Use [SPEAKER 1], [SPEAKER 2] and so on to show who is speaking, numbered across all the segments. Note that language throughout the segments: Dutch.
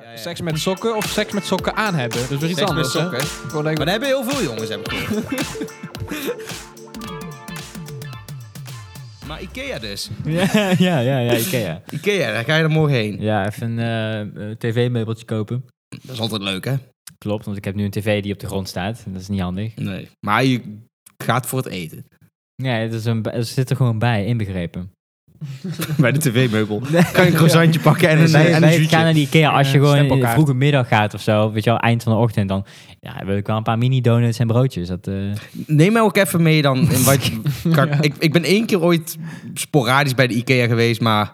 [SPEAKER 1] ja.
[SPEAKER 2] Ah, Seks met sokken of seks met sokken aan hebben. Dat is weer iets
[SPEAKER 1] Seks
[SPEAKER 2] anders.
[SPEAKER 1] met
[SPEAKER 2] hè?
[SPEAKER 1] sokken.
[SPEAKER 2] Gewoon denk ik-
[SPEAKER 1] Maar daar hebben heel veel jongens, heb ik gehoord. maar Ikea dus.
[SPEAKER 3] ja, ja, ja, ja, Ikea.
[SPEAKER 1] Ikea, daar ga je er morgen heen.
[SPEAKER 3] Ja, even een eh, eh, tv-meubeltje kopen.
[SPEAKER 1] Dat is altijd leuk, hè?
[SPEAKER 3] Klopt, want ik heb nu een tv die op de grond staat. En dat is niet handig.
[SPEAKER 1] Nee. Maar je gaat voor het eten.
[SPEAKER 3] Nee, dat is een, dat zit er gewoon bij, inbegrepen.
[SPEAKER 1] Bij de tv-meubel. Kan je een croissantje pakken en een,
[SPEAKER 3] Nee,
[SPEAKER 1] en een
[SPEAKER 3] nee,
[SPEAKER 1] zuurtje.
[SPEAKER 3] ga naar die Ikea als je
[SPEAKER 2] Eh,
[SPEAKER 3] gewoon in de
[SPEAKER 2] stempelkaart.
[SPEAKER 3] vroege middag gaat of zo. Weet je wel, eind van de ochtend. Dan ja, wil ik wel een paar mini-donuts en broodjes. Dat, eh,
[SPEAKER 1] Neem mij ook even mee dan. In wat je- kan- ik, ik ben één keer ooit sporadisch bij de Ikea geweest, maar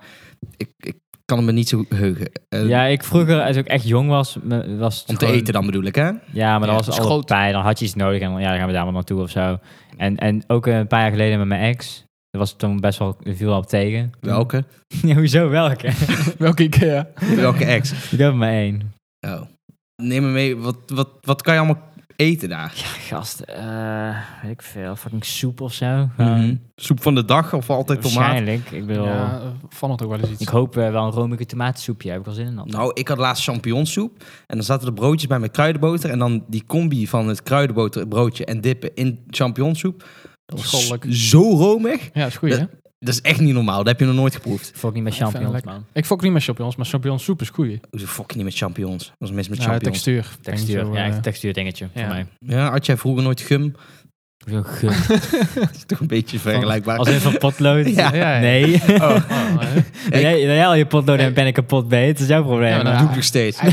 [SPEAKER 1] ik, ik kan het me niet zo heugen. Eh,
[SPEAKER 3] Ja, ik vroeger, als ik echt jong was... me- was het
[SPEAKER 1] om te
[SPEAKER 3] gewoon-
[SPEAKER 1] eten dan bedoel ik, hè?
[SPEAKER 3] Ja,
[SPEAKER 2] Ja,
[SPEAKER 3] maar dan was het
[SPEAKER 2] het is
[SPEAKER 3] al
[SPEAKER 2] groot.
[SPEAKER 3] bij. Dan had je iets nodig en dan, ja, dan gaan we daar maar naartoe of zo. En, en ook eh, een paar jaar geleden met mijn ex. Dat was toen best wel, viel wel op tegen.
[SPEAKER 1] Welke?
[SPEAKER 3] Ja, hoezo welke?
[SPEAKER 2] Welke Ikea?
[SPEAKER 1] Welke ex?
[SPEAKER 3] Ik heb er maar één.
[SPEAKER 1] Oh. Neem me mee, wat, wat, wat kan je allemaal eten daar?
[SPEAKER 3] Gast, eh, weet ik veel, fucking soep of zo.
[SPEAKER 1] Mhm. Soep van de dag of altijd tomaat?
[SPEAKER 3] Waarschijnlijk. Ik bedoel,
[SPEAKER 2] Ja, eh, van het ook wel eens iets.
[SPEAKER 3] ik hoop eh, wel een romige tomatensoepje. Heb ik wel zin in dat.
[SPEAKER 1] Nou, ik had laatst champignonsoep. En dan zaten er broodjes bij met kruidenboter. En dan die combi van het kruidenboterbroodje en dippen in champignonsoep. Dat was
[SPEAKER 2] Goddelijk.
[SPEAKER 1] zo romig.
[SPEAKER 2] Ja, is goed, hè?
[SPEAKER 1] Dat is echt niet normaal. Dat heb je nog nooit geproefd.
[SPEAKER 3] Fuck niet
[SPEAKER 2] Ik vind
[SPEAKER 3] met
[SPEAKER 2] het
[SPEAKER 3] champignons,
[SPEAKER 2] lekker.
[SPEAKER 3] man.
[SPEAKER 2] Ik fok niet met champignons, maar champignonsoep is goed.
[SPEAKER 1] Hoezo fuck je niet met champignons? Dat was mis met
[SPEAKER 2] Ja,
[SPEAKER 1] champignons.
[SPEAKER 2] textuur.
[SPEAKER 3] Textuur,
[SPEAKER 2] Denk zo,
[SPEAKER 3] ja,
[SPEAKER 2] eh,
[SPEAKER 3] echt een textuur dingetje voor
[SPEAKER 2] ja.
[SPEAKER 3] mij.
[SPEAKER 1] Ja, had jij vroeger nooit gum?
[SPEAKER 3] Zo'n geur.
[SPEAKER 1] Dat is toch een beetje vergelijkbaar.
[SPEAKER 3] Als in van potlood.
[SPEAKER 1] Ja.
[SPEAKER 2] Ja, ja.
[SPEAKER 3] Nee.
[SPEAKER 2] Oh, eh.
[SPEAKER 3] nee, nee, al je potlood en ben ik kapot bij. Het is jouw probleem.
[SPEAKER 2] Ja, maar
[SPEAKER 1] dat
[SPEAKER 2] nou,
[SPEAKER 1] doe ik nog steeds.
[SPEAKER 2] Hij,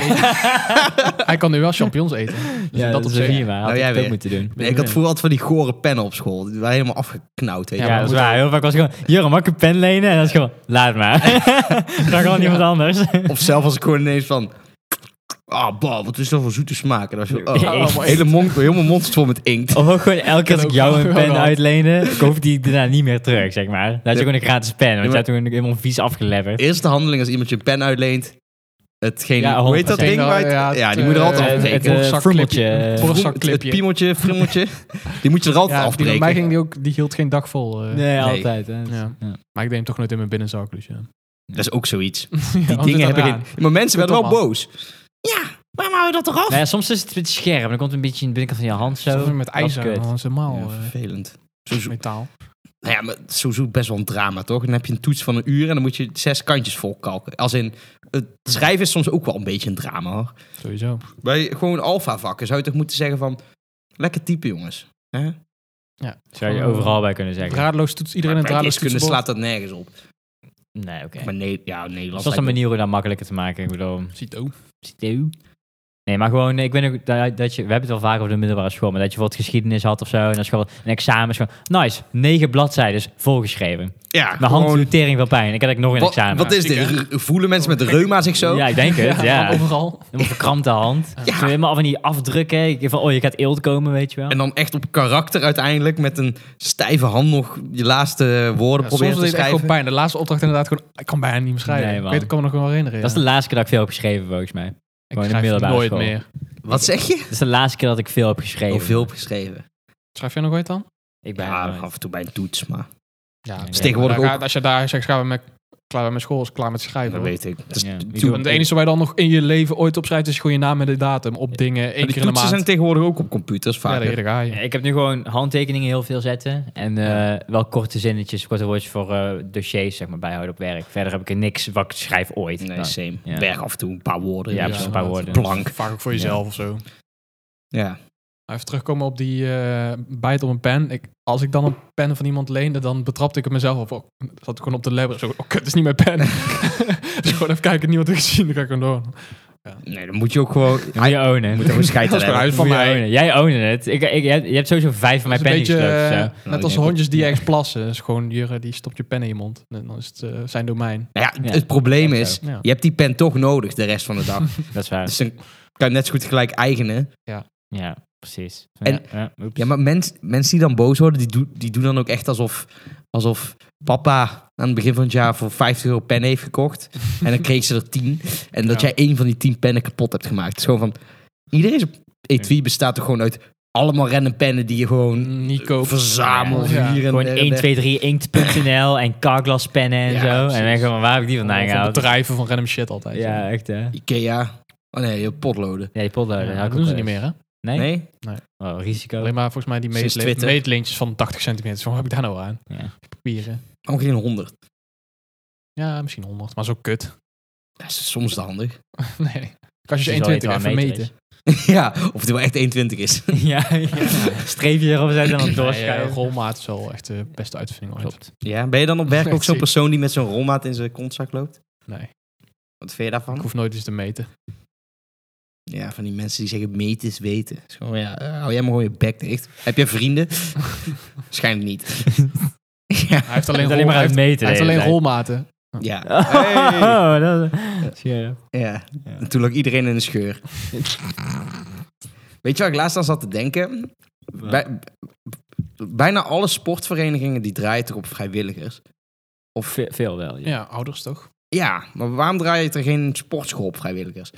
[SPEAKER 2] weet- hij kan nu wel champignons eten. Dus
[SPEAKER 3] ja,
[SPEAKER 2] in dat
[SPEAKER 3] dat
[SPEAKER 2] op
[SPEAKER 3] is weer
[SPEAKER 2] zich.
[SPEAKER 3] prima. Had
[SPEAKER 1] Nou,
[SPEAKER 3] ik
[SPEAKER 1] jij
[SPEAKER 3] het ook
[SPEAKER 1] weer.
[SPEAKER 3] moeten doen.
[SPEAKER 1] Nee, ik had vroeger altijd van die gore pennen op school. Die waren helemaal afgeknauwd. Weet je.
[SPEAKER 2] Ja,
[SPEAKER 3] Ja,
[SPEAKER 2] maar
[SPEAKER 3] dat is
[SPEAKER 2] moet-
[SPEAKER 3] waar. Heel vaak was ik gewoon, Jurre, mag ik een pen lenen? En dan is het gewoon, laat maar. Dan gewoon iemand anders.
[SPEAKER 1] Of zelf als ik gewoon ineens van... Ah, bah, wat is dat voor zoete smaak? En dan zo, oh,
[SPEAKER 3] Ja, echt.
[SPEAKER 1] hele mond, helemaal mond vol met inkt.
[SPEAKER 3] Of ook gewoon elke keer als ik
[SPEAKER 2] ook
[SPEAKER 3] jou
[SPEAKER 2] wel.
[SPEAKER 3] een pen uitleende, koop die daarna niet meer terug, zeg maar. Dan had je
[SPEAKER 1] Ja.
[SPEAKER 3] gewoon een gratis pen, want
[SPEAKER 1] maar-
[SPEAKER 3] je had toen helemaal vies afgeleverd.
[SPEAKER 1] Eerste handeling als iemand je een pen uitleent. Hetgeen,
[SPEAKER 3] Ja,
[SPEAKER 1] hoe heet dat
[SPEAKER 3] 100%.
[SPEAKER 1] ding? waar het-
[SPEAKER 2] Ja,
[SPEAKER 1] Ja,
[SPEAKER 2] het,
[SPEAKER 1] die moet er
[SPEAKER 2] eh,
[SPEAKER 1] altijd
[SPEAKER 3] het,
[SPEAKER 1] afbreken.
[SPEAKER 3] eh,
[SPEAKER 2] Voor een
[SPEAKER 3] frummeltje.
[SPEAKER 2] zakclipje.
[SPEAKER 1] Vroem-
[SPEAKER 2] Voor een
[SPEAKER 1] het,
[SPEAKER 2] zakclipje.
[SPEAKER 1] piemeltje, frummeltje. die moet je er altijd
[SPEAKER 2] Ja, die
[SPEAKER 1] afbreken.
[SPEAKER 2] bij mij ging die ook, die hield geen dag vol. eh.
[SPEAKER 3] Nee,
[SPEAKER 1] Nee.
[SPEAKER 3] altijd. Hè.
[SPEAKER 2] Ja.
[SPEAKER 3] Ja.
[SPEAKER 2] Maar ik deed hem toch nooit in mijn binnenzak, dus ja.
[SPEAKER 1] Dat is ook zoiets.
[SPEAKER 2] Die
[SPEAKER 1] Die dingen hebben geen... Maar mensen werden wel
[SPEAKER 2] Doe het
[SPEAKER 1] boos. Ja, waarom hou je dat eraf?
[SPEAKER 3] Nou ja, soms is het een beetje scherp, dan komt het een beetje in de binnenkant van je hand zo.
[SPEAKER 2] Met
[SPEAKER 3] Dat is
[SPEAKER 2] ijzer,
[SPEAKER 3] kut.
[SPEAKER 2] dat is helemaal
[SPEAKER 1] Ja,
[SPEAKER 2] eh,
[SPEAKER 1] vervelend. Zo zo-
[SPEAKER 2] metaal.
[SPEAKER 1] Nou ja, maar sowieso best wel een drama, toch? Dan heb je een toets van een uur en dan moet je zes kantjes volkalken. Als in, het schrijven is soms ook wel een beetje een drama, hoor.
[SPEAKER 2] Sowieso.
[SPEAKER 1] Bij gewoon alfa-vakken zou je toch moeten zeggen van... Lekker typen, jongens. Hè?
[SPEAKER 2] Ja.
[SPEAKER 3] Zou je overal bij kunnen zeggen.
[SPEAKER 2] Draadloos toets, iedereen een
[SPEAKER 1] Bij
[SPEAKER 2] draadloos
[SPEAKER 1] wiskunde
[SPEAKER 2] toetsenbord.
[SPEAKER 1] slaat dat nergens op.
[SPEAKER 3] Nee, oké.
[SPEAKER 1] Maar nee, ja, Nederlands...
[SPEAKER 3] Dus dat is een
[SPEAKER 1] lijkt
[SPEAKER 3] manier om dat makkelijker te maken. Ik bedoel,
[SPEAKER 2] Ziet ook.
[SPEAKER 3] Nee, maar gewoon, ik weet ook dat, dat je, we hebben het wel vaak over de middelbare school, maar dat je bijvoorbeeld geschiedenis had of zo, en dan is gewoon een examen, is gewoon, nice, negen bladzijdes volgeschreven.
[SPEAKER 1] op- Ja,
[SPEAKER 3] Mijn hand
[SPEAKER 1] gewoon-
[SPEAKER 3] doet tering van pijn. Ik had ook nog een
[SPEAKER 1] Wat,
[SPEAKER 3] examen.
[SPEAKER 1] wat is
[SPEAKER 2] ziek,
[SPEAKER 1] dit? R- Voelen mensen met reuma zich zo?
[SPEAKER 3] Ja, ik denk het, ja. Een
[SPEAKER 2] Overal.
[SPEAKER 3] verkrampte hand. Zo helemaal van die afdrukken. Ik denk Van, oh, je gaat eelt komen, weet je wel.
[SPEAKER 1] En dan echt op karakter uiteindelijk met een stijve hand nog je laatste woorden
[SPEAKER 2] Ja, soms
[SPEAKER 1] proberen
[SPEAKER 2] deed
[SPEAKER 1] te
[SPEAKER 2] het echt gewoon
[SPEAKER 1] schrijven.
[SPEAKER 2] pijn. De laatste opdracht inderdaad gewoon... Ik kan bijna niet meer schrijven.
[SPEAKER 3] Nee,
[SPEAKER 2] ik,
[SPEAKER 3] man.
[SPEAKER 2] weet, ik kan me nog wel herinneren.
[SPEAKER 3] Dat is de laatste keer dat ik veel heb geschreven, volgens mij.
[SPEAKER 2] ja.
[SPEAKER 3] gewoon
[SPEAKER 2] ik
[SPEAKER 3] in de
[SPEAKER 2] schrijf
[SPEAKER 3] middelbare
[SPEAKER 2] nooit
[SPEAKER 3] school.
[SPEAKER 2] meer.
[SPEAKER 1] Wat zeg je?
[SPEAKER 3] Dat is de laatste keer dat ik veel heb geschreven.
[SPEAKER 1] Oh, veel opgeschreven.
[SPEAKER 2] Schrijf jij nog ooit dan?
[SPEAKER 3] Ik ben
[SPEAKER 1] Ja,
[SPEAKER 3] nooit.
[SPEAKER 1] af en toe bij een toets, maar
[SPEAKER 2] Ja.
[SPEAKER 3] Nee,
[SPEAKER 1] is tegenwoordig
[SPEAKER 2] Daar Nou, ga-
[SPEAKER 1] ook-
[SPEAKER 2] Als je daar zegt, gaan we met... Klaar met mijn school, is klaar met schrijven.
[SPEAKER 1] dat
[SPEAKER 2] hoor.
[SPEAKER 1] weet ik. Dat is-
[SPEAKER 3] Ja,
[SPEAKER 1] toen-
[SPEAKER 3] ik doe-
[SPEAKER 2] Want het enige waar je dan nog in je leven ooit op schrijft is gewoon je naam en de datum op dingen.
[SPEAKER 1] maar
[SPEAKER 2] één keer
[SPEAKER 1] die
[SPEAKER 2] in de
[SPEAKER 1] toetsen
[SPEAKER 2] maand.
[SPEAKER 1] zijn tegenwoordig ook op computers
[SPEAKER 2] ja,
[SPEAKER 1] vaak.
[SPEAKER 2] daar ga je.
[SPEAKER 3] Ja, Ik heb nu gewoon handtekeningen heel veel zetten. En eh, wel korte zinnetjes, korte woordjes voor eh, dossiers, zeg maar, bijhouden op werk. Verder heb ik er niks wat ik schrijf ooit.
[SPEAKER 1] nee,
[SPEAKER 3] Nou,
[SPEAKER 1] same.
[SPEAKER 3] ja.
[SPEAKER 1] Berg af en toe een paar woorden.
[SPEAKER 3] ja,
[SPEAKER 1] Ja,
[SPEAKER 3] precies, een
[SPEAKER 2] ja,
[SPEAKER 3] paar
[SPEAKER 2] dat-
[SPEAKER 3] woorden.
[SPEAKER 1] Plank.
[SPEAKER 2] Vaak ook voor jezelf of zo.
[SPEAKER 1] Ja.
[SPEAKER 2] Maar Even terugkomen op die eh bijt op een pen. Ik, als ik dan een pen van iemand leende, dan betrapte ik er mezelf op. Oh, zat ik gewoon op de labber. Zo, oh kut, het is niet mijn pen. dus gewoon even kijken, niemand heeft gezien. Dan ga ik gewoon door.
[SPEAKER 1] Nee, dan moet je ook gewoon...
[SPEAKER 3] Moet je ownen.
[SPEAKER 1] moet er gewoon scheid aan
[SPEAKER 2] Dat is
[SPEAKER 1] hebben.
[SPEAKER 2] eruit van
[SPEAKER 3] Moet je
[SPEAKER 2] mij.
[SPEAKER 3] ownen. Jij ownen het. Ik, ik, je hebt- je hebt sowieso vijf van
[SPEAKER 2] Dat
[SPEAKER 3] mijn
[SPEAKER 2] is een
[SPEAKER 3] pennen
[SPEAKER 2] beetje
[SPEAKER 3] gesloopt.
[SPEAKER 2] eh,
[SPEAKER 3] zo.
[SPEAKER 1] Nou, ik
[SPEAKER 2] net als
[SPEAKER 1] denk
[SPEAKER 2] hondjes die ergens plassen. Dat is gewoon, Jurre die stopt je pen in je mond. En dan is het eh, zijn domein.
[SPEAKER 1] Nou ja,
[SPEAKER 3] Ja.
[SPEAKER 1] het probleem is,
[SPEAKER 2] Ja.
[SPEAKER 1] je hebt die pen toch nodig de rest van de dag.
[SPEAKER 3] Dat is waar.
[SPEAKER 1] dus dan kan je net zo goed gelijk eigenen.
[SPEAKER 3] Ja, precies.
[SPEAKER 1] En-
[SPEAKER 3] ja, ja, oeps.
[SPEAKER 1] Ja, maar mens, mensen die dan boos worden, die, doen die doen dan ook echt alsof, alsof papa aan het begin van het jaar voor 50 euro pen heeft gekocht. En dan kreeg ze er 10. En dat
[SPEAKER 2] Ja.
[SPEAKER 1] jij één van die 10 pennen kapot hebt gemaakt. Het is gewoon van, iedereen op etui bestaat toch gewoon uit allemaal random pennen die je gewoon
[SPEAKER 2] Nico.
[SPEAKER 1] verzamelt.
[SPEAKER 2] Mm, Ja.
[SPEAKER 1] hier en
[SPEAKER 3] Gewoon
[SPEAKER 1] daar en daar.
[SPEAKER 3] 123inkt.nl en carglasspennen en
[SPEAKER 1] Ja,
[SPEAKER 3] zo. En
[SPEAKER 1] precies.
[SPEAKER 3] dan denk ik, maar waar heb ik die vandaan
[SPEAKER 2] Van
[SPEAKER 3] gehaald?
[SPEAKER 2] bedrijven van random shit altijd.
[SPEAKER 3] Ja, echt hè.
[SPEAKER 1] Ikea. Oh nee, potloden.
[SPEAKER 3] Ja, die potloden.
[SPEAKER 2] Ja,
[SPEAKER 3] had
[SPEAKER 2] dat
[SPEAKER 3] ik ook
[SPEAKER 2] doen ze
[SPEAKER 3] wel
[SPEAKER 2] niet meer,
[SPEAKER 3] eens.
[SPEAKER 2] hè?
[SPEAKER 3] Nee?
[SPEAKER 1] Nee?
[SPEAKER 3] Oh, risico.
[SPEAKER 2] Alleen maar volgens mij die
[SPEAKER 1] Sinds
[SPEAKER 2] meetli-
[SPEAKER 1] Twitter.
[SPEAKER 2] meetlintjes van 80 centimeter. Zo, Wat heb ik daar nou aan?
[SPEAKER 3] Ja.
[SPEAKER 2] Papieren.
[SPEAKER 1] Waarom geen 100?
[SPEAKER 2] Ja, misschien 100, maar zo kut.
[SPEAKER 1] Dat is soms te handig.
[SPEAKER 2] nee. Kan je
[SPEAKER 3] Dus
[SPEAKER 2] ze
[SPEAKER 3] je zal
[SPEAKER 2] 21
[SPEAKER 3] weten waar
[SPEAKER 2] even
[SPEAKER 3] meter
[SPEAKER 2] meten?
[SPEAKER 1] ja, of het wel echt 1,20 is.
[SPEAKER 3] ja, ja. Streepjes erop zetten en dan
[SPEAKER 2] Nee, eh,
[SPEAKER 3] doorschuiven.
[SPEAKER 2] rolmaat is wel echt de beste uitvinding ooit.
[SPEAKER 3] Klopt.
[SPEAKER 1] Ja, ben je dan op werk ook zo'n
[SPEAKER 2] Precies.
[SPEAKER 1] persoon die met zo'n rolmaat in zijn kontzak loopt?
[SPEAKER 2] Nee,
[SPEAKER 1] Wat vind je
[SPEAKER 2] ik
[SPEAKER 1] daarvan?
[SPEAKER 2] hoef nooit eens te meten.
[SPEAKER 1] Ja, van die mensen die zeggen meten is weten. Het is gewoon, ja, eh, hou jij maar gewoon je bek dicht. Heb jij vrienden? Waarschijnlijk niet. ja.
[SPEAKER 2] Hij heeft alleen,
[SPEAKER 3] Alleen, alleen maar
[SPEAKER 2] rol-
[SPEAKER 3] uit
[SPEAKER 2] hij heeft-
[SPEAKER 3] meten.
[SPEAKER 2] hij heeft
[SPEAKER 3] de
[SPEAKER 2] alleen
[SPEAKER 3] hele
[SPEAKER 2] rolmaten.
[SPEAKER 1] Ja.
[SPEAKER 3] tijd.
[SPEAKER 1] Hey.
[SPEAKER 3] Oh, dat Scherp.
[SPEAKER 1] ja.
[SPEAKER 3] Ja.
[SPEAKER 1] En toen lag iedereen in de scheur. Weet je waar ik laatst aan zat te denken? Bij- bijna alle sportverenigingen die draaien toch op vrijwilligers.
[SPEAKER 3] Of ve- veel wel. Ja.
[SPEAKER 2] Ja, ouders toch?
[SPEAKER 1] Ja, maar waarom draait er geen sportschool op vrijwilligers?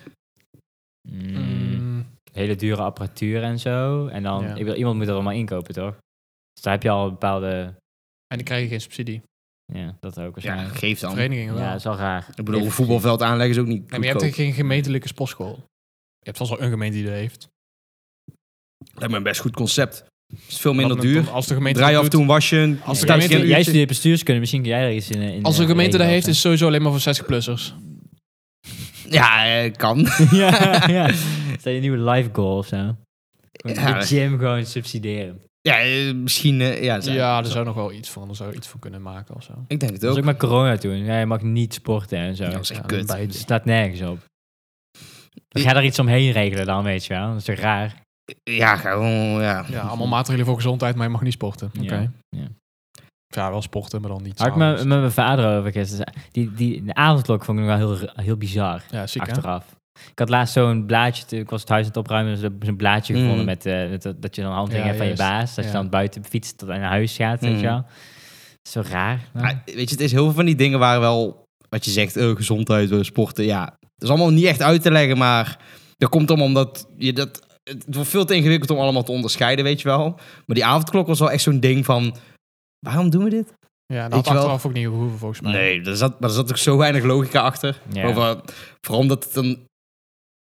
[SPEAKER 3] Mm,
[SPEAKER 2] Mm,
[SPEAKER 3] hele dure apparatuur en zo. En dan,
[SPEAKER 2] Ja.
[SPEAKER 3] ik wil, iemand moet dat allemaal inkopen, toch? Dus daar heb je al een bepaalde,
[SPEAKER 2] En die krijgen geen subsidie.
[SPEAKER 3] ja, dat ook
[SPEAKER 1] Ja,
[SPEAKER 3] waarschijnlijk.
[SPEAKER 1] geef dan.
[SPEAKER 2] Verenigingen
[SPEAKER 3] Ja,
[SPEAKER 2] wel.
[SPEAKER 3] dat is wel raar.
[SPEAKER 1] Ik bedoel, een voetbalveld aanleggen is ook niet
[SPEAKER 2] Nee, maar je hebt
[SPEAKER 1] goedkoop.
[SPEAKER 2] toch geen gemeentelijke sportschool? Je hebt vast wel een gemeente die dat heeft.
[SPEAKER 1] Lijkt me een best goed concept. Is veel minder
[SPEAKER 2] Want dan-
[SPEAKER 1] duur.
[SPEAKER 2] Als de gemeente
[SPEAKER 1] Draai
[SPEAKER 2] dat
[SPEAKER 1] af en
[SPEAKER 2] doet-
[SPEAKER 1] toe een wasje. een-
[SPEAKER 2] Als de
[SPEAKER 1] thuis
[SPEAKER 2] gemeente-
[SPEAKER 1] geen
[SPEAKER 3] jij
[SPEAKER 1] uurtje.
[SPEAKER 3] studeert bestuurskunde, misschien kun jij er iets in. in
[SPEAKER 2] Als
[SPEAKER 3] eh,
[SPEAKER 2] de gemeente dat
[SPEAKER 3] regelen
[SPEAKER 2] heeft, is
[SPEAKER 3] of
[SPEAKER 2] het sowieso alleen maar voor 60-plussers.
[SPEAKER 1] Ja, eh, kan.
[SPEAKER 3] zo. ja, ja. Stel je nieuwe life goal of zo. Gewoon
[SPEAKER 1] Ja.
[SPEAKER 3] De gym gewoon subsidiëren.
[SPEAKER 1] Ja, eh, misschien. eh, ja, zijn-
[SPEAKER 2] Ja, daar zou nog wel iets voor, daar zou iets voor kunnen maken of zo.
[SPEAKER 1] Ik denk het
[SPEAKER 3] Dat
[SPEAKER 1] ook.
[SPEAKER 3] was ook met corona toen. Ja, je mag niet sporten en zo.
[SPEAKER 1] Ja, dat is echt
[SPEAKER 2] Ja,
[SPEAKER 1] kut.
[SPEAKER 2] bij-
[SPEAKER 3] Het staat nergens op. Dan ga je daar iets omheen regelen dan, weet je wel. Dat is toch raar?
[SPEAKER 1] Ja, gewoon, ja.
[SPEAKER 2] Ja, allemaal maatregelen voor gezondheid, maar je mag niet sporten.
[SPEAKER 3] Ja,
[SPEAKER 2] Oké.
[SPEAKER 3] ja.
[SPEAKER 2] Ja, wel sporten, maar dan niet
[SPEAKER 3] Had ik
[SPEAKER 2] samen.
[SPEAKER 3] met, met mijn vader over gisteren. Die, die, de avondklok vond ik nog wel heel, heel bizar.
[SPEAKER 2] Ja, ziek hè?
[SPEAKER 3] achteraf. Ik had laatst zo'n blaadje, te- ik was het huis aan het opruimen, dus ik heb zo'n blaadje
[SPEAKER 1] Mm.
[SPEAKER 3] gevonden met, eh, met dat- dat je dan handtekening
[SPEAKER 2] Ja,
[SPEAKER 3] hebt van je
[SPEAKER 2] juist.
[SPEAKER 3] baas. Dat je
[SPEAKER 2] Ja.
[SPEAKER 3] dan buiten fietst tot en naar huis gaat, weet
[SPEAKER 1] Mm.
[SPEAKER 3] je wel. Zo raar.
[SPEAKER 1] Ah, weet je, het is heel veel van die dingen waar wel, wat je zegt, eh, gezondheid, eh, sporten, ja. Dat is allemaal niet echt uit te leggen, maar dat komt allemaal omdat je dat... Het het wordt veel te ingewikkeld om allemaal te onderscheiden, weet je wel. Maar die avondklok was wel echt zo'n ding van, waarom doen we dit?
[SPEAKER 2] Ja, dat
[SPEAKER 1] Weet
[SPEAKER 2] had
[SPEAKER 1] je wel-
[SPEAKER 2] achteraf ook niet gehoeven volgens mij.
[SPEAKER 1] Nee, er zat, maar er zat ook zo weinig logica achter.
[SPEAKER 3] Ja.
[SPEAKER 1] Over, vooral omdat het dan...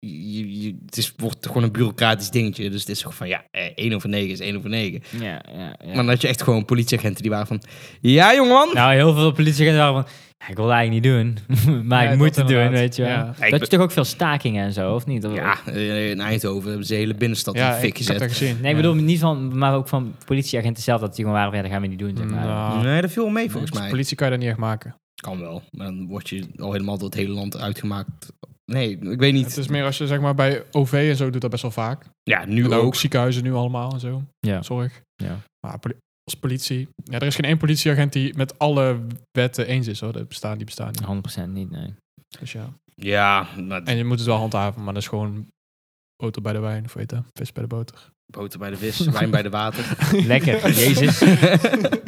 [SPEAKER 1] Je, je- het is, wordt gewoon een bureaucratisch dingetje. Dus het is gewoon van, ja, eh, 1 over 9 is 1 over 9.
[SPEAKER 3] Ja, ja, ja.
[SPEAKER 1] Maar dan had je echt gewoon politieagenten die waren van... Ja, jongeman!
[SPEAKER 3] Nou, heel veel politieagenten waren van, ja, ik wil dat eigenlijk niet doen. maar
[SPEAKER 2] Ja,
[SPEAKER 3] ik moet
[SPEAKER 2] dat
[SPEAKER 3] het doen,
[SPEAKER 2] inderdaad.
[SPEAKER 3] weet je wel.
[SPEAKER 2] Ja.
[SPEAKER 3] Dat
[SPEAKER 1] Ja, ik
[SPEAKER 3] je
[SPEAKER 1] ben-
[SPEAKER 3] toch ook veel stakingen en zo, of niet? Of-
[SPEAKER 1] Ja, eh, in Eindhoven hebben ze de hele binnenstad in
[SPEAKER 2] Ja,
[SPEAKER 1] de fik
[SPEAKER 2] ik, ik heb
[SPEAKER 1] gezet.
[SPEAKER 2] dat gezien.
[SPEAKER 3] Nee, ik bedoel niet van, maar ook van politieagenten zelf, dat die gewoon waren van, ja, dat gaan we niet doen, zeg maar.
[SPEAKER 2] Nou,
[SPEAKER 1] Nee, dat viel wel mee volgens
[SPEAKER 2] volgens
[SPEAKER 1] mij.
[SPEAKER 2] politie kan je dat niet echt maken.
[SPEAKER 1] dus Kan wel, maar dan word je al helemaal door het hele land uitgemaakt. Nee, ik weet niet.
[SPEAKER 2] Het is meer als je zeg maar bij OV en zo doet dat best wel vaak.
[SPEAKER 1] Ja, nu
[SPEAKER 2] En
[SPEAKER 1] ook.
[SPEAKER 2] ook ziekenhuizen nu allemaal en zo.
[SPEAKER 3] Ja.
[SPEAKER 2] Zorg.
[SPEAKER 3] Ja.
[SPEAKER 2] Maar poli- als politie... Ja, er is geen één politieagent die met alle wetten eens is hoor. Dat bestaan, die bestaan niet.
[SPEAKER 3] 100% niet, nee.
[SPEAKER 2] Dus ja.
[SPEAKER 1] Ja, maar
[SPEAKER 2] En je moet het wel handhaven, maar dat is gewoon boter bij de wijn, of weet je dat? Vis bij de boter.
[SPEAKER 1] boter bij de vis, wijn bij de water.
[SPEAKER 3] Lekker, jezus.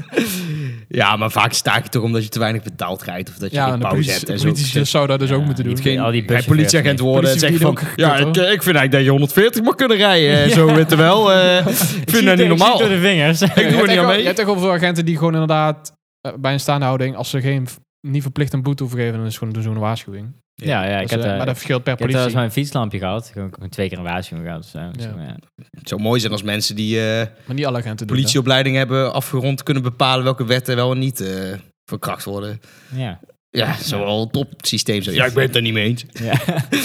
[SPEAKER 1] ja, maar vaak staak je toch omdat je te weinig betaald krijgt of dat je
[SPEAKER 2] Ja, en
[SPEAKER 1] geen
[SPEAKER 2] de
[SPEAKER 1] pauze
[SPEAKER 2] politie,
[SPEAKER 1] hebt
[SPEAKER 2] de
[SPEAKER 1] en zo.
[SPEAKER 2] politie dus zou dat dus
[SPEAKER 3] Ja,
[SPEAKER 2] ook moeten doen.
[SPEAKER 3] niet
[SPEAKER 1] Geen,
[SPEAKER 3] Al die
[SPEAKER 1] geen
[SPEAKER 3] buschauffeurs
[SPEAKER 1] politieagent
[SPEAKER 3] niet.
[SPEAKER 1] worden en
[SPEAKER 2] Politie
[SPEAKER 1] zeggen van...
[SPEAKER 2] verdienen ook
[SPEAKER 1] Ja,
[SPEAKER 2] kut,
[SPEAKER 1] ik,
[SPEAKER 2] hoor.
[SPEAKER 1] eh, ik vind eigenlijk dat je 140 mag kunnen rijden. eh, Zo, weet je wel. eh, ik vind dat niet normaal.
[SPEAKER 3] door de vingers.
[SPEAKER 1] Ik doe er niet aan
[SPEAKER 2] Je
[SPEAKER 1] mee.
[SPEAKER 2] hebt toch heel veel agenten die gewoon inderdaad eh, bij een staande houding, als ze geen, niet verplicht een boete hoeven geven, dan is het gewoon doen ze gewoon een waarschuwing.
[SPEAKER 3] Ja, ja, ik
[SPEAKER 2] Dus,
[SPEAKER 3] had,
[SPEAKER 2] eh,
[SPEAKER 3] eh,
[SPEAKER 2] maar dat verschilt per
[SPEAKER 3] Ik heb
[SPEAKER 2] politie.
[SPEAKER 3] trouwens mijn fietslampje gehad. Ik heb ook twee keer een waarschuwing gehad. of zo. Dus,
[SPEAKER 2] Ja.
[SPEAKER 3] ja.
[SPEAKER 1] Het zou mooi zijn als mensen die... eh,
[SPEAKER 2] Maar niet alle agenten doen dat.
[SPEAKER 1] politieopleiding hebben afgerond, kunnen bepalen welke wetten wel en niet eh, verkracht worden.
[SPEAKER 3] Ja.
[SPEAKER 1] Ja, dat zou wel een top systeem zijn. Ja, ik ben het er niet mee eens.
[SPEAKER 3] Ja.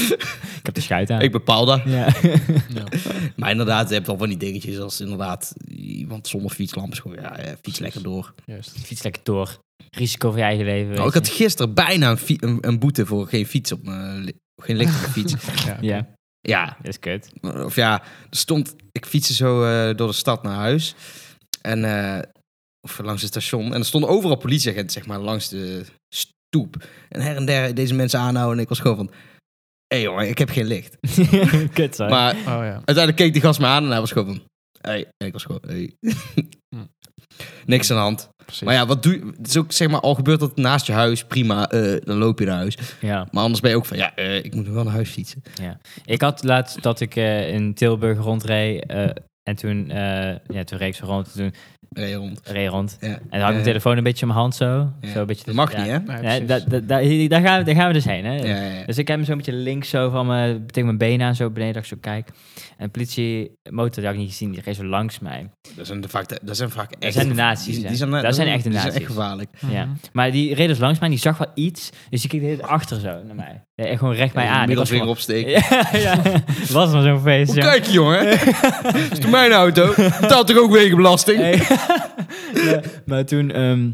[SPEAKER 3] ik heb de schuit aan.
[SPEAKER 1] Ik bepaal dat.
[SPEAKER 3] Ja.
[SPEAKER 1] Maar inderdaad, je hebt wel van die dingetjes als inderdaad iemand zonder fietslamp is gewoon, ja, eh, fiets lekker door.
[SPEAKER 2] Juist.
[SPEAKER 3] Ik fiets lekker door. Risico voor je eigen leven.
[SPEAKER 1] Nou, ik
[SPEAKER 3] weet
[SPEAKER 1] had
[SPEAKER 3] je.
[SPEAKER 1] gisteren bijna een, fi- een, een boete voor geen fiets op mijn... li- Geen elektrische fiets.
[SPEAKER 2] Ja, oké.
[SPEAKER 3] Ja,
[SPEAKER 1] Ja,
[SPEAKER 3] dat is kut.
[SPEAKER 1] Of ja, er stond, ik fietste zo eh, door de stad naar huis. En, eh, of langs het station. En er stonden overal politieagenten, zeg maar, langs de stoep. En her en der deze mensen aanhouden. En ik was gewoon van, hé jongen, ik heb geen licht.
[SPEAKER 3] kut zo.
[SPEAKER 1] Maar
[SPEAKER 2] Oh ja.
[SPEAKER 1] uiteindelijk keek die gast me aan en hij was gewoon van, hey. En ik was gewoon, hey.
[SPEAKER 2] Hm.
[SPEAKER 3] Hmm.
[SPEAKER 1] Niks aan de hand.
[SPEAKER 2] Precies.
[SPEAKER 1] Maar ja, wat doe je? Het is ook, zeg maar, al gebeurt dat naast je huis, prima, eh, dan loop je naar huis.
[SPEAKER 3] Ja.
[SPEAKER 1] Maar anders ben je ook van, ja, eh, ik moet nog wel naar huis fietsen.
[SPEAKER 3] Ik had laatst dat ik eh, in Tilburg rondreed. eh, En toen, eh, ja, toen reek ze rond, toen
[SPEAKER 1] Rij rond.
[SPEAKER 3] reed rond.
[SPEAKER 1] Ja.
[SPEAKER 3] En dan had ik mijn telefoon een beetje in mijn hand zo.
[SPEAKER 1] Ja.
[SPEAKER 3] zo een beetje
[SPEAKER 1] Dat mag
[SPEAKER 3] tussen-
[SPEAKER 1] niet,
[SPEAKER 3] ja.
[SPEAKER 1] hè?
[SPEAKER 2] Nee,
[SPEAKER 3] Ja,
[SPEAKER 2] precies.
[SPEAKER 3] da- da- da- hier- daar, gaan we, daar gaan we dus heen, hè?
[SPEAKER 1] Ja, ja, ja.
[SPEAKER 3] Dus ik heb hem zo'n beetje links zo van mijn, tegen mijn benen aan, zo beneden, dat ik zo kijk. En de politiemotor, die had ik niet gezien, die reed zo langs mij.
[SPEAKER 1] Dat zijn vaak, dat zijn vaak echt...
[SPEAKER 3] zijn de nazi's,
[SPEAKER 1] die- die
[SPEAKER 3] hè.
[SPEAKER 1] zijn- eh,
[SPEAKER 3] Dat zijn echt de
[SPEAKER 1] Die zijn echt
[SPEAKER 3] nazi's.
[SPEAKER 1] gevaarlijk.
[SPEAKER 2] Mhm.
[SPEAKER 3] Ja. Maar die reed dus langs mij en die zag wel iets. Dus die keek de hele tijd achter zo naar mij. Ja, echt gewoon recht mij aan. Ik was
[SPEAKER 1] Middelvinger
[SPEAKER 3] gewoon-
[SPEAKER 1] opsteken.
[SPEAKER 3] Ja, ja. Was maar zo'n feest,
[SPEAKER 1] Hoe
[SPEAKER 3] ja.
[SPEAKER 1] Kijk, jongen. Dat is toch mijn auto? Betaalt toch ook wegenbelasting?
[SPEAKER 3] Hey. Ja, maar toen... ehm,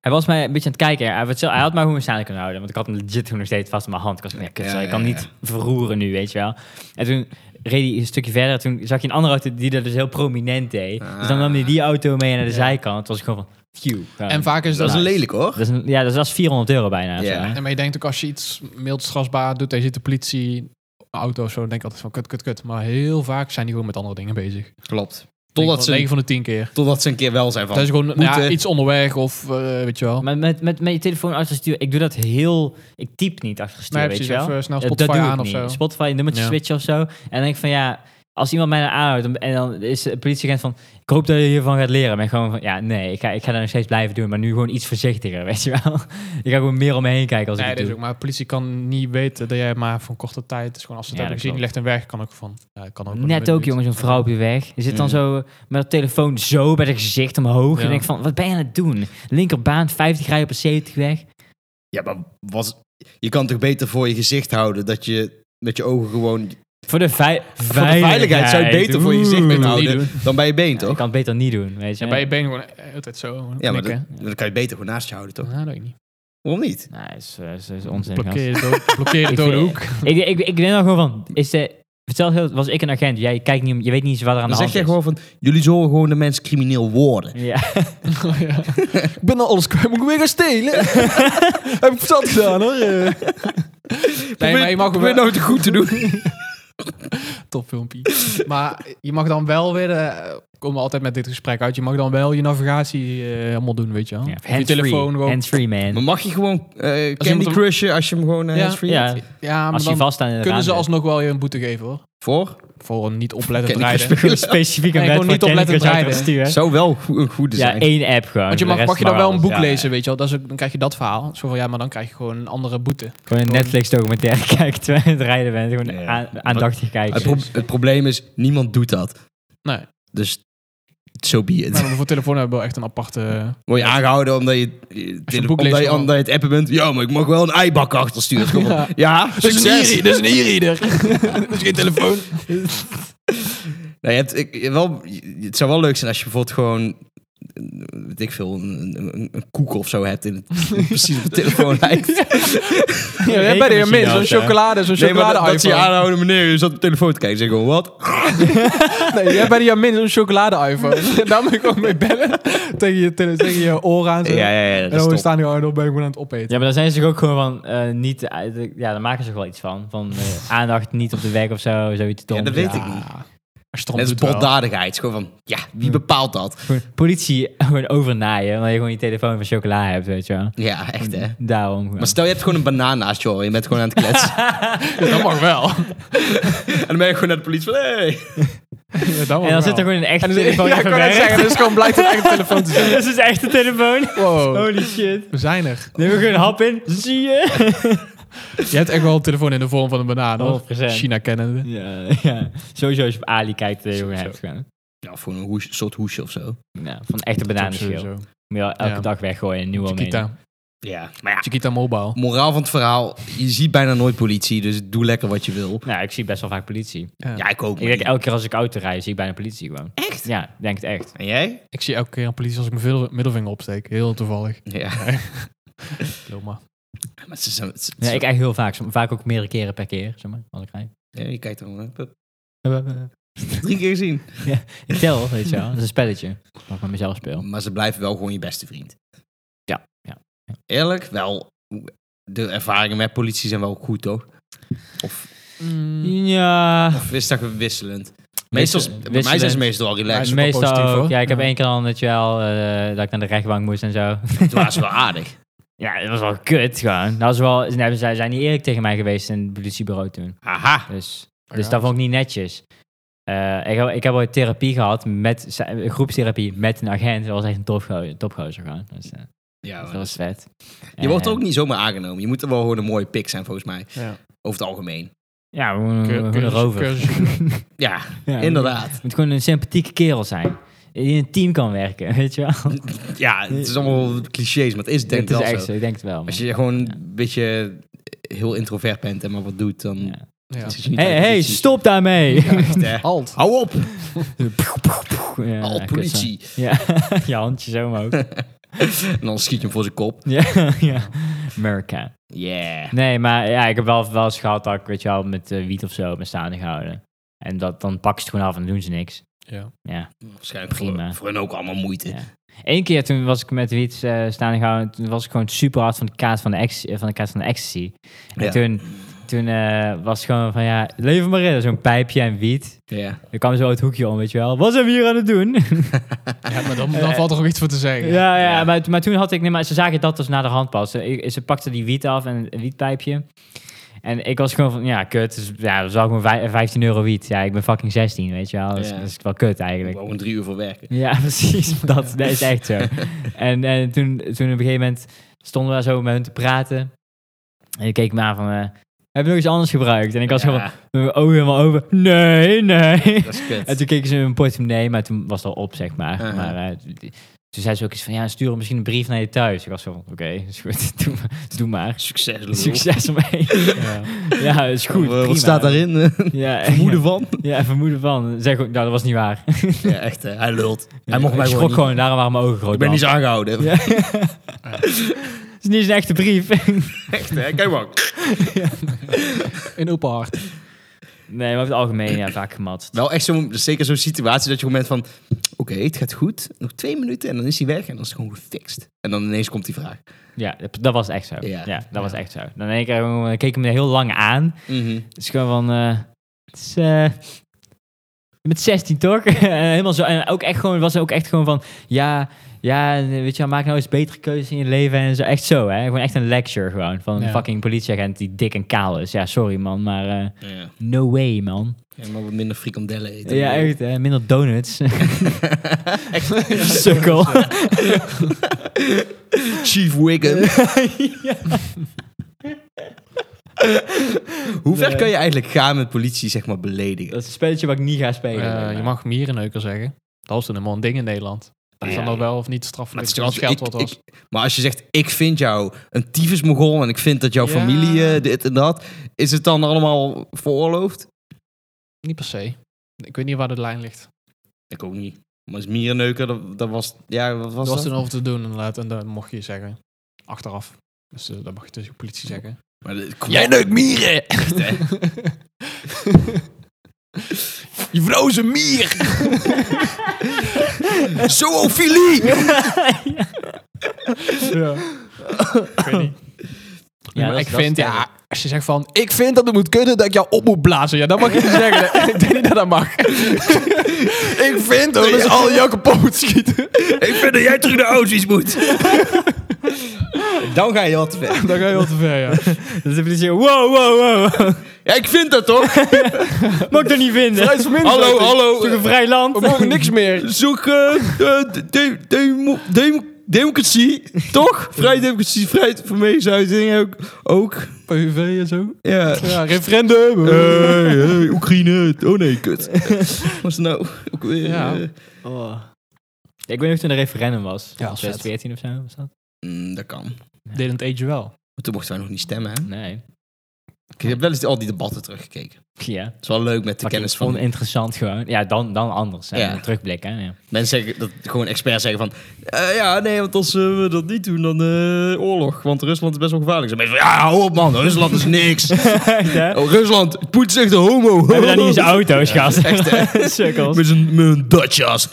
[SPEAKER 3] hij was mij een beetje aan het kijken. Hij, was- hij had mij gewoon staan kunnen houden. Want ik had hem legit toen nog steeds vast in mijn hand. Ik was van, ja, kut,
[SPEAKER 1] Ja,
[SPEAKER 3] sorry, ik
[SPEAKER 1] ja,
[SPEAKER 3] kan
[SPEAKER 1] ja.
[SPEAKER 3] niet verroeren nu, weet je wel. En toen reed hij een stukje verder. Toen zag je een andere auto die dat dus heel prominent deed. Dus dan nam hij die auto mee naar de zijkant. Toen was ik gewoon van, phew. gewoon.
[SPEAKER 2] En vaak is
[SPEAKER 1] Dus Dat
[SPEAKER 2] dat...
[SPEAKER 1] is lelijk, hoor.
[SPEAKER 3] dat is een- ja, dat was 400 euro bijna. of zo,
[SPEAKER 1] Ja.
[SPEAKER 3] hè.
[SPEAKER 2] En maar je denkt ook als je iets mild strafbaar doet, dan zit de politie, auto of zo, dan denk ik altijd van kut, kut, kut. Maar heel vaak zijn die gewoon met andere dingen bezig.
[SPEAKER 1] Klopt.
[SPEAKER 2] Denk wel
[SPEAKER 1] Totdat ze,
[SPEAKER 2] 9 van de 10 keer.
[SPEAKER 1] totdat ze een keer wel zijn van...
[SPEAKER 2] Dat is gewoon nou ja,
[SPEAKER 1] boete.
[SPEAKER 2] iets onderweg of eh, weet je wel.
[SPEAKER 3] Maar met, met, met je telefoon achter het stuur, ik doe dat heel... Ik typ niet achter het stuur,
[SPEAKER 2] Nee,
[SPEAKER 3] weet
[SPEAKER 2] precies.
[SPEAKER 3] je wel.
[SPEAKER 2] Of eh, snel
[SPEAKER 3] Ja,
[SPEAKER 2] Spotify
[SPEAKER 3] dat doe ik
[SPEAKER 2] aan of
[SPEAKER 3] niet.
[SPEAKER 2] zo.
[SPEAKER 3] Spotify, nummertje
[SPEAKER 2] Ja.
[SPEAKER 3] switchen of zo. En dan denk ik van ja, als iemand mij dan aanhoudt dan- en dan is de politieagent van, ik hoop dat je hiervan gaat leren. Maar gewoon van, ja nee, ik ga, ik ga dat nog steeds blijven doen, maar nu gewoon iets voorzichtiger, weet je wel. ik ga gewoon meer om me heen kijken als
[SPEAKER 2] Nee,
[SPEAKER 3] ik
[SPEAKER 2] dat
[SPEAKER 3] het
[SPEAKER 2] is
[SPEAKER 3] doe.
[SPEAKER 2] ook, maar de politie kan niet weten dat jij maar voor een korte tijd, dus gewoon als ze het
[SPEAKER 3] Ja,
[SPEAKER 2] hebben
[SPEAKER 3] dat
[SPEAKER 2] gezien, je legt hem weg, kan ook van. Ja, kan ook wel
[SPEAKER 3] Net
[SPEAKER 2] een
[SPEAKER 3] ook
[SPEAKER 2] minuut.
[SPEAKER 3] jongens, een vrouw op je weg. Je zit dan
[SPEAKER 1] Ja.
[SPEAKER 3] zo met de telefoon zo bij de gezicht omhoog. En
[SPEAKER 2] Ja.
[SPEAKER 3] En denk van, wat ben je aan het doen? Linkerbaan, 50 rijden op een 70 weg.
[SPEAKER 1] Ja, maar was, je kan toch beter voor je gezicht houden dat je met je ogen gewoon...
[SPEAKER 3] Voor de, vei-
[SPEAKER 1] Voor de veiligheid zou je het beter voor je gezicht
[SPEAKER 3] Oeh.
[SPEAKER 1] moeten
[SPEAKER 2] Niet
[SPEAKER 1] houden dan bij je been,
[SPEAKER 3] Ja, ik
[SPEAKER 1] toch?
[SPEAKER 3] kan het beter niet doen, weet je.
[SPEAKER 2] Ja, bij je benen gewoon eh, altijd zo.
[SPEAKER 1] Ja, maar dat,
[SPEAKER 2] knikken.
[SPEAKER 1] dan kan je het beter gewoon naast je houden, toch?
[SPEAKER 2] Nou, dat weet ik niet.
[SPEAKER 1] Waarom niet?
[SPEAKER 3] Nee, dat is, eh, is, is onzin. gast.
[SPEAKER 2] Blokkeer je dood- blokkeer je
[SPEAKER 3] Ik
[SPEAKER 2] dode
[SPEAKER 3] vind-
[SPEAKER 2] hoek.
[SPEAKER 3] ik, ik, ik ben dan gewoon van, is de, vertel heel, was ik een agent, jij kijkt niet, om- je weet niet eens wat er aan
[SPEAKER 1] Dan
[SPEAKER 3] de
[SPEAKER 1] zeg
[SPEAKER 3] hand
[SPEAKER 1] je
[SPEAKER 3] is.
[SPEAKER 1] gewoon van, jullie zullen gewoon de mensen crimineel worden.
[SPEAKER 3] Ja,
[SPEAKER 2] Oh, Ik ben al alles kwijt, moet ik weer gaan stelen? Heb ik verstand gedaan hoor. Nee, maar je mag
[SPEAKER 1] probeer
[SPEAKER 2] wel...
[SPEAKER 1] nou te goed te doen.
[SPEAKER 2] Top filmpje. Maar je mag dan wel weer... eh, Ik kom altijd met dit gesprek uit. Je mag dan wel je navigatie eh, helemaal doen, weet je wel.
[SPEAKER 3] ja.
[SPEAKER 2] Of je telefoon gewoon.
[SPEAKER 3] hands free
[SPEAKER 1] Maar
[SPEAKER 3] man.
[SPEAKER 1] mag je gewoon eh,
[SPEAKER 2] iemand
[SPEAKER 1] Candy
[SPEAKER 2] hem-
[SPEAKER 1] Crushen als je hem gewoon eh
[SPEAKER 2] Ja.
[SPEAKER 1] hands-free
[SPEAKER 3] Ja,
[SPEAKER 1] hebt?
[SPEAKER 2] Ja, maar
[SPEAKER 3] als je
[SPEAKER 2] dan
[SPEAKER 3] vast aan de
[SPEAKER 2] kunnen ze
[SPEAKER 3] raam
[SPEAKER 2] alsnog wel weer een boete geven hoor.
[SPEAKER 1] Voor?
[SPEAKER 2] Voor een niet oplettend
[SPEAKER 1] Candy Crush
[SPEAKER 2] rijden.
[SPEAKER 3] bent. specifiek een
[SPEAKER 2] Nee,
[SPEAKER 3] wet
[SPEAKER 2] gewoon
[SPEAKER 3] voor
[SPEAKER 2] niet oplettend
[SPEAKER 3] Candy Crush
[SPEAKER 2] rijden.
[SPEAKER 3] auto's sturen.
[SPEAKER 1] Zou wel go- een goede
[SPEAKER 3] Ja,
[SPEAKER 1] zijn.
[SPEAKER 3] één app gewoon.
[SPEAKER 2] Want je
[SPEAKER 3] voor de
[SPEAKER 2] mag,
[SPEAKER 3] rest
[SPEAKER 2] mag je dan
[SPEAKER 3] maar
[SPEAKER 2] wel een
[SPEAKER 3] alles.
[SPEAKER 2] boek
[SPEAKER 1] ja,
[SPEAKER 2] lezen, weet je wel. Dat is ook, dan krijg je dat verhaal. Zo van, ja, maar dan krijg je gewoon een andere boete.
[SPEAKER 3] Gewoon een Netflix documentaire kijken terwijl je aan het rijden bent. Gewoon
[SPEAKER 1] Ja.
[SPEAKER 3] aan- aandachtig
[SPEAKER 1] het,
[SPEAKER 3] kijken.
[SPEAKER 1] pro- het probleem is, niemand doet dat.
[SPEAKER 2] Nee.
[SPEAKER 1] Dus, so be it.
[SPEAKER 2] Maar voor telefoon hebben we wel echt een aparte...
[SPEAKER 1] Word je aangehouden omdat je, eh, tele-
[SPEAKER 2] boek leest,
[SPEAKER 1] omdat je,
[SPEAKER 2] gewoon.
[SPEAKER 1] omdat je het appen bent? Ja, maar ik mag wel een eibak achtersturen. Kom op.
[SPEAKER 2] Ja.
[SPEAKER 1] Ja, succes.
[SPEAKER 2] Dat is een e-reader. Dat is geen telefoon.
[SPEAKER 1] Nou, je hebt, ik, je wel, je- het zou wel leuk zijn als je bijvoorbeeld gewoon, eh, weet ik veel, een, een, een- een koek of zo hebt in het, precies op de telefoon lijkt.
[SPEAKER 2] Ja, ja, bij de
[SPEAKER 3] Rekenmachine eh.
[SPEAKER 2] min, zo'n
[SPEAKER 3] of zo.
[SPEAKER 2] chocolade, zo'n
[SPEAKER 1] Nee, maar
[SPEAKER 2] chocolade
[SPEAKER 1] dat, dat ze je
[SPEAKER 2] iPhone.
[SPEAKER 1] aanhouden, meneer, je zat op de telefoon te kijken. Zeg gewoon, wat?
[SPEAKER 2] Nee, jij bij de min zo'n chocolade iPhone. Daar moet ik ook mee bellen. tegen, je, tele- tegen je oren aan. zo.
[SPEAKER 1] ja, ja.
[SPEAKER 2] en dan staan die gewoon op, ben ik gewoon aan het opeten.
[SPEAKER 3] Ja, maar dan zijn ze ook gewoon van eh, niet... eh, de- ja, daar maken ze ook wel iets van. Van eh, aandacht niet op de weg of zo. Zoiets doms.
[SPEAKER 1] dat weet
[SPEAKER 3] Ja.
[SPEAKER 1] ik niet.
[SPEAKER 2] Als je het erom
[SPEAKER 1] Dat is
[SPEAKER 2] doet wel.
[SPEAKER 1] botdadigheid. Het is Gewoon van, ja, wie bepaalt dat?
[SPEAKER 3] Gewoon politie gewoon overnaaien. Omdat je gewoon je telefoon van chocola hebt, weet je wel.
[SPEAKER 1] Ja, echt hè.
[SPEAKER 3] Daarom. gewoon.
[SPEAKER 1] Maar stel, je hebt gewoon een banaan naast je hoor. Je bent gewoon aan het kletsen.
[SPEAKER 2] Ja, dat mag wel.
[SPEAKER 1] en dan ben je gewoon naar de politie van, hey.
[SPEAKER 2] Ja, dat mag
[SPEAKER 3] en
[SPEAKER 2] wel.
[SPEAKER 3] dan zit er gewoon een echte
[SPEAKER 2] nou- En dan-
[SPEAKER 3] telefoon
[SPEAKER 2] ja, ik
[SPEAKER 3] even
[SPEAKER 2] kan net
[SPEAKER 3] werkt.
[SPEAKER 2] zeggen, dat is gewoon blijkt een Oh. eigen telefoon te zijn.
[SPEAKER 3] Dit is echt een telefoon.
[SPEAKER 2] Wow,
[SPEAKER 3] Holy shit.
[SPEAKER 2] we zijn er.
[SPEAKER 3] Neem ik een hap in. Zie je?
[SPEAKER 2] Je hebt echt wel een telefoon in de vorm van een banaan, hoor.
[SPEAKER 3] 100%.
[SPEAKER 2] China kennende.
[SPEAKER 3] Ja, ja. Sowieso als je op Ali kijkt, eh, jongen, heb je gewoon.
[SPEAKER 1] Ja, voor een hoes- soort hoesje of zo.
[SPEAKER 3] Ja, van echte bananenschil. Moet
[SPEAKER 2] Sowieso.
[SPEAKER 3] je wel elke
[SPEAKER 2] Ja.
[SPEAKER 3] dag weggooien en nieuw omheen.
[SPEAKER 2] Chiquita.
[SPEAKER 1] Ja, maar ja.
[SPEAKER 2] Chiquita Mobile.
[SPEAKER 1] Moraal van het verhaal, je ziet bijna nooit politie, dus doe lekker wat je wil.
[SPEAKER 3] Nou, ik zie best wel vaak politie.
[SPEAKER 1] Ja, ik ook.
[SPEAKER 3] Ik denk elke keer als ik auto rijd, zie ik bijna politie gewoon.
[SPEAKER 1] Echt?
[SPEAKER 3] Ja, ik denk het echt.
[SPEAKER 1] En jij?
[SPEAKER 2] Ik zie elke keer een politie als ik mijn middel- middelvinger opsteek. Heel toevallig.
[SPEAKER 1] Ja.
[SPEAKER 2] Loma.
[SPEAKER 1] Maar ze zijn, ze-
[SPEAKER 3] Ja, ik echt heel vaak. Som- Vaak ook meerdere keren per keer, zeg maar, als ik rijd.
[SPEAKER 1] Ja, je kijkt dan... eh, pup, Drie keer gezien.
[SPEAKER 3] Ik tel, weet je wel. Dat is een spelletje. Wat ik met mezelf speel.
[SPEAKER 1] Maar ze blijven wel gewoon je beste vriend.
[SPEAKER 3] Ja, ja, ja.
[SPEAKER 1] Eerlijk, wel... De ervaringen met politie zijn wel goed, toch? Of,
[SPEAKER 2] Mm.
[SPEAKER 3] Ja.
[SPEAKER 1] of is dat wisselend? Meestal,
[SPEAKER 3] Wissel-
[SPEAKER 1] bij mij zijn
[SPEAKER 3] wisselend.
[SPEAKER 1] ze meestal al
[SPEAKER 2] Maar
[SPEAKER 1] relaxed.
[SPEAKER 2] is ook wel
[SPEAKER 3] Meestal
[SPEAKER 2] positief,
[SPEAKER 3] ook.
[SPEAKER 2] hoor.
[SPEAKER 3] Ja, ik heb
[SPEAKER 2] Ja.
[SPEAKER 3] één keer al dat je wel, eh, dat ik naar de rechtbank moest en zo.
[SPEAKER 1] Het was wel aardig.
[SPEAKER 3] Ja, dat was wel kut gewoon. Dat was wel, nee, zij zijn niet eerlijk tegen mij geweest in het politiebureau toen.
[SPEAKER 1] Haha.
[SPEAKER 3] Dus, dus dat vond ik niet netjes. Eh, Eh, ik, heb, ik heb ooit therapie gehad, met, zijn- groepstherapie met een agent. Dat was echt een topgo- topgozer gewoon. Dus, eh,
[SPEAKER 1] Ja,
[SPEAKER 3] dat
[SPEAKER 1] maar-
[SPEAKER 3] was vet.
[SPEAKER 1] je wordt
[SPEAKER 3] En-
[SPEAKER 1] ook niet zomaar aangenomen. Je moet er wel gewoon een mooie pik zijn, volgens mij.
[SPEAKER 2] Ja.
[SPEAKER 1] Over het algemeen.
[SPEAKER 3] Ja, we moeten- we
[SPEAKER 2] Cur-
[SPEAKER 3] moeten
[SPEAKER 2] cursus-
[SPEAKER 3] erover.
[SPEAKER 2] cursusje doen.
[SPEAKER 1] Ja,
[SPEAKER 3] Ja,
[SPEAKER 1] inderdaad.
[SPEAKER 3] Je moet gewoon een sympathieke kerel zijn. Die in een team kan werken, weet je wel.
[SPEAKER 1] Ja, het is allemaal clichés, maar het is denk ik
[SPEAKER 3] dat
[SPEAKER 1] wel
[SPEAKER 3] is echt
[SPEAKER 1] zo.
[SPEAKER 3] zo, ik denk het wel.
[SPEAKER 1] Als
[SPEAKER 3] man.
[SPEAKER 1] je gewoon een beetje heel introvert bent en maar wat doet, dan...
[SPEAKER 3] Ja.
[SPEAKER 2] Ja.
[SPEAKER 1] zit je niet
[SPEAKER 3] hey,
[SPEAKER 1] aan de
[SPEAKER 3] hey,
[SPEAKER 1] politie.
[SPEAKER 3] stop daarmee!
[SPEAKER 1] Echt, hè.
[SPEAKER 2] Alt.
[SPEAKER 1] Hou op,
[SPEAKER 3] Ja,
[SPEAKER 1] al
[SPEAKER 3] kut,
[SPEAKER 1] politie.
[SPEAKER 3] zo. Ja, je handje zo omhoog.
[SPEAKER 1] En dan schiet je hem voor zijn kop.
[SPEAKER 3] ja, ja. America.
[SPEAKER 1] Yeah.
[SPEAKER 3] Nee, maar ja, ik heb wel, wel eens gehad dat ik, weet je wel, met eh, wiet of zo me staande gehouden. En dat, dan pakken ze het gewoon af en doen ze niks.
[SPEAKER 2] Ja.
[SPEAKER 3] Ja.
[SPEAKER 1] Waarschijnlijk
[SPEAKER 3] Prima.
[SPEAKER 1] voor, voor hen ook allemaal moeite.
[SPEAKER 3] Ja. Eén keer toen was ik met wiet eh staande gehouden. Toen was ik gewoon super hard van de kaart van de, ex, eh, van de, kaart van de ecstasy. En
[SPEAKER 1] Ja.
[SPEAKER 3] toen, toen eh, was het gewoon van ja, lever maar in. Zo'n pijpje en wiet.
[SPEAKER 1] Ja.
[SPEAKER 3] Ik kwam zo het hoekje om, weet je wel. Wat zijn we hier aan het doen?
[SPEAKER 2] Ja, maar dan, dan valt er ook iets voor te zeggen.
[SPEAKER 3] ja, ja,
[SPEAKER 1] Ja.
[SPEAKER 3] Maar, maar toen had ik... Nee, maar ze zagen dat dus naar de hand pas. Ze, ik- ze pakte die wiet af en een wietpijpje. En ik was gewoon van, ja, kut. Dus, ja, dat was ook maar vij- 15 euro wiet. Ja, ik ben fucking 16, weet je wel. Dat is,
[SPEAKER 1] Ja.
[SPEAKER 3] dat is wel kut
[SPEAKER 1] Ik
[SPEAKER 3] eigenlijk.
[SPEAKER 1] wou gewoon drie uur voor werken.
[SPEAKER 3] Ja, precies. Dat, dat is echt zo. En, en toen, toen op een gegeven moment stonden we daar zo met hun te praten. En ik keek me aan van, eh, heb je nog iets anders gebruikt? En ik was
[SPEAKER 1] Ja,
[SPEAKER 3] gewoon met mijn ogen helemaal over. Nee, nee.
[SPEAKER 1] Dat is kut.
[SPEAKER 3] En toen keken ze in mijn portemonnee, maar toen was het al op, zeg maar.
[SPEAKER 1] Uh-huh.
[SPEAKER 3] Maar eh, t- toen zei ze ook iets van, ja, stuur misschien een brief naar je thuis. Ik was zo van, oké, is goed, doe maar. Doe maar.
[SPEAKER 1] Succes, lul.
[SPEAKER 3] Succes ermee.
[SPEAKER 2] Ja.
[SPEAKER 3] ja, is goed.
[SPEAKER 1] Eh,
[SPEAKER 3] prima.
[SPEAKER 1] Wat staat daarin?
[SPEAKER 3] Ja,
[SPEAKER 1] Vermoeden
[SPEAKER 3] ja.
[SPEAKER 1] van?
[SPEAKER 3] Ja, vermoeden van. Zeg ook, nou, dat was niet waar.
[SPEAKER 1] Ja, echt. hè. Hij lult. Hij mocht
[SPEAKER 3] Ik
[SPEAKER 1] mij
[SPEAKER 3] schrok
[SPEAKER 1] gewoon niet.
[SPEAKER 3] gewoon, daarom waren mijn ogen groot.
[SPEAKER 1] Ik ben
[SPEAKER 3] dan.
[SPEAKER 1] niet zo aangehouden.
[SPEAKER 3] Ja. Het is niet eens een echte brief.
[SPEAKER 1] Echt, hè? Kijk maar.
[SPEAKER 2] In Openhart.
[SPEAKER 3] nee, maar over het algemeen ja, vaak gematst.
[SPEAKER 1] Wel echt zo'n, zeker zo'n situatie dat je op het moment van... Oké, het gaat goed. Nog twee minuten en dan is hij weg. En dan is het gewoon gefixt. En dan ineens komt die vraag.
[SPEAKER 3] Ja, dat- dat was echt zo. Ja,
[SPEAKER 1] Ja.
[SPEAKER 3] dat was echt zo. Dan in één keer gewoon, eh, keek ik me heel lang aan.
[SPEAKER 1] Mhm.
[SPEAKER 3] Het is gewoon van... eh, het is, eh, met 16 toch? En Helemaal zo. En ook echt gewoon, was ook echt gewoon van... Ja, ja, en, eh, weet je wel, maak nou eens betere keuzes in je leven. En zo, echt zo, hè. Gewoon echt een lecture gewoon. Van een
[SPEAKER 2] Ja.
[SPEAKER 3] fucking politieagent die dik en kaal is. Ja, sorry man, maar eh,
[SPEAKER 1] Ja.
[SPEAKER 3] no way man.
[SPEAKER 1] Ja, maar wat minder frikandellen eten.
[SPEAKER 3] Ja, echt hè. Minder donuts.
[SPEAKER 1] Echt.
[SPEAKER 3] Sukkel.
[SPEAKER 1] Chief Wiggum. Hoe ver
[SPEAKER 3] Nee.
[SPEAKER 1] kan je eigenlijk gaan met politie, zeg maar, beledigen?
[SPEAKER 3] Dat is een spelletje wat ik niet ga spelen. zeg maar.
[SPEAKER 2] Eh, je mag mierenneuker zeggen. Dat was toen helemaal een ding in Nederland. Dat is dan
[SPEAKER 3] Ja.
[SPEAKER 2] nog wel of niet straf.
[SPEAKER 1] Maar, het is
[SPEAKER 2] een
[SPEAKER 1] toch altijd-
[SPEAKER 2] scheldwoord
[SPEAKER 1] ik-
[SPEAKER 2] was.
[SPEAKER 1] ik- maar als je zegt, ik vind jou een tyfusmogol en ik vind dat jouw
[SPEAKER 2] Ja.
[SPEAKER 1] familie eh, dit en dat, is het dan allemaal veroorloofd?
[SPEAKER 2] Niet per se. Ik weet niet waar de lijn ligt.
[SPEAKER 1] Ik ook niet. Maar als mierenneuker, dat, dat was... Ja, wat was
[SPEAKER 2] Er was
[SPEAKER 1] dat?
[SPEAKER 2] toen over te doen inderdaad. En dat mocht je zeggen. Achteraf. Dus eh, dat mag je tegen de politie zeggen.
[SPEAKER 1] Maar dit- kom- Jij neukt mieren! Echt, hè? Je vrouw is een mier! Zoofilie!
[SPEAKER 2] Ik weet niet.
[SPEAKER 3] Ja,
[SPEAKER 2] Maar
[SPEAKER 3] dat
[SPEAKER 2] ik
[SPEAKER 3] is- dat is
[SPEAKER 2] vind, ja,
[SPEAKER 3] sterk.
[SPEAKER 2] als je zegt van, ik vind dat het moet kunnen dat ik jou op moet blazen. Ja, dat mag je niet zeggen. ik denk niet dat dat mag.
[SPEAKER 1] Ik vind
[SPEAKER 2] Dat
[SPEAKER 1] dat
[SPEAKER 2] is al jou kapot moet schieten.
[SPEAKER 1] Ik vind dat jij terug naar Auschwitz moet. Dan ga je wat te ver.
[SPEAKER 2] Dan ga je wel te ver, ja.
[SPEAKER 3] Dat is de politie. Wow, wow, wow.
[SPEAKER 1] Ja, ik vind dat toch?
[SPEAKER 3] Mag ik dat niet vinden? Het
[SPEAKER 1] hallo,
[SPEAKER 3] is toch
[SPEAKER 1] hallo.
[SPEAKER 3] een vrij land?
[SPEAKER 2] We mogen niks meer.
[SPEAKER 1] Zoek eh, eh, de- de- demo- demo- democratie, toch? Vrijheid, democratie, vrijheid van meningsuiting ook. ook.
[SPEAKER 2] PUV en zo.
[SPEAKER 1] Ja.
[SPEAKER 2] Ja, referendum.
[SPEAKER 1] Eh. Hey, hey, Oekraïne. Oh nee, kut. Wat is het nou? Ook weer,
[SPEAKER 2] Ja.
[SPEAKER 1] eh,
[SPEAKER 3] Oh. Ja, ik weet niet of toen een referendum was.
[SPEAKER 2] Ja, was vet.
[SPEAKER 3] 2014 of zo was dat?
[SPEAKER 1] mm, dat kan. Maar
[SPEAKER 2] Didn't age wel.
[SPEAKER 1] toen mochten wij nog niet stemmen, hè?
[SPEAKER 3] Nee.
[SPEAKER 1] Ik heb wel eens al die debatten teruggekeken.
[SPEAKER 3] Ja.
[SPEAKER 1] Het is wel leuk met de
[SPEAKER 3] Fucking
[SPEAKER 1] kennis van...
[SPEAKER 3] Oninteressant gewoon. Ja, dan, dan anders. hè.
[SPEAKER 1] Ja.
[SPEAKER 3] Een Terugblik, hè. Ja.
[SPEAKER 1] Mensen zeggen, dat gewoon experts zeggen van... eh, ja, nee, want als eh, we dat niet doen, dan eh, oorlog. Want Rusland is best wel gevaarlijk. Ze mensen van, ja, hou op man, Rusland is niks.
[SPEAKER 3] Hebben
[SPEAKER 1] Oh, Rusland, Poetin is echt een homo.
[SPEAKER 3] we daar niet eens auto's, gast?
[SPEAKER 1] echt, hè?
[SPEAKER 3] Sukkels.
[SPEAKER 1] Met zijn met een Dutchas.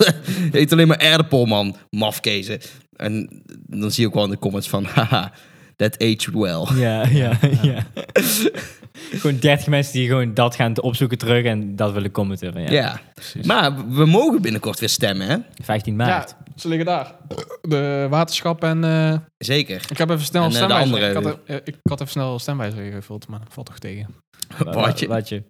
[SPEAKER 1] Eet alleen maar aardappel, man. Mafkezen. En dan zie je ook wel in de comments van... Haha, that aged well.
[SPEAKER 3] Ja, ja, ja. gewoon 30 mensen die gewoon dat gaan opzoeken terug en dat willen commenten. Van, ja.
[SPEAKER 1] Ja. Maar we mogen binnenkort weer stemmen, hè?
[SPEAKER 3] 15 maart.
[SPEAKER 2] Ja, ze liggen daar. De waterschap en... eh,
[SPEAKER 1] Zeker.
[SPEAKER 2] ik heb even snel
[SPEAKER 1] En,
[SPEAKER 2] een
[SPEAKER 1] eh, de
[SPEAKER 2] stemwijzer.
[SPEAKER 1] andere-
[SPEAKER 2] Ik, had, er- eh, ik had even snel een stemwijzer ingevuld, maar dat valt toch tegen.
[SPEAKER 3] Wa- wa-
[SPEAKER 1] Watje.
[SPEAKER 3] watje.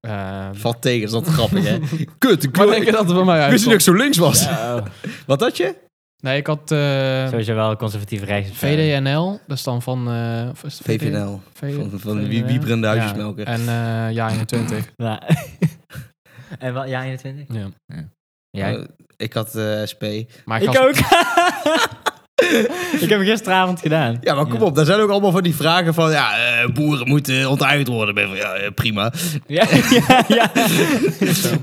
[SPEAKER 2] eh,
[SPEAKER 1] Valt tegen, is dat grappig, hè? Kut, ik,
[SPEAKER 2] maar
[SPEAKER 1] wil-
[SPEAKER 2] denk je
[SPEAKER 1] ik
[SPEAKER 2] dat het bij mij
[SPEAKER 1] wist niet dat
[SPEAKER 2] uitkomt?
[SPEAKER 1] ik zo links was.
[SPEAKER 3] Oh.
[SPEAKER 1] Wat had je?
[SPEAKER 2] Nee, ik had eh,
[SPEAKER 3] Sowieso wel conservatief rechts.
[SPEAKER 2] VDNL. Dat is dan van... eh, of is het
[SPEAKER 1] VVNL.
[SPEAKER 2] VD?
[SPEAKER 1] Van, van de
[SPEAKER 2] VVNL?
[SPEAKER 1] wie- wieberende
[SPEAKER 2] Ja,
[SPEAKER 1] huisjesmelker.
[SPEAKER 2] En eh, ja, 21.
[SPEAKER 3] Ja. Nou. en wel, ja, 21?
[SPEAKER 2] ja.
[SPEAKER 3] Ja.
[SPEAKER 1] Eh, ik had eh, SP.
[SPEAKER 2] Maar ik,
[SPEAKER 3] ik
[SPEAKER 2] had-
[SPEAKER 3] ook. ik heb hem gisteravond gedaan.
[SPEAKER 1] Ja, maar kom op. Daar zijn ook allemaal van die vragen van... Ja, eh, boeren moeten onteigend worden. Ben van, ja, eh, prima.
[SPEAKER 3] Ja, ja, ja.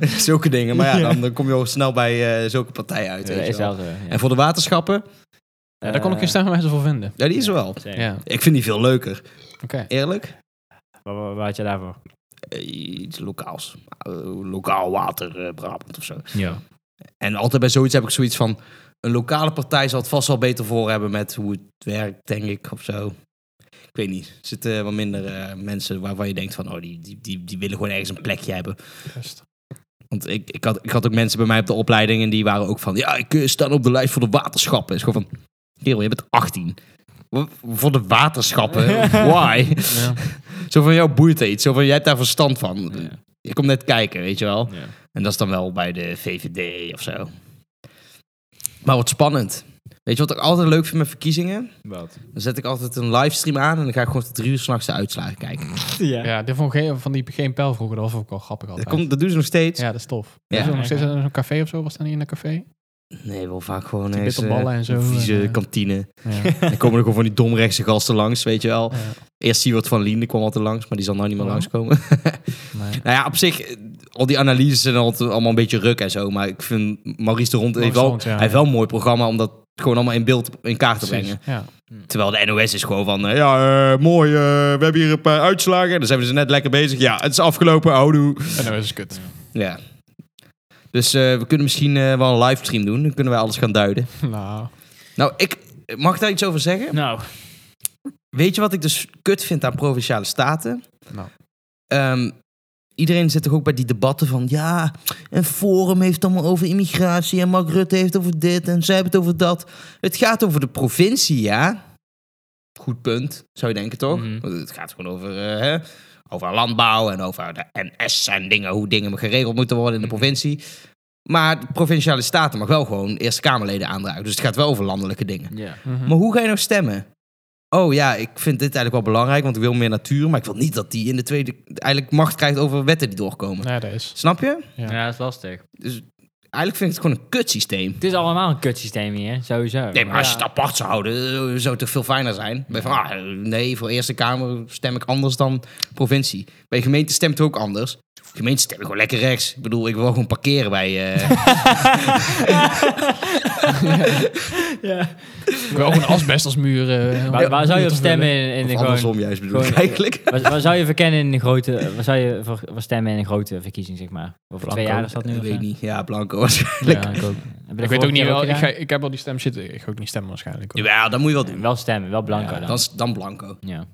[SPEAKER 1] zulke dingen. Maar ja, dan, dan kom je al snel bij eh, zulke partijen uit. weet je wel. En voor de waterschappen,
[SPEAKER 2] ja, daar kon ik geen stemwijzer voor vinden.
[SPEAKER 1] ja, die is er wel.
[SPEAKER 3] Eh, Zeker.
[SPEAKER 2] Ja,
[SPEAKER 1] Ik vind die veel leuker.
[SPEAKER 2] oké.
[SPEAKER 1] Eerlijk?
[SPEAKER 3] Wat, wat- wat had je daarvoor?
[SPEAKER 1] Eh, iets lokaals. Eh, lokaal water, eh, Brabant of zo.
[SPEAKER 3] Ja.
[SPEAKER 1] En altijd bij zoiets heb ik zoiets van... Een lokale partij zal het vast wel beter voor hebben met hoe het werkt, denk ik, of zo. Ik weet niet. Er zitten wat minder eh, mensen waarvan je denkt van... Oh, die, die, die, die willen gewoon ergens een plekje hebben.
[SPEAKER 2] Juist.
[SPEAKER 1] Want ik, ik, had, ik had ook mensen bij mij op de opleiding... en die waren ook van... Ja, ik eh, sta op de lijst voor de waterschappen. Het is gewoon van... Kerel, je bent 18. Wa- Voor de waterschappen? Why?
[SPEAKER 2] Ja.
[SPEAKER 1] Zo van, jou boeit er iets. Zo van, jij hebt daar verstand van. Je komt net kijken, weet je wel.
[SPEAKER 3] Ja.
[SPEAKER 1] En dat is dan wel bij de VVD of zo. Maar wat spannend. Weet je wat ik altijd leuk vind met verkiezingen?
[SPEAKER 3] Wat?
[SPEAKER 1] Dan zet ik altijd een livestream aan en dan ga ik gewoon tot drie uur s'nachts de uitslagen kijken.
[SPEAKER 2] Mm,
[SPEAKER 3] Ja.
[SPEAKER 2] Ja, dit vond geen, van die geen pijl vroeger, dat was ook wel grappig
[SPEAKER 1] Dat,
[SPEAKER 2] altijd.
[SPEAKER 1] komt, dat doen ze nog steeds.
[SPEAKER 2] Ja, dat is tof.
[SPEAKER 1] Ja.
[SPEAKER 2] Ja, nog steeds in een café of zo, was dat niet in een café?
[SPEAKER 1] Nee, wel vaak gewoon
[SPEAKER 2] Die
[SPEAKER 1] eens,
[SPEAKER 2] bitterballen
[SPEAKER 1] eh,
[SPEAKER 2] en zo,
[SPEAKER 1] een vieze
[SPEAKER 2] en, eh,
[SPEAKER 1] kantine.
[SPEAKER 2] Ja.
[SPEAKER 1] Dan komen er gewoon van die domrechtse gasten langs, weet je wel. Eerst Siewert van Lien, die kwam altijd langs, maar die zal nou niet meer
[SPEAKER 2] Ja.
[SPEAKER 1] langskomen.
[SPEAKER 2] Nee.
[SPEAKER 1] nou ja, op zich, eh, al die analyses zijn altijd allemaal een beetje ruk en zo. Maar ik vind Maurice de Rond heeft wel,
[SPEAKER 2] Rond, ja,
[SPEAKER 1] hij heeft
[SPEAKER 2] ja.
[SPEAKER 1] wel een mooi programma om dat gewoon allemaal in beeld, in kaart te brengen.
[SPEAKER 2] Ja.
[SPEAKER 1] Terwijl de NOS is gewoon van, eh, ja, eh, mooi, eh, we hebben hier een paar uitslagen. Dan zijn we ze net lekker bezig. Ja, het is afgelopen, houdoe.
[SPEAKER 2] En dan is het kut.
[SPEAKER 1] Ja. Dus eh, we kunnen misschien eh, wel een livestream doen. Dan kunnen wij alles gaan duiden.
[SPEAKER 2] Nou,
[SPEAKER 1] Nou, ik mag ik daar iets over zeggen.
[SPEAKER 3] Nou,
[SPEAKER 1] Weet je wat ik dus kut vind aan provinciale staten?
[SPEAKER 2] Nou.
[SPEAKER 1] Ehm, iedereen zit toch ook bij die debatten van... ja, en Forum heeft het allemaal over immigratie... en Mark Rutte heeft het over dit en zij hebben het over dat. Het gaat over de provincie, ja. Goed punt, zou je denken, toch?
[SPEAKER 3] Mhm.
[SPEAKER 1] Want Het gaat gewoon over, eh, hè, over landbouw en over de NS en dingen... hoe dingen geregeld moeten worden in de provincie. Maar de provinciale staten mag wel gewoon Eerste Kamerleden aandragen. Dus het gaat wel over landelijke dingen.
[SPEAKER 3] ja.
[SPEAKER 2] mhm.
[SPEAKER 1] Maar hoe ga je nou stemmen? Oh ja, ik vind dit eigenlijk wel belangrijk, want ik wil meer natuur. Maar ik wil niet dat die in de tweede eigenlijk macht krijgt over wetten die doorkomen.
[SPEAKER 2] nee, dat is.
[SPEAKER 1] Snap je?
[SPEAKER 2] Ja.
[SPEAKER 3] Ja, dat is lastig.
[SPEAKER 1] Eigenlijk vind ik het gewoon een kutsysteem.
[SPEAKER 3] Het is allemaal een kutsysteem hier, sowieso.
[SPEAKER 1] Nee, maar als je
[SPEAKER 3] Ja.
[SPEAKER 1] het apart zou houden, eh, zou het toch veel fijner zijn? Ben je van, ah, nee, voor Eerste Kamer stem ik anders dan provincie. Bij gemeente stemt het ook anders. Gemeente stem ik gewoon lekker rechts. Ik bedoel, ik wil gewoon parkeren bij... eh,
[SPEAKER 3] Ja.
[SPEAKER 2] Ik wil ook een asbestosmuur. eh, om-
[SPEAKER 3] Waar, waar zou je
[SPEAKER 2] om
[SPEAKER 3] op
[SPEAKER 2] te
[SPEAKER 3] stemmen
[SPEAKER 2] vullen.
[SPEAKER 3] in, in de
[SPEAKER 1] of
[SPEAKER 3] gewoon...
[SPEAKER 1] andersom juist bedoel ik
[SPEAKER 3] gewoon-
[SPEAKER 1] eigenlijk.
[SPEAKER 3] Waar, waar zou je verkennen in een grote... Waar zou je voor, voor stemmen in een grote verkiezing, zeg maar? Over twee jaar is dat nu?
[SPEAKER 1] Ik
[SPEAKER 3] of zo?
[SPEAKER 1] weet niet. Ja, Blanco was...
[SPEAKER 2] Ja, ik ook.
[SPEAKER 3] Heb je
[SPEAKER 2] Ik
[SPEAKER 3] dat
[SPEAKER 2] weet
[SPEAKER 3] vorige
[SPEAKER 2] ook niet
[SPEAKER 3] keer
[SPEAKER 2] wel. Ik,
[SPEAKER 3] gedaan?
[SPEAKER 2] ga, ik heb al die stem zitten. Ik ga ook niet stemmen waarschijnlijk. hoor.
[SPEAKER 1] Ja, dat moet je wel doen.
[SPEAKER 3] Wel stemmen, wel blanco
[SPEAKER 2] Ja,
[SPEAKER 3] dan.
[SPEAKER 1] Dan, dan Blanco.
[SPEAKER 3] Ja.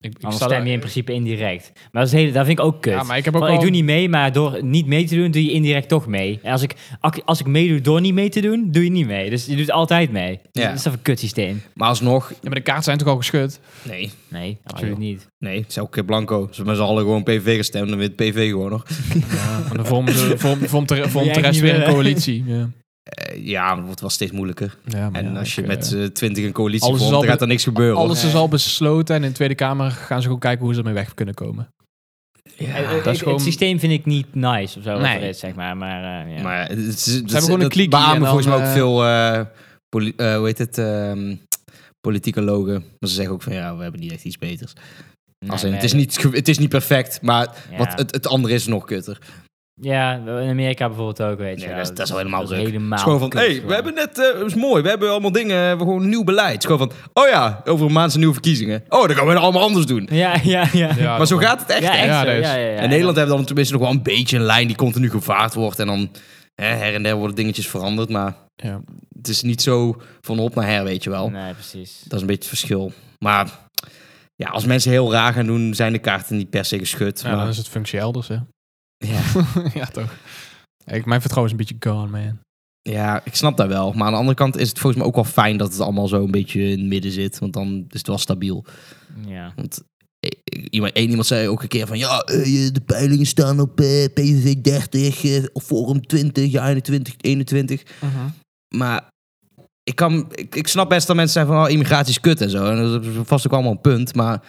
[SPEAKER 2] Ik, ik
[SPEAKER 3] Anders
[SPEAKER 2] sta
[SPEAKER 3] stem
[SPEAKER 2] daar-
[SPEAKER 3] je in principe indirect. Maar dat, is hele, dat vind ik ook kut.
[SPEAKER 2] Ja, maar ik heb ook
[SPEAKER 3] Want
[SPEAKER 2] wel...
[SPEAKER 3] ik doe niet mee, maar door niet mee te doen, doe je indirect toch mee. En als ik, ak- als ik meedoe door niet mee te doen, doe je niet mee. Dus je doet altijd mee.
[SPEAKER 1] Ja.
[SPEAKER 3] Dat is toch een kut systeem?
[SPEAKER 1] Maar alsnog...
[SPEAKER 2] Ja, maar de kaarten zijn toch al geschud?
[SPEAKER 1] Nee,
[SPEAKER 3] Nee, absoluut niet.
[SPEAKER 1] Nee, het is elke keer blanco. Als we met z'n allen gewoon PV gestemd, dan wint PV gewoon nog.
[SPEAKER 2] En dan vormt de, vorm, vormt de, vormt de
[SPEAKER 3] eigenlijk
[SPEAKER 2] rest
[SPEAKER 3] niet
[SPEAKER 2] weer
[SPEAKER 3] willen.
[SPEAKER 2] een coalitie. Ja,
[SPEAKER 1] Eh, ja, maar het wordt wel steeds moeilijker.
[SPEAKER 2] ja maar
[SPEAKER 1] en
[SPEAKER 2] ja,
[SPEAKER 1] als je
[SPEAKER 2] ik,
[SPEAKER 1] met
[SPEAKER 2] eh,
[SPEAKER 1] twintig 20 een coalitie
[SPEAKER 2] alles is
[SPEAKER 1] vormt,
[SPEAKER 2] al
[SPEAKER 1] dan
[SPEAKER 2] be-
[SPEAKER 1] gaat er niks gebeuren. hoor.
[SPEAKER 2] Alles is al besloten en in de Tweede Kamer gaan ze gewoon kijken hoe ze ermee weg kunnen komen.
[SPEAKER 3] Eh, eh,
[SPEAKER 2] dat is
[SPEAKER 3] het,
[SPEAKER 2] gewoon-
[SPEAKER 3] het systeem vind ik niet nice of zo.
[SPEAKER 2] Nee.
[SPEAKER 3] Wat er is, zeg maar. maar eh, ja.
[SPEAKER 1] Maar het is, ze hebben
[SPEAKER 2] gewoon een kliekje en
[SPEAKER 1] beamen
[SPEAKER 2] dan,
[SPEAKER 1] volgens mij ook
[SPEAKER 2] eh,
[SPEAKER 1] veel, eh, poli- eh, hoe heet het, ehm, politicologen. Maar ze zeggen ook van, ja, we hebben niet echt iets beters.
[SPEAKER 3] Nee,
[SPEAKER 1] Als in,
[SPEAKER 3] nee,
[SPEAKER 1] het, is niet, ge- het is niet perfect, maar
[SPEAKER 3] ja.
[SPEAKER 1] wat, het, het andere is nog kutter. Het
[SPEAKER 3] Ja, in Amerika bijvoorbeeld ook, weet je.
[SPEAKER 1] Nee,
[SPEAKER 3] wel.
[SPEAKER 1] dat is- dat is al helemaal
[SPEAKER 3] dat Nou, is
[SPEAKER 1] druk.
[SPEAKER 3] helemaal
[SPEAKER 1] is gewoon van,
[SPEAKER 3] kut,
[SPEAKER 1] hey, we
[SPEAKER 3] gewoon.
[SPEAKER 1] hebben net, eh, het is mooi, we hebben allemaal dingen, we hebben gewoon een nieuw beleid. Het is gewoon van, oh ja, over een maand zijn nieuwe verkiezingen. Oh, dan gaan we het allemaal anders doen.
[SPEAKER 3] Ja, ja, ja. ja.
[SPEAKER 1] Maar zo gaat het echt,
[SPEAKER 3] Ja,
[SPEAKER 1] hè?
[SPEAKER 3] echt
[SPEAKER 2] Ja,
[SPEAKER 3] zo,
[SPEAKER 2] dat is-
[SPEAKER 3] ja, ja, ja.
[SPEAKER 1] in Nederland hebben we dan tenminste nog wel een beetje een lijn die continu gevaard wordt. En dan hè, her en der worden dingetjes veranderd. Maar
[SPEAKER 2] Ja.
[SPEAKER 1] het is niet zo van op naar her, weet je wel.
[SPEAKER 3] Nee, precies.
[SPEAKER 1] Dat is een beetje het verschil. Maar ja, als mensen heel raar gaan doen, zijn de kaarten niet per se geschud.
[SPEAKER 2] Ja,
[SPEAKER 1] maar,
[SPEAKER 2] dan is het functie elders, hè?
[SPEAKER 1] ja,
[SPEAKER 2] ja, toch. Ik, mijn vertrouwen is een beetje gone, man.
[SPEAKER 1] ja, ik snap dat wel. Maar aan de andere kant is het volgens mij ook wel fijn dat het allemaal zo een beetje in het midden zit. Want dan is het wel stabiel.
[SPEAKER 3] Ja.
[SPEAKER 1] Want eh, Iemand, één iemand zei ook een keer van ja, eh, je- de peilingen staan op eh, PVV 30 eh, of Forum 20, ja 21, 21. Maar ik, kan, ik, ik snap best dat mensen zeggen van oh, immigratie is kut en zo. En dat is vast ook allemaal een punt. Maar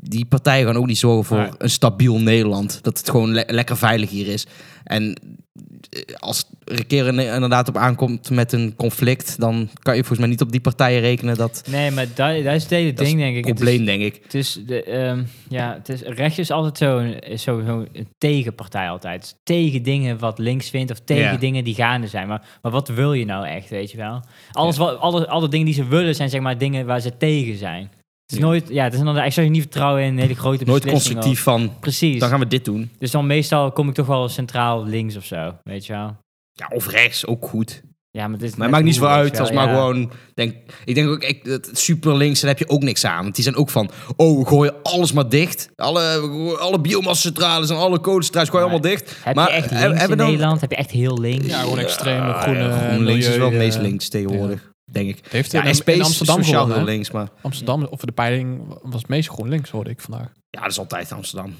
[SPEAKER 1] die partijen gaan ook niet zorgen voor
[SPEAKER 2] Nee.
[SPEAKER 1] een stabiel Nederland. Dat het gewoon le- lekker veilig hier is. En eh, als er een keer in- inderdaad op aankomt met een conflict... dan kan je volgens mij niet op die partijen rekenen. Dat,
[SPEAKER 3] Nee, maar dat, dat is het hele
[SPEAKER 1] Dat is
[SPEAKER 3] ding, denk ik. Het is-
[SPEAKER 1] probleem, denk ik.
[SPEAKER 3] Het is, de, ehm, ja, het is, rechts is altijd zo'n is sowieso een tegenpartij altijd. Tegen dingen wat links vindt of tegen
[SPEAKER 1] Ja.
[SPEAKER 3] dingen die gaande zijn. Maar, maar wat wil je nou echt, weet je wel? Alles wat, alle, alle dingen die ze willen zijn zeg maar dingen waar ze tegen zijn. Het is
[SPEAKER 1] Ja.
[SPEAKER 3] nooit, ja, het is inderdaad, ik zou je niet vertrouwen in hele grote
[SPEAKER 1] Nooit
[SPEAKER 3] beslissingen of-
[SPEAKER 1] constructief van
[SPEAKER 3] Precies.
[SPEAKER 1] dan gaan we dit doen.
[SPEAKER 3] Dus dan meestal kom ik toch wel centraal links of zo, weet je wel?
[SPEAKER 1] Ja, of rechts, ook goed.
[SPEAKER 3] Ja, maar, het is
[SPEAKER 1] Maar het
[SPEAKER 3] net
[SPEAKER 1] maakt niet
[SPEAKER 3] hoe,
[SPEAKER 1] zoveel
[SPEAKER 3] weet je
[SPEAKER 1] uit
[SPEAKER 3] wel,
[SPEAKER 1] als maar
[SPEAKER 3] ja.
[SPEAKER 1] gewoon... Denk, ik denk ook, ik, dat super links, daar heb je ook niks aan. Want die zijn ook van, oh, we gooien alles maar dicht. Alle, we gooien alle biomassa-centrales en alle kolencentrales gooien
[SPEAKER 3] Maar
[SPEAKER 1] allemaal dicht.
[SPEAKER 3] Heb
[SPEAKER 1] maar
[SPEAKER 3] je echt
[SPEAKER 1] eh,
[SPEAKER 3] links in
[SPEAKER 1] hebben dan-
[SPEAKER 3] Nederland? Heb je echt heel links?
[SPEAKER 2] Ja, gewoon extreme
[SPEAKER 1] Ja,
[SPEAKER 2] groene...
[SPEAKER 1] ja, GroenLinks is wel het
[SPEAKER 2] milieu,
[SPEAKER 1] meest
[SPEAKER 2] eh,
[SPEAKER 1] links tegenwoordig, denk ik.
[SPEAKER 2] Het heeft
[SPEAKER 1] Ja,
[SPEAKER 2] in,
[SPEAKER 1] SP
[SPEAKER 2] in
[SPEAKER 1] is
[SPEAKER 2] Amsterdam
[SPEAKER 1] sociaal heel
[SPEAKER 2] gewonnen. hè?
[SPEAKER 1] links, maar...
[SPEAKER 2] Amsterdam, of de peiling was het meest GroenLinks, hoorde ik vandaag.
[SPEAKER 1] Ja, dat is altijd Amsterdam.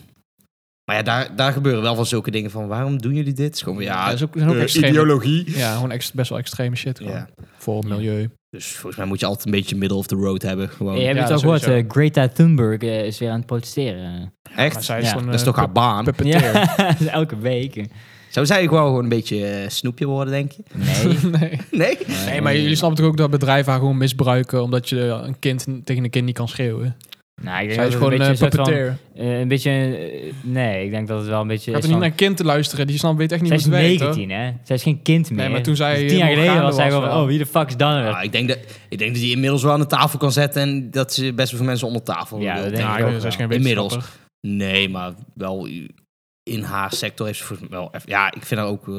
[SPEAKER 1] Maar ja, daar, daar gebeuren wel van zulke dingen van, waarom doen jullie dit? Het is gewoon, ja,
[SPEAKER 2] dat is ook, zijn ook
[SPEAKER 1] eh,
[SPEAKER 2] extreme-
[SPEAKER 1] ideologie.
[SPEAKER 2] Ja, gewoon ex- best wel extreme shit. gewoon.
[SPEAKER 1] Ja.
[SPEAKER 2] Voor milieu.
[SPEAKER 1] Dus volgens mij moet je altijd een beetje middle of the road hebben. Gewoon.
[SPEAKER 3] Je hebt
[SPEAKER 2] Ja,
[SPEAKER 3] het ook gehoord,
[SPEAKER 2] sowieso.
[SPEAKER 3] eh, Greta Thunberg eh, is weer aan het protesteren.
[SPEAKER 2] Maar
[SPEAKER 1] Echt?
[SPEAKER 2] zij is
[SPEAKER 3] Ja,
[SPEAKER 2] gewoon,
[SPEAKER 1] Dat is
[SPEAKER 2] eh,
[SPEAKER 1] toch haar baan?
[SPEAKER 2] pu- puppeteer.
[SPEAKER 3] Ja, dus elke week.
[SPEAKER 1] Zou zij gewoon gewoon een beetje eh, snoepje worden, denk je?
[SPEAKER 3] Nee.
[SPEAKER 2] nee.
[SPEAKER 1] Nee?
[SPEAKER 2] nee, maar jullie snappen toch ook dat bedrijven haar gewoon misbruiken... omdat je een kind tegen een kind niet kan schreeuwen?
[SPEAKER 3] Nou, ik denk
[SPEAKER 2] Zij is
[SPEAKER 3] dat het
[SPEAKER 2] gewoon
[SPEAKER 3] een beetje
[SPEAKER 2] een
[SPEAKER 3] een soort van,
[SPEAKER 2] puppeteer.
[SPEAKER 3] eh, een beetje... eh, nee, ik denk dat het wel een beetje...
[SPEAKER 2] Gaat
[SPEAKER 3] is
[SPEAKER 2] er niet
[SPEAKER 3] van-
[SPEAKER 2] naar een kind te luisteren. Die snapt, weet echt niet
[SPEAKER 3] zij
[SPEAKER 2] hoe
[SPEAKER 3] is
[SPEAKER 2] het werkt. hoor.
[SPEAKER 3] 19, hè? Zij is geen kind meer.
[SPEAKER 2] Nee, maar toen zij
[SPEAKER 3] Dus tien jaar
[SPEAKER 2] nog
[SPEAKER 3] geleden
[SPEAKER 2] gaande
[SPEAKER 3] was zij
[SPEAKER 2] was
[SPEAKER 3] gewoon van,
[SPEAKER 2] wel. Ah.
[SPEAKER 3] oh, wie de fuck is dan?
[SPEAKER 1] Ja, Nou, ik, denk dat, ik denk dat hij inmiddels wel aan de tafel kan zetten en dat ze best wel veel mensen onder tafel
[SPEAKER 3] Ja,
[SPEAKER 1] wil.
[SPEAKER 3] dat denk
[SPEAKER 2] Ja,
[SPEAKER 3] ik
[SPEAKER 2] ik
[SPEAKER 3] ook
[SPEAKER 2] weet, zij Ah, is
[SPEAKER 3] wel.
[SPEAKER 2] geen
[SPEAKER 1] Inmiddels.
[SPEAKER 2] wetenschapper.
[SPEAKER 1] Nee, maar wel in haar sector heeft ze volgens mij wel... eff- Ja, ik vind haar ook... eh,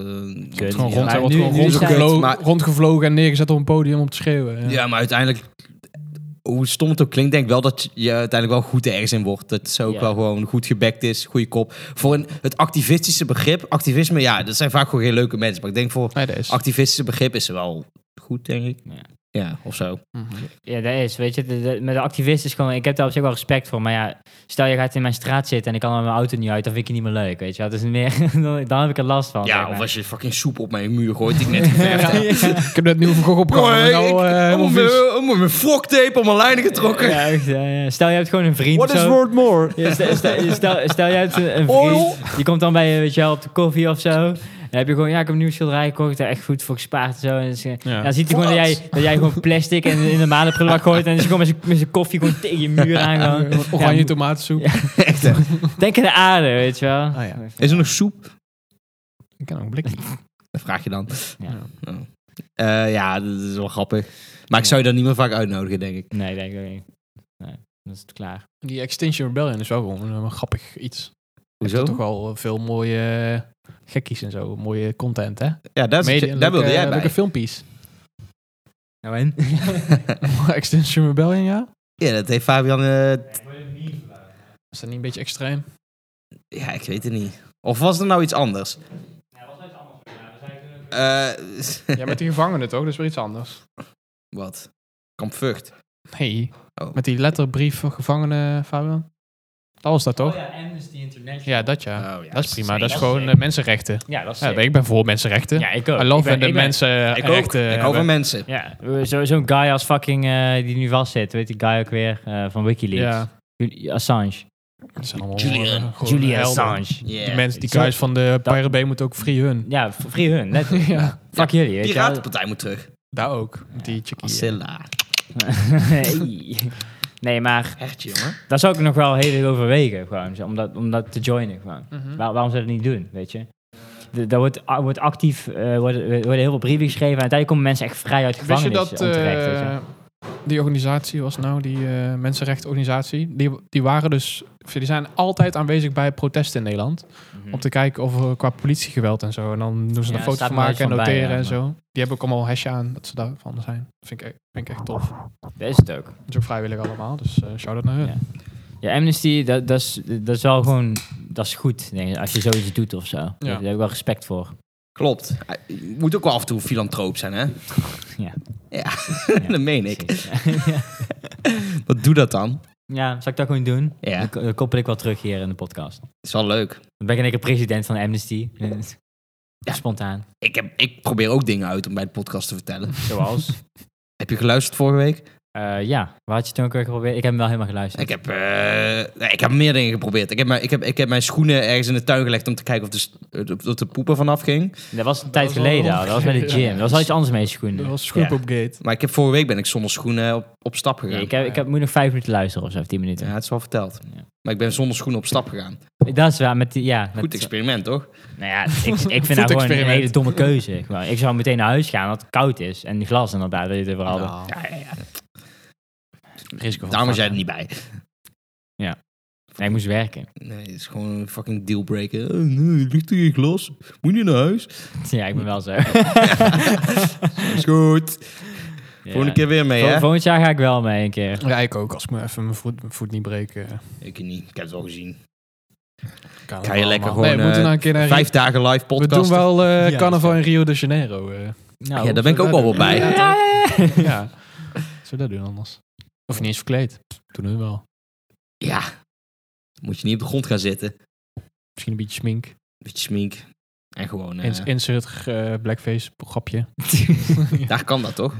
[SPEAKER 3] Kut.
[SPEAKER 2] Gewoon
[SPEAKER 3] Ja,
[SPEAKER 2] rond,
[SPEAKER 3] maar
[SPEAKER 2] hij wordt
[SPEAKER 3] nu-
[SPEAKER 2] gewoon
[SPEAKER 3] nu is zij-
[SPEAKER 2] rondgevlogen,
[SPEAKER 1] maar-
[SPEAKER 2] rondgevlogen en neergezet op een podium om te schreeuwen. Ja.
[SPEAKER 1] ja, maar uiteindelijk... Hoe stom het ook klinkt, denk ik wel dat je uiteindelijk wel goed ergens in wordt. Dat ze ook
[SPEAKER 3] Ja.
[SPEAKER 1] wel gewoon goed gebekt is, goede kop. Voor een, het activistische begrip, activisme, ja, dat zijn vaak gewoon geen leuke mensen. Maar ik denk voor
[SPEAKER 2] Nee, dat is.
[SPEAKER 1] activistische begrip is ze wel goed, denk ik.
[SPEAKER 3] Ja.
[SPEAKER 1] Ja, of zo.
[SPEAKER 3] Mm. Ja, dat is, weet je. de- de- met de activisten is gewoon... Ik heb daar op zich wel respect voor, maar ja... Stel, je gaat in mijn straat zitten en ik kan er met mijn auto niet uit, dan vind ik het niet meer leuk, weet je wel. Dat is meer... dan- dan heb ik er last van, zeg
[SPEAKER 1] Ja,
[SPEAKER 3] maar.
[SPEAKER 1] of als je fucking soep op mijn muur gooit die ik net geverfd heb.
[SPEAKER 2] Ik heb net nieuw van Gogh opgehangen.
[SPEAKER 1] Jongen,
[SPEAKER 2] en nou,
[SPEAKER 1] ik-
[SPEAKER 2] eh, helemaal
[SPEAKER 1] Allemaal
[SPEAKER 2] vies.
[SPEAKER 1] mijn- allemaal mijn froktape op mijn lijnen getrokken.
[SPEAKER 3] Ja, echt, ja, ja. Stel, je hebt gewoon een vriend of zo.
[SPEAKER 2] more?
[SPEAKER 3] Ja, stel, stel, stel, stel jij hebt een een
[SPEAKER 1] Oil.
[SPEAKER 3] vriend, die komt dan bij je, weet je wel, op de koffie of zo. Dan heb je gewoon, ja, ik heb een nieuw schilderij gekocht, daar echt goed voor gespaard en zo. En ze-
[SPEAKER 2] Ja.
[SPEAKER 3] dan ziet hij gewoon dat
[SPEAKER 1] Wat?
[SPEAKER 3] jij, dat jij gewoon plastic en in de malenprullenbak gooit. En dan is hij gewoon met zijn- met zijn koffie gewoon tegen je muur aan. gewoon.
[SPEAKER 2] Oranje
[SPEAKER 3] Ja,
[SPEAKER 2] tomatensoep.
[SPEAKER 3] Ja. Denk aan de aarde, weet je wel.
[SPEAKER 2] Ah, ja.
[SPEAKER 1] Is er nog soep?
[SPEAKER 2] Ik kan ook een blik.
[SPEAKER 1] Dat vraag je dan.
[SPEAKER 3] Ja.
[SPEAKER 1] Oh. Eh, ja, dat is wel grappig. Maar ik zou je dan niet meer vaak uitnodigen, denk ik.
[SPEAKER 3] Nee, denk ik ook niet. Nee, dan is het klaar.
[SPEAKER 2] Die Extinction Rebellion is wel gewoon een, eh, grappig iets. Heeft
[SPEAKER 1] Hoezo?
[SPEAKER 2] toch wel eh, veel mooie eh, gekkies en zo. Mooie content, hè?
[SPEAKER 1] Ja, dat is,
[SPEAKER 2] Media-
[SPEAKER 1] daar wilde
[SPEAKER 2] leuke-
[SPEAKER 1] jij bij.
[SPEAKER 2] Leuke filmpjes.
[SPEAKER 3] Nou en?
[SPEAKER 2] Extinction Rebellion, ja?
[SPEAKER 1] Ja, dat heeft Fabian... eh, t-
[SPEAKER 2] Is dat niet een beetje extreem?
[SPEAKER 1] ja, ik weet het niet. Of was er nou iets anders? Eh,
[SPEAKER 2] Ja, met die gevangenen toch? Dat is weer iets anders.
[SPEAKER 1] wat? Kamp Vught.
[SPEAKER 2] Nee.
[SPEAKER 1] Oh.
[SPEAKER 2] Met die letterbrief van gevangenen, Fabian. Dat was dat toch?
[SPEAKER 3] Oh, ja, Amnesty International.
[SPEAKER 2] Ja, dat ja.
[SPEAKER 1] Oh, ja,
[SPEAKER 2] Dat is prima. Dat is
[SPEAKER 3] dat
[SPEAKER 2] gewoon
[SPEAKER 3] is-
[SPEAKER 2] eh, mensenrechten.
[SPEAKER 3] Ja, dat is
[SPEAKER 2] Ja,
[SPEAKER 3] sick.
[SPEAKER 2] ik ben voor mensenrechten.
[SPEAKER 3] Ja, ik ook.
[SPEAKER 2] I
[SPEAKER 3] Ik
[SPEAKER 2] love
[SPEAKER 3] ben-
[SPEAKER 2] when de
[SPEAKER 3] ik ben-
[SPEAKER 2] mensen
[SPEAKER 1] Ik ook.
[SPEAKER 2] rechten
[SPEAKER 1] Ik hou
[SPEAKER 2] eh,
[SPEAKER 1] van
[SPEAKER 2] hebben.
[SPEAKER 1] mensen.
[SPEAKER 3] Ja, zo- zo'n guy als fucking eh, die nu vastzit, weet die guy ook weer eh, van Wikileaks.
[SPEAKER 2] Ja.
[SPEAKER 3] Jul- Assange.
[SPEAKER 2] Dat zijn allemaal,
[SPEAKER 1] Julian-
[SPEAKER 2] eh, gewoon
[SPEAKER 3] Julian
[SPEAKER 2] helden.
[SPEAKER 3] Assange.
[SPEAKER 1] Yeah.
[SPEAKER 2] Die mensen, die
[SPEAKER 3] Zo-
[SPEAKER 2] guys van de Pirate Bay moeten ook free hun.
[SPEAKER 3] Ja, v- free hun. Net.
[SPEAKER 2] ja,
[SPEAKER 3] Fuck jullie. weet je wel.
[SPEAKER 1] Piratenpartij moet terug.
[SPEAKER 2] daar ook. Die chickie.
[SPEAKER 1] Silla.
[SPEAKER 3] Hey. nee, maar
[SPEAKER 1] Hertje, jongen.
[SPEAKER 3] daar zou ik nog wel heel erg overwegen gewoon, zo, om dat, om dat te joinen gewoon.
[SPEAKER 2] Mhm.
[SPEAKER 3] Waar- waarom zou je dat niet doen, weet je? De- Daar wordt, a- wordt actief, eh, worden, worden heel veel brieven geschreven en uiteindelijk komen mensen echt vrij uit
[SPEAKER 2] Wist je
[SPEAKER 3] gevangenis.
[SPEAKER 2] dat
[SPEAKER 3] onterecht, weet je.
[SPEAKER 2] eh, die organisatie was nou, die eh, mensenrechtenorganisatie, die, die waren dus, of die zijn altijd aanwezig bij protesten in Nederland.
[SPEAKER 3] Mhm.
[SPEAKER 2] eh, Om te kijken of er qua politiegeweld en zo. En dan doen ze
[SPEAKER 3] Ja,
[SPEAKER 2] er
[SPEAKER 3] staat
[SPEAKER 2] foto's van
[SPEAKER 3] er wel
[SPEAKER 2] maken en
[SPEAKER 3] iets van bij,
[SPEAKER 2] noteren
[SPEAKER 3] ja,
[SPEAKER 2] en zo. Die hebben ook allemaal hesje aan dat ze daarvan zijn. Dat vind ik, e- vind ik echt tof.
[SPEAKER 3] Dat is het ook.
[SPEAKER 2] Dat is ook vrijwillig allemaal, dus eh shout-out naar hun.
[SPEAKER 3] Ja. Ja, Amnesty, dat, dat, is, dat is wel gewoon, dat is goed denk ik, als je zoiets doet of zo. Daar heb ik wel respect voor.
[SPEAKER 1] Klopt. Je moet ook wel af en toe filantroop zijn, hè?
[SPEAKER 3] Ja.
[SPEAKER 1] Ja,
[SPEAKER 3] Ja,
[SPEAKER 1] dat meen ik.
[SPEAKER 3] precies.
[SPEAKER 1] Wat doe dat dan?
[SPEAKER 3] Ja, zou ik dat gewoon doen?
[SPEAKER 1] Ja.
[SPEAKER 3] Dan ko- Dan koppel ik wel terug hier in de podcast.
[SPEAKER 1] is wel leuk.
[SPEAKER 3] Dan ben ik in één keer president van Amnesty. Dus Spontaan.
[SPEAKER 1] Ik, heb, ik probeer ook dingen uit om bij de podcast te vertellen.
[SPEAKER 3] Zoals.
[SPEAKER 1] heb je geluisterd vorige week?
[SPEAKER 3] Eh, ja, waar had je toen ook weer geprobeerd? Ik heb hem wel helemaal geluisterd.
[SPEAKER 1] Ik heb, eh, ik heb meer dingen geprobeerd. Ik heb, mijn, ik, heb, ik heb mijn schoenen ergens in de tuin gelegd om te kijken of de, s- eh, of- of de poep er vanaf ging.
[SPEAKER 3] Dat was een tijd
[SPEAKER 2] was al
[SPEAKER 3] geleden
[SPEAKER 2] lang
[SPEAKER 3] al. Dat was bij de
[SPEAKER 2] geleden,
[SPEAKER 3] gym.
[SPEAKER 2] ja.
[SPEAKER 3] Dat was al iets anders mee schoenen.
[SPEAKER 2] Dat was Scoop
[SPEAKER 1] Ja.
[SPEAKER 2] op Gate.
[SPEAKER 1] Maar ik heb vorige week ben ik zonder schoenen op, op stap
[SPEAKER 3] Ja,
[SPEAKER 1] gegaan.
[SPEAKER 3] ik, heb, ik heb, moet nog vijf minuten luisteren of zo, of tien minuten.
[SPEAKER 1] Ja, het is wel verteld.
[SPEAKER 3] Ja.
[SPEAKER 1] Maar ik ben zonder schoenen op stap gegaan.
[SPEAKER 3] Dat is waar, met die, ja. met-
[SPEAKER 1] Goed experiment, toch?
[SPEAKER 3] nou ja, ik, ik vind dat gewoon een
[SPEAKER 2] Voetexperiment.
[SPEAKER 3] hele domme keuze. Gewoon, Ik zou meteen naar huis gaan, dat het koud is. En die glas inderdaad, dat je het over hadden.
[SPEAKER 1] Ja, ja, ja.
[SPEAKER 3] Risico
[SPEAKER 1] Daarom was jij er niet bij.
[SPEAKER 3] Nee, ik moest werken.
[SPEAKER 1] Nee, het is gewoon een fucking dealbreaker. Oh, nee, ligt hier geen glas. Moet je naar huis?
[SPEAKER 3] Ja, ik ben wel zo.
[SPEAKER 1] Is goed. Volgende keer weer mee,
[SPEAKER 3] Vol-
[SPEAKER 1] hè?
[SPEAKER 3] Volgend jaar ga ik wel mee een keer.
[SPEAKER 2] Ja, ik ook. Als ik me even mijn voet, mijn voet niet breek. eh,
[SPEAKER 1] Ik niet. Ik heb het wel gezien.
[SPEAKER 2] kan
[SPEAKER 1] Ga
[SPEAKER 2] het
[SPEAKER 1] je lekker
[SPEAKER 2] allemaal.
[SPEAKER 1] gewoon,
[SPEAKER 2] Nee, we moeten
[SPEAKER 1] eh,
[SPEAKER 2] nou een keer naar
[SPEAKER 1] Vijf dagen live
[SPEAKER 2] Rio- We
[SPEAKER 1] podcast.
[SPEAKER 2] doen wel eh,
[SPEAKER 3] Ja,
[SPEAKER 2] carnaval in Rio de Janeiro. eh.
[SPEAKER 3] Nou,
[SPEAKER 1] Ja, daar ben ik ook wel wel bij.
[SPEAKER 2] Ja,
[SPEAKER 1] Ja,
[SPEAKER 2] toch?
[SPEAKER 3] ja.
[SPEAKER 2] Ja. Zullen we dat doen anders? Of niet eens verkleed. Doen we wel.
[SPEAKER 1] Moet je niet op de grond gaan zitten.
[SPEAKER 2] Misschien een beetje smink.
[SPEAKER 1] Beetje smink. En gewoon... eh,
[SPEAKER 2] Ins- Insert eh, blackface grapje.
[SPEAKER 1] Daar kan dat, toch?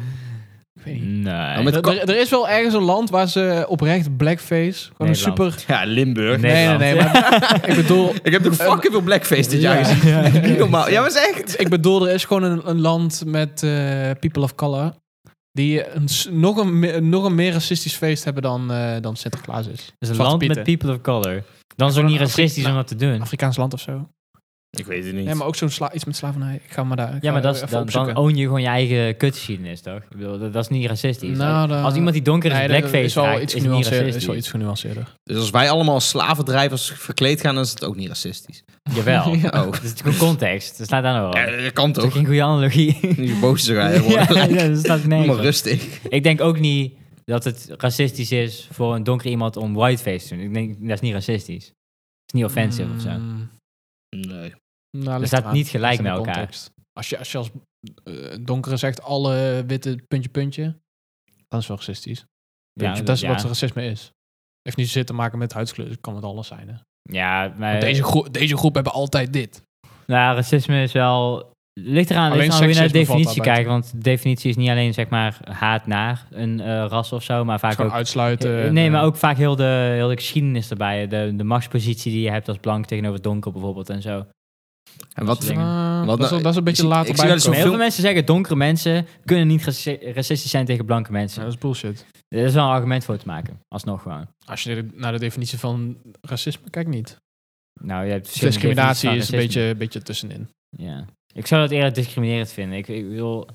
[SPEAKER 2] Ik weet niet.
[SPEAKER 3] Nee.
[SPEAKER 1] maar het
[SPEAKER 2] Er,
[SPEAKER 1] kan-
[SPEAKER 2] er- er is wel ergens een land waar ze oprecht blackface... Gewoon een
[SPEAKER 3] Nederland.
[SPEAKER 2] super...
[SPEAKER 1] Ja, Limburg.
[SPEAKER 2] Nee, nee, nee, maar ik bedoel...
[SPEAKER 1] Ik heb toch fucking veel blackface dit jaar
[SPEAKER 2] Ja.
[SPEAKER 1] gezien.
[SPEAKER 3] Ja.
[SPEAKER 1] Niet normaal. Ja, maar is echt.
[SPEAKER 2] Ik bedoel, er is gewoon een, een land met eh, people of color... die een, s- nog, een, me- nog een meer racistisch feest hebben dan, eh, dan Sinterklaas is.
[SPEAKER 3] Het is een
[SPEAKER 2] Zwarte
[SPEAKER 3] land
[SPEAKER 2] Pieten.
[SPEAKER 3] met people of color. Dan is het ook niet racistisch om dat te doen.
[SPEAKER 2] Afrikaans land of zo.
[SPEAKER 1] Ik weet het niet.
[SPEAKER 2] Nee, maar ook zo'n sla- iets met slavernij. Ik ga maar daar. ik
[SPEAKER 3] Ja,
[SPEAKER 2] ga
[SPEAKER 3] maar dat is,
[SPEAKER 2] even
[SPEAKER 3] dan, dan
[SPEAKER 2] opzoeken.
[SPEAKER 3] own je gewoon je eigen kutgeschiedenis, toch? Ik bedoel, dat, dat is niet racistisch.
[SPEAKER 2] Nou, dan-
[SPEAKER 3] Als iemand die donker is,
[SPEAKER 2] Nee, dat-
[SPEAKER 3] blackface
[SPEAKER 2] is wel
[SPEAKER 3] draagt,
[SPEAKER 2] iets
[SPEAKER 3] is niet
[SPEAKER 2] genuanceerder. Is
[SPEAKER 3] racistisch.
[SPEAKER 2] wel iets genuanceerder.
[SPEAKER 1] Dus als wij allemaal als slavendrijvers verkleed gaan, dan is het ook niet racistisch.
[SPEAKER 3] Jawel.
[SPEAKER 2] Ja.
[SPEAKER 1] Oh.
[SPEAKER 3] Dat is natuurlijk een context. Dat staat daar
[SPEAKER 2] Oh.
[SPEAKER 3] nog wel.
[SPEAKER 1] Ja, dat kan
[SPEAKER 3] Dat is
[SPEAKER 1] toch?
[SPEAKER 3] geen goede analogie.
[SPEAKER 1] Nu boos te gaan.
[SPEAKER 3] ja,
[SPEAKER 1] worden.
[SPEAKER 3] ja, dat staat
[SPEAKER 1] Doe
[SPEAKER 3] nergens
[SPEAKER 1] maar
[SPEAKER 3] op.
[SPEAKER 1] rustig.
[SPEAKER 3] Ik denk ook niet dat het racistisch is voor een donkere iemand om whiteface te doen. Ik denk, dat is niet racistisch. Het is niet offensive of zo.
[SPEAKER 2] Mm,
[SPEAKER 1] Nee.
[SPEAKER 2] nou, ligt
[SPEAKER 3] staat
[SPEAKER 2] eraan.
[SPEAKER 3] niet gelijk
[SPEAKER 2] Ligt aan
[SPEAKER 3] met
[SPEAKER 2] de
[SPEAKER 3] elkaar.
[SPEAKER 2] context. Als je als, je als eh, donkere zegt alle witte puntje puntje, dan is het wel racistisch. Puntje, dat is
[SPEAKER 3] ja.
[SPEAKER 2] wat racisme is. Heeft niet zitten te maken met huidskleur, het kan met alles zijn. Hè?
[SPEAKER 3] Ja, maar
[SPEAKER 2] Want deze, gro- deze groep hebben altijd dit.
[SPEAKER 3] nou, racisme is wel... Ligt eraan,
[SPEAKER 2] Alleen
[SPEAKER 3] ligt eraan hoe je naar de
[SPEAKER 2] seksisme valt
[SPEAKER 3] definitie
[SPEAKER 2] daarbij.
[SPEAKER 3] kijkt. Want de definitie is niet alleen zeg maar haat naar een eh, ras of zo, maar vaak
[SPEAKER 2] Gewoon
[SPEAKER 3] ook
[SPEAKER 2] uitsluiten.
[SPEAKER 3] nee,
[SPEAKER 2] en,
[SPEAKER 3] maar
[SPEAKER 2] eh,
[SPEAKER 3] ook vaak heel de, heel de geschiedenis erbij. De, de machtspositie die je hebt als blank tegenover donker bijvoorbeeld en zo.
[SPEAKER 1] En wat,
[SPEAKER 3] dingen.
[SPEAKER 2] ah,
[SPEAKER 1] Wat
[SPEAKER 2] dat, is,
[SPEAKER 1] nou-
[SPEAKER 2] wel- dat is een beetje
[SPEAKER 1] ik zie- dus
[SPEAKER 2] later
[SPEAKER 1] ik zie wel
[SPEAKER 2] bij.
[SPEAKER 1] eens
[SPEAKER 3] Maar heel
[SPEAKER 1] veel-
[SPEAKER 3] veel mensen zeggen donkere mensen kunnen niet raci- racistisch zijn tegen blanke mensen.
[SPEAKER 2] dat is bullshit.
[SPEAKER 3] Er is wel een argument voor te maken, alsnog gewoon.
[SPEAKER 2] Als je naar de definitie van racisme kijkt, niet.
[SPEAKER 3] Nou, je hebt verschillende
[SPEAKER 2] Discriminatie is
[SPEAKER 3] definities
[SPEAKER 2] een
[SPEAKER 3] van
[SPEAKER 2] beetje, een beetje tussenin.
[SPEAKER 3] racisme. Ja. Ik zou dat eerder discriminerend vinden. Ik, ik wil...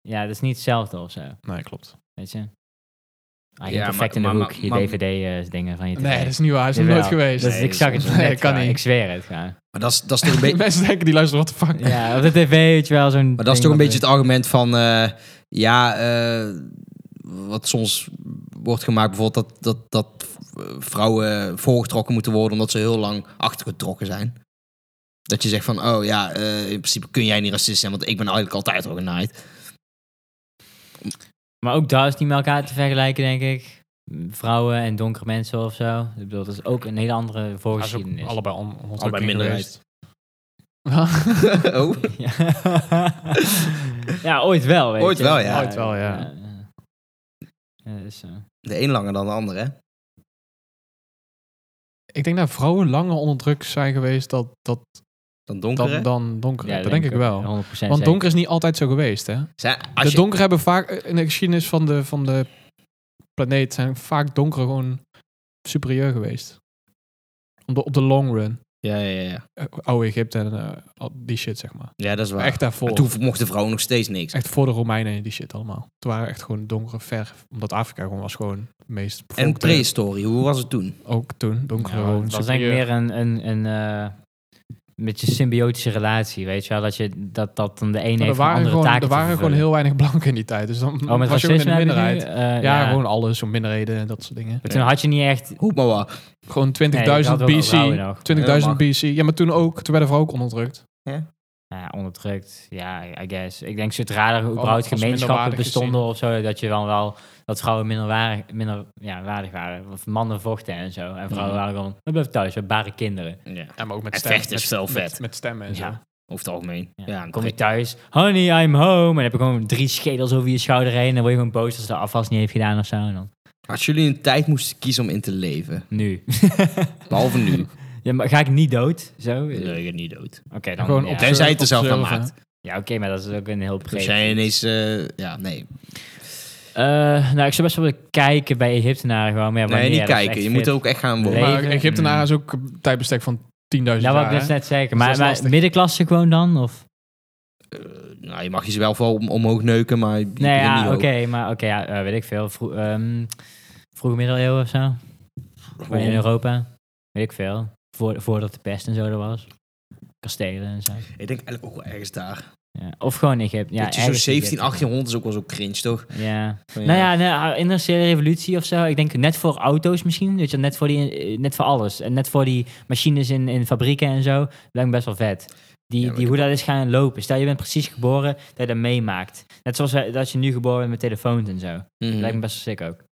[SPEAKER 3] Ja, dat is niet hetzelfde of zo,
[SPEAKER 2] Nee, klopt.
[SPEAKER 3] weet je? Ah, je
[SPEAKER 1] Ja,
[SPEAKER 3] hebt
[SPEAKER 1] maar-
[SPEAKER 3] perfect in de
[SPEAKER 1] maar-
[SPEAKER 3] hoek,
[SPEAKER 1] maar-
[SPEAKER 3] je
[SPEAKER 1] maar-
[SPEAKER 3] DVD-dingen eh, van je tv.
[SPEAKER 2] Nee, dat is niet waar. Hij is nog
[SPEAKER 3] Jawel.
[SPEAKER 2] nooit geweest.
[SPEAKER 3] Dat is
[SPEAKER 1] Nee,
[SPEAKER 3] exact
[SPEAKER 1] dat is-
[SPEAKER 3] het
[SPEAKER 2] Nee,
[SPEAKER 3] net
[SPEAKER 2] kan
[SPEAKER 3] gewoon.
[SPEAKER 2] niet.
[SPEAKER 3] Ik zweer het gewoon.
[SPEAKER 1] Maar dat is, dat is toch een beetje...
[SPEAKER 2] Mensen denken die luisteren, wat de fuck.
[SPEAKER 3] Ja, op de tv, weet je wel, zo'n
[SPEAKER 1] Maar dat is
[SPEAKER 3] ding
[SPEAKER 1] toch een
[SPEAKER 3] wat-
[SPEAKER 1] beetje het argument van, eh, ja, eh, wat soms wordt gemaakt, bijvoorbeeld dat, dat, dat eh, vrouwen voorgetrokken moeten worden omdat ze heel lang achtergetrokken zijn. Dat je zegt van, oh ja, eh, in principe kun jij niet racist zijn, want ik ben eigenlijk altijd al genaaid.
[SPEAKER 3] Maar ook daar is niet met elkaar te vergelijken, denk ik. Vrouwen en donkere mensen of zo. Ik bedoel, dat is ook een hele andere
[SPEAKER 2] Dat is ook
[SPEAKER 3] voorgeschiedenis.
[SPEAKER 2] allebei on, onderdrukking
[SPEAKER 1] Allebei minderheid.
[SPEAKER 2] geweest.
[SPEAKER 1] oh,
[SPEAKER 3] Ja. ja, ooit wel. Weet
[SPEAKER 1] Ooit
[SPEAKER 3] je.
[SPEAKER 1] wel, ja.
[SPEAKER 2] Ooit wel, ja.
[SPEAKER 3] ja. Ja, dus, eh, dat is zo.
[SPEAKER 1] de een langer dan de ander, hè?
[SPEAKER 2] ik denk dat vrouwen langer onder druk zijn geweest dat, dat,
[SPEAKER 1] Dan donker,
[SPEAKER 2] dan, dan donker.
[SPEAKER 3] Ja,
[SPEAKER 2] dat denk ik wel.
[SPEAKER 3] 100%
[SPEAKER 2] Want
[SPEAKER 3] zeker.
[SPEAKER 2] donker is niet altijd zo geweest, hè?
[SPEAKER 1] Zijn,
[SPEAKER 2] de
[SPEAKER 1] als je,
[SPEAKER 2] donker hebben vaak, eh, in de geschiedenis van de, van de planeet, zijn vaak donkeren gewoon superieur geweest. Op de, op de long run.
[SPEAKER 1] ja, ja, ja,
[SPEAKER 2] Eh, Oude Egypte en eh, al die shit, zeg maar.
[SPEAKER 1] ja, dat is waar.
[SPEAKER 2] Maar echt daarvoor.
[SPEAKER 1] Maar toen mochten vrouwen nog steeds niks.
[SPEAKER 2] Echt voor de Romeinen en die shit allemaal. Toen waren echt gewoon donkere verf. Omdat Afrika gewoon was gewoon het meest
[SPEAKER 1] En
[SPEAKER 2] bevolkte-
[SPEAKER 1] prehistorie, hoe was het toen?
[SPEAKER 2] Ook toen, donkere
[SPEAKER 3] Ja,
[SPEAKER 2] gewoon.
[SPEAKER 3] dat was denk ik
[SPEAKER 2] superieur.
[SPEAKER 3] meer een, een, een eh, een beetje symbiotische relatie, weet je wel? Dat, je, dat, dat dan de ene
[SPEAKER 2] Maar er
[SPEAKER 3] heeft een
[SPEAKER 2] waren,
[SPEAKER 3] andere
[SPEAKER 2] gewoon,
[SPEAKER 3] taak
[SPEAKER 2] er waren gewoon heel weinig blanken in die tijd. Dus dan
[SPEAKER 3] Oh, met
[SPEAKER 2] was je gewoon in
[SPEAKER 3] racisme
[SPEAKER 2] de
[SPEAKER 3] heb je nu?
[SPEAKER 2] minderheid.
[SPEAKER 3] Eh,
[SPEAKER 2] ja, gewoon alles, zo'n minderheden en dat soort dingen.
[SPEAKER 3] Maar Toen had je niet echt...
[SPEAKER 1] Hoe maar wat.
[SPEAKER 2] Gewoon 20.000
[SPEAKER 3] Nee, dat hadden we wel
[SPEAKER 2] BC.
[SPEAKER 3] vrouwen nog.
[SPEAKER 2] 20.000 BC. Ja, maar toen ook, toen werden vrouwen ook onderdrukt.
[SPEAKER 1] Ja.
[SPEAKER 3] nou ja, onderdrukt. Ja, I guess. Ik denk zodra er überhaupt
[SPEAKER 2] als
[SPEAKER 3] gemeenschappen
[SPEAKER 2] minderwaardig
[SPEAKER 3] bestonden of zo, dat je dan wel dat vrouwen minderwaardig, minder, ja, waardig waren. Of mannen vochten en zo. En vrouwen
[SPEAKER 1] Mhm.
[SPEAKER 3] waren gewoon, we blijven thuis, we baren kinderen.
[SPEAKER 1] Ja.
[SPEAKER 2] Ja, maar ook met
[SPEAKER 1] En
[SPEAKER 2] stemmen.
[SPEAKER 1] vechten is
[SPEAKER 2] met,
[SPEAKER 1] veel
[SPEAKER 2] met-
[SPEAKER 1] vet.
[SPEAKER 2] Met stemmen en
[SPEAKER 3] Ja.
[SPEAKER 2] zo.
[SPEAKER 1] Over het algemeen. Ja,
[SPEAKER 3] Ja,
[SPEAKER 1] dan
[SPEAKER 3] dan kom je thuis, honey, I'm home. En dan heb je gewoon drie schedels over je schouder heen. En dan word je gewoon boos als je de afwas niet heeft gedaan of zo. En dan,
[SPEAKER 1] Als jullie een tijd moesten kiezen om in te leven,
[SPEAKER 3] nu.
[SPEAKER 1] behalve nu,
[SPEAKER 3] ja, maar ga ik niet dood? Zo?
[SPEAKER 1] dan je niet dood.
[SPEAKER 3] Oké, dan.
[SPEAKER 2] Gewoon
[SPEAKER 3] ja.
[SPEAKER 2] op-
[SPEAKER 1] Tenzij je het er zelf van
[SPEAKER 2] Observen.
[SPEAKER 1] maakt.
[SPEAKER 3] Ja, oké, maar dat is ook een heel
[SPEAKER 1] Als
[SPEAKER 3] breed.
[SPEAKER 1] jij ineens, eh, ja, nee.
[SPEAKER 3] Eh, nou, ik zou best wel willen kijken bij Egyptenaren gewoon. Maar ja,
[SPEAKER 1] Nee,
[SPEAKER 3] wanneer?
[SPEAKER 1] niet
[SPEAKER 3] Dat is
[SPEAKER 1] kijken.
[SPEAKER 3] echt
[SPEAKER 1] Je moet
[SPEAKER 3] vet.
[SPEAKER 1] er ook echt gaan wonen.
[SPEAKER 3] Nee. mm.
[SPEAKER 2] Maar
[SPEAKER 3] Even-
[SPEAKER 2] Egyptenaren is ook een tijdbestek van 10.000
[SPEAKER 3] Dat wou
[SPEAKER 2] jaar.
[SPEAKER 3] ik
[SPEAKER 2] hè?
[SPEAKER 3] dus net zeggen.
[SPEAKER 2] Dus
[SPEAKER 3] Maar,
[SPEAKER 2] dat is
[SPEAKER 3] maar
[SPEAKER 2] lastig.
[SPEAKER 3] middenklasse gewoon dan? Of?
[SPEAKER 1] Eh, nou, je mag je ze wel voor om- omhoog neuken, maar je je
[SPEAKER 3] Nee,
[SPEAKER 1] begint
[SPEAKER 3] ja,
[SPEAKER 1] niet
[SPEAKER 3] oké,
[SPEAKER 1] hoog.
[SPEAKER 3] maar oké, ja, eh, weet ik veel. Vroeg, ehm vroege middeleeuwen of zo. Gewoon in Europa. Weet ik veel. Voor, voordat de pest en zo er was. Kastelen en zo.
[SPEAKER 1] Ik denk eigenlijk ook wel ergens daar.
[SPEAKER 3] Ja. Of gewoon Egypte. Ja,
[SPEAKER 1] dat je zo'n
[SPEAKER 3] ergens
[SPEAKER 1] 17,
[SPEAKER 3] Egypte.
[SPEAKER 1] 1800 is ook wel zo cringe, toch?
[SPEAKER 3] Ja.
[SPEAKER 1] Van,
[SPEAKER 3] Nou ja, nou, industriële revolutie of zo. Ik denk net voor auto's misschien. Weet je, net voor, die, eh, net voor alles. En net voor die machines in, in fabrieken en zo. Dat lijkt me best wel vet. Die,
[SPEAKER 1] Ja, maar
[SPEAKER 3] die,
[SPEAKER 1] ik
[SPEAKER 3] hoe dat is gaan lopen. Stel, je bent precies geboren, dat je dat meemaakt. Net zoals eh, dat je nu geboren bent met telefoons en zo.
[SPEAKER 1] Mhm.
[SPEAKER 3] Dat lijkt me best wel sick ook.